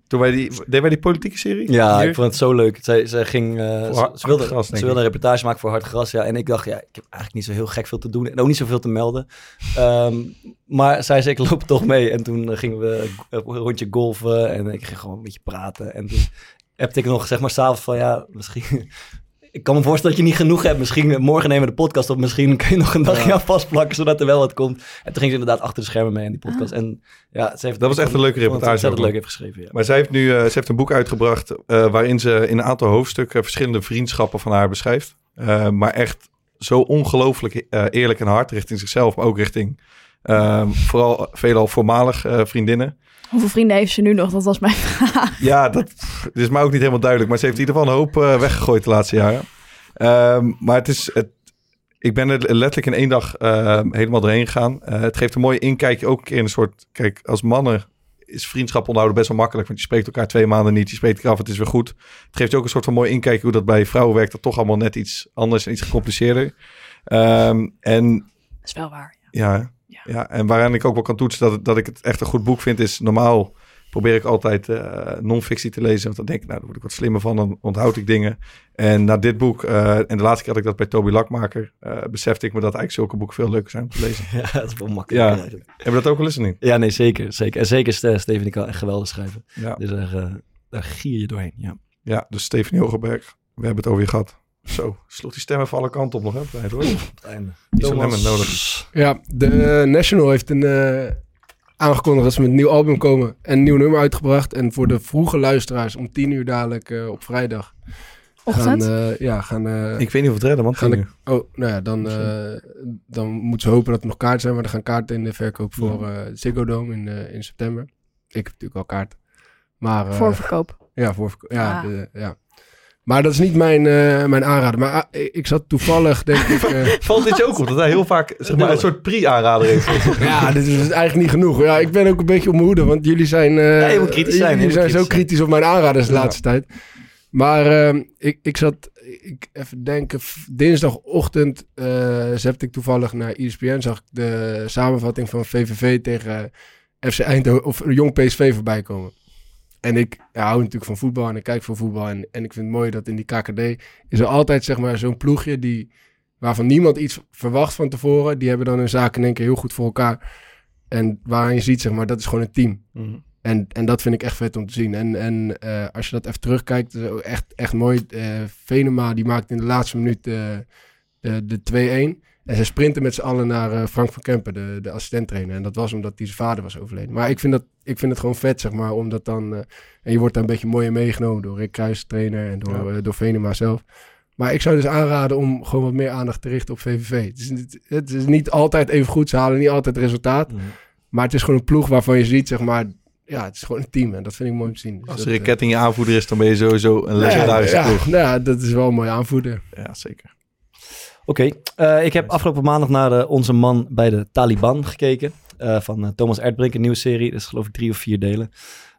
D: Toen wij die, deden wij die politieke serie?
A: Ja,
D: Hier?
A: ik vond het zo leuk. Zij, zij ging, eh,
D: Voor
A: ze,
D: Hard
A: ze wilde,
D: Gras, denk
A: ze wilde een
D: ik.
A: reportage maken voor Hard Gras. Ja. En ik dacht, ja, ik heb eigenlijk niet zo heel gek veel te doen. En ook niet zoveel te melden. Ehm, maar zij zei, ik loop toch mee. En toen eh, gingen we een rondje golven. En ik ging gewoon een beetje praten. En toen heb ik nog, zeg maar, s'avonds van, ja, misschien... <laughs> Ik kan me voorstellen dat je niet genoeg hebt. Misschien eh, morgen nemen we de podcast op. Misschien kun je nog een dagje
D: Ja.
A: aan vastplakken, zodat er wel wat komt. En toen ging ze inderdaad achter de schermen mee aan die podcast. En ja, ze heeft
D: Ah. Dat was echt een leuke
A: ik vond het
D: reportage.
A: ontzettend
D: ook.
A: leuk heeft geschreven, ja.
D: Maar zij heeft nu eh, ze heeft een boek uitgebracht eh, waarin ze in een aantal hoofdstukken verschillende vriendschappen van haar beschrijft. Eh, maar echt zo ongelooflijk eh, eerlijk en hard richting zichzelf, maar ook richting eh, vooral veelal voormalig eh, vriendinnen.
F: Hoeveel vrienden heeft ze nu nog? Dat was mijn <laughs> vraag.
D: Ja, dat pff, het is mij ook niet helemaal duidelijk. Maar ze heeft in ieder geval een hoop eh, weggegooid de laatste jaren. Ehm, maar het is... Het, ik ben er letterlijk in één dag ehm, helemaal doorheen gegaan. Eh, het geeft een mooi inkijkje ook in een soort... Kijk, als mannen is vriendschap onderhouden best wel makkelijk. Want je spreekt elkaar twee maanden niet. Je spreekt elkaar af, het is weer goed. Het geeft je ook een soort van mooi inkijkje hoe dat bij vrouwen werkt. Dat toch allemaal net iets anders en iets gecompliceerder. Ehm, en
F: Dat is wel waar.
D: ja, hè? ja. en waaraan ik ook wel kan toetsen dat, het- dat ik het echt een goed boek vind, is normaal probeer ik altijd eh non-fictie te lezen. Want dan denk ik, nou, daar word ik wat slimmer van, dan onthoud ik dingen. En na dit boek, eh, en de laatste keer had ik dat bij Toby Lakmaker, eh, besefte ik me dat eigenlijk zulke boeken veel leuker zijn om te lezen.
A: <laughs> Ja, dat is wel makkelijk.
D: ja. Hebben we dat ook wel eens of niet?
A: Ja, nee, zeker. zeker. En zeker Ste- Steven, die kan echt geweldig schrijven.
D: Ja.
A: Dus daar, eh, daar gier je doorheen. Ja.
D: Ja, dus Stephanie Hogeberg, we hebben het over je gehad. Zo, sloeg die stemmen van alle kanten op nog, hè? op het eind, hoor.
A: einde.
D: Die zo'n
E: Thomas.
D: lemmen nodig.
E: Ja, de eh, National heeft een, eh, aangekondigd dat ze met een nieuw album komen en een nieuw nummer uitgebracht. En voor de vroege luisteraars om 10 uur dadelijk eh, op vrijdag.
D: Ochtend?
E: Gaan, eh, ja, gaan. eh,
D: Ik weet niet of we het redden, man.
E: gaan de-
D: tien uur.
E: oh, nou ja, dan, eh, dan moeten ze hopen dat er nog kaarten zijn, maar er gaan kaarten in de verkoop voor eh Ziggo Dome in, eh, in september. Ik heb natuurlijk al kaarten. Maar, eh,
F: Voorverkoop.
E: Ja, voorverkoop. Ja,
F: Ah.
E: de- ja. Maar dat is niet mijn, eh, mijn aanrader. Maar ah, ik ik zat toevallig, denk
A: <laughs>
E: ik. eh,
D: Valt dit je ook op, dat hij heel vaak zeg maar, een soort pre-aanrader heeft?
E: ja, <laughs> dit is eigenlijk niet genoeg. Ja, ik ben ook een beetje op mijn hoede, want jullie zijn... eh,
A: Ja, je moet kritisch zijn,
E: Jullie
A: je moet
E: zijn
A: kritisch
E: zo
A: zijn.
E: kritisch op mijn aanraders de
A: Ja.
E: laatste tijd. Maar ehm, ik, ik zat, ik even denken, v- dinsdagochtend eh zette ik toevallig naar E ESPN, zag ik de samenvatting van VVV tegen FC Eindhoven, of eh, Jong PSV voorbij komen. En ik ja, hou natuurlijk van voetbal en ik kijk voor voetbal. En, en ik vind het mooi dat in die KKD is er altijd zeg maar, zo'n ploegje die, waarvan niemand iets verwacht van tevoren. Die hebben dan hun zaken in één keer heel goed voor elkaar. En waarin je ziet, zeg maar, dat is gewoon een team.
D: Mhm.
E: En, en dat vind ik echt vet om te zien. En, en eh, als je dat even terugkijkt, is ook echt, echt mooi. Eh, Venema die maakt in de laatste minuut eh, de, de 2-1. En ze sprinten met z'n allen naar eh, Frank van Kempen, de, de assistent-trainer. En dat was omdat hij zijn vader was overleden. Maar ik vind, dat, ik vind het gewoon vet, zeg maar, omdat dan... eh, en je wordt daar een beetje mooi in meegenomen door Rick Kruijs, trainer, en door, eh, door Venema zelf. Maar ik zou dus aanraden om gewoon wat meer aandacht te richten op VVV. Het is, niet- het is niet altijd even goed, ze halen niet altijd resultaat.
D: Mhm.
E: Maar het is gewoon een ploeg waarvan je ziet, zeg maar... Ja, het is gewoon een team en dat vind ik mooi om te zien. Dus
D: Als
E: dat,
D: er
E: eh,
D: een ketting in je aanvoerder is, dan ben je sowieso een
E: nou ja,
D: legendarische
E: ja,
D: ploeg.
E: nou ja, dat is wel een mooi aanvoerder.
D: Ja, zeker.
A: Oké, eh, ik heb afgelopen maandag naar eh, Onze Man bij de Taliban gekeken. eh, van eh, Thomas Erdbrink, een nieuwe serie. Dat is geloof ik drie of vier delen.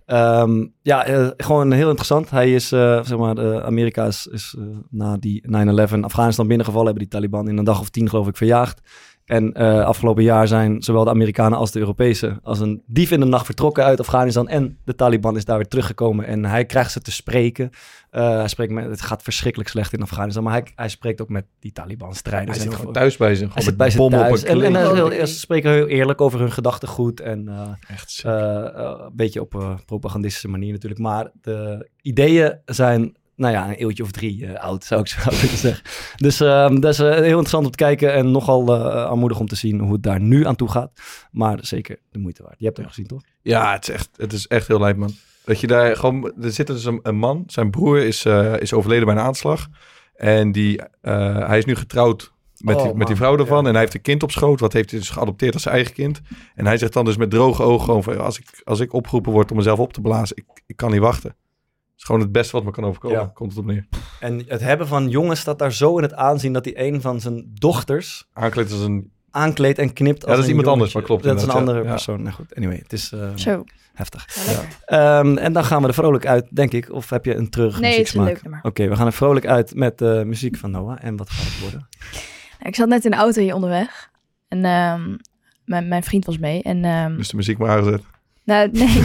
A: Ehm, ja, eh, gewoon heel interessant. Hij is, eh, zeg maar, eh, Amerika is, is eh, na die 9-11 Afghanistan binnengevallen. Hebben die Taliban in een dag of tien, geloof ik, verjaagd. En eh, afgelopen jaar zijn zowel de Amerikanen als de Europese als een dief in de nacht vertrokken uit Afghanistan. En de Taliban is daar weer teruggekomen. En hij krijgt ze te spreken. Eh, hij spreekt met, het gaat verschrikkelijk slecht in Afghanistan. Maar hij, hij spreekt ook met die Taliban-strijders.
D: Hij
A: en
D: zit gewoon
A: voor-
D: thuis bij ze,
A: Hij
D: gewoon
A: zit
D: met
A: bij ze
D: bommen op
A: thuis.
D: een
A: En, en
D: kling.
A: hij is heel- ze spreken heel eerlijk over hun gedachtegoed. En eh,
D: Echt
A: eh, eh, een beetje op eh, propagandistische manier natuurlijk. Maar de ideeën zijn, nou ja, een eeuwtje of drie eh, oud, zou ik zo <laughs> willen zeggen. Dus ehm, dat is eh, heel interessant om te kijken. En nogal eh aanmoedig om te zien hoe het daar nu aan toe gaat. Maar zeker de moeite waard. Je hebt het gezien, toch?
D: Ja, het is echt, het is echt heel lijp, man. Dat je daar gewoon... Er zit dus een, een man, zijn broer is, eh, is overleden bij een aanslag. En die, eh, hij is nu getrouwd met,
A: Oh,
D: die, met die
A: man.
D: vrouw daarvan. En hij heeft een kind op schoot. Wat heeft hij dus geadopteerd als zijn eigen kind. En hij zegt dan dus met droge ogen gewoon van... Als ik, als ik opgeroepen word om mezelf op te blazen, ik, ik kan niet wachten. Het is gewoon het beste wat me kan overkomen.
A: Ja.
D: Komt het op neer.
A: En het hebben van jongens staat daar zo in het aanzien dat hij een van zijn dochters
D: Aankleed als een...
A: aankleedt en knipt. als
D: Ja, dat is
A: een
D: iemand anders,
A: jongetje.
D: maar klopt
A: Dat is een
D: inderdaad, ja.
A: andere
D: Ja.
A: persoon. Nou goed, anyway, het is eh,
F: Zo.
A: heftig.
F: Ja, lekker.
A: Ehm, en dan gaan we er vrolijk uit, denk ik. Of heb je een terug
F: Nee, het is een
A: muzieksmaak?
F: leuk nummer.
A: Oké, we gaan er vrolijk uit met eh, muziek van Noah. En wat gaat het worden?
F: Ik zat net in de auto hier onderweg. En ehm, mijn, mijn vriend was mee. En, ehm,
D: Dus de muziek maar aangezet.
F: Nou, nee.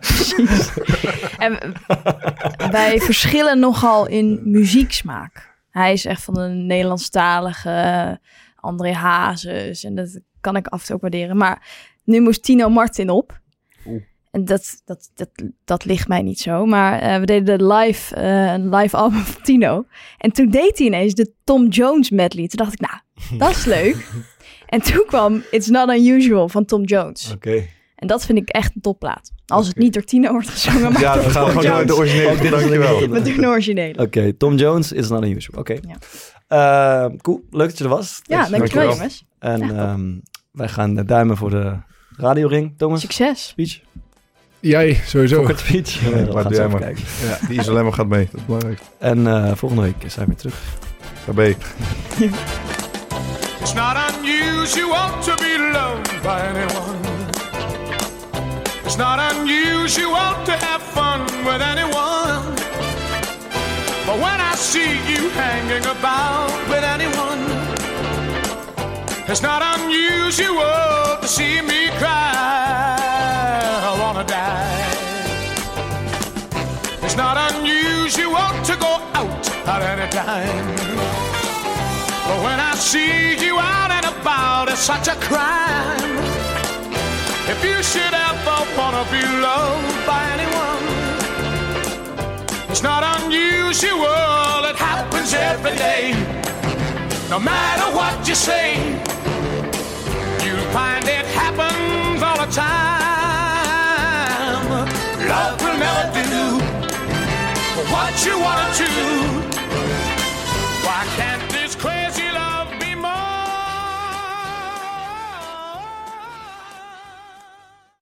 F: Precies. En wij verschillen nogal in muzieksmaak. Hij is echt van de Nederlandstalige eh, André Hazes. En dat kan ik af en toe ook waarderen. Maar nu moest Tino Martin op. En dat, dat, dat, dat ligt mij niet zo. Maar eh, we deden de live, eh, een live album van Tino. En toen deed hij ineens de Tom Jones medley. Toen dacht ik, nou, dat is leuk. en toen kwam It's Not Unusual van Tom Jones.
A: Oké.
F: En dat vind ik echt een topplaat. Als het niet door Tino wordt gezongen, maar
D: Ja,
F: door
A: <laughs>
D: we gaan
F: Tom
D: gewoon
F: Jones.
D: door de originele.
A: dus- Oh, Dit is
D: Dankjewel.
A: een
F: We
D: <laughs>
F: doen de originele.
A: Oké, Tom Jones is not unusual. Oké. Eh, cool, leuk dat je er was.
F: Ja,
A: Thanks.
F: dankjewel, jongens.
A: En
F: Ja, top.
A: ehm, wij gaan de duimen voor de radioring. Thomas?
F: Succes.
A: Speech?
E: Jij, sowieso.
A: Pocket speech.
D: Ja,
A: We gaan
D: maar
A: het
D: doe jij
A: even
D: maar.
A: kijken.
D: Ja, die is alleen maar gaat mee. Dat is belangrijk.
A: En eh, volgende week zijn we weer terug.
D: Daarbij.
K: It's not unusual to be loved by anyone. It's not unusual to have fun with anyone. But when I see you hanging about with anyone, it's not unusual to see me cry. I wanna die. It's not unusual to go out at any time. But when I see you out and about, it's such a crime. If you should ever wanna be loved by anyone, it's not unusual. It happens every day. No matter what you say, you find it happens all the time. Love will never do what you wanna do.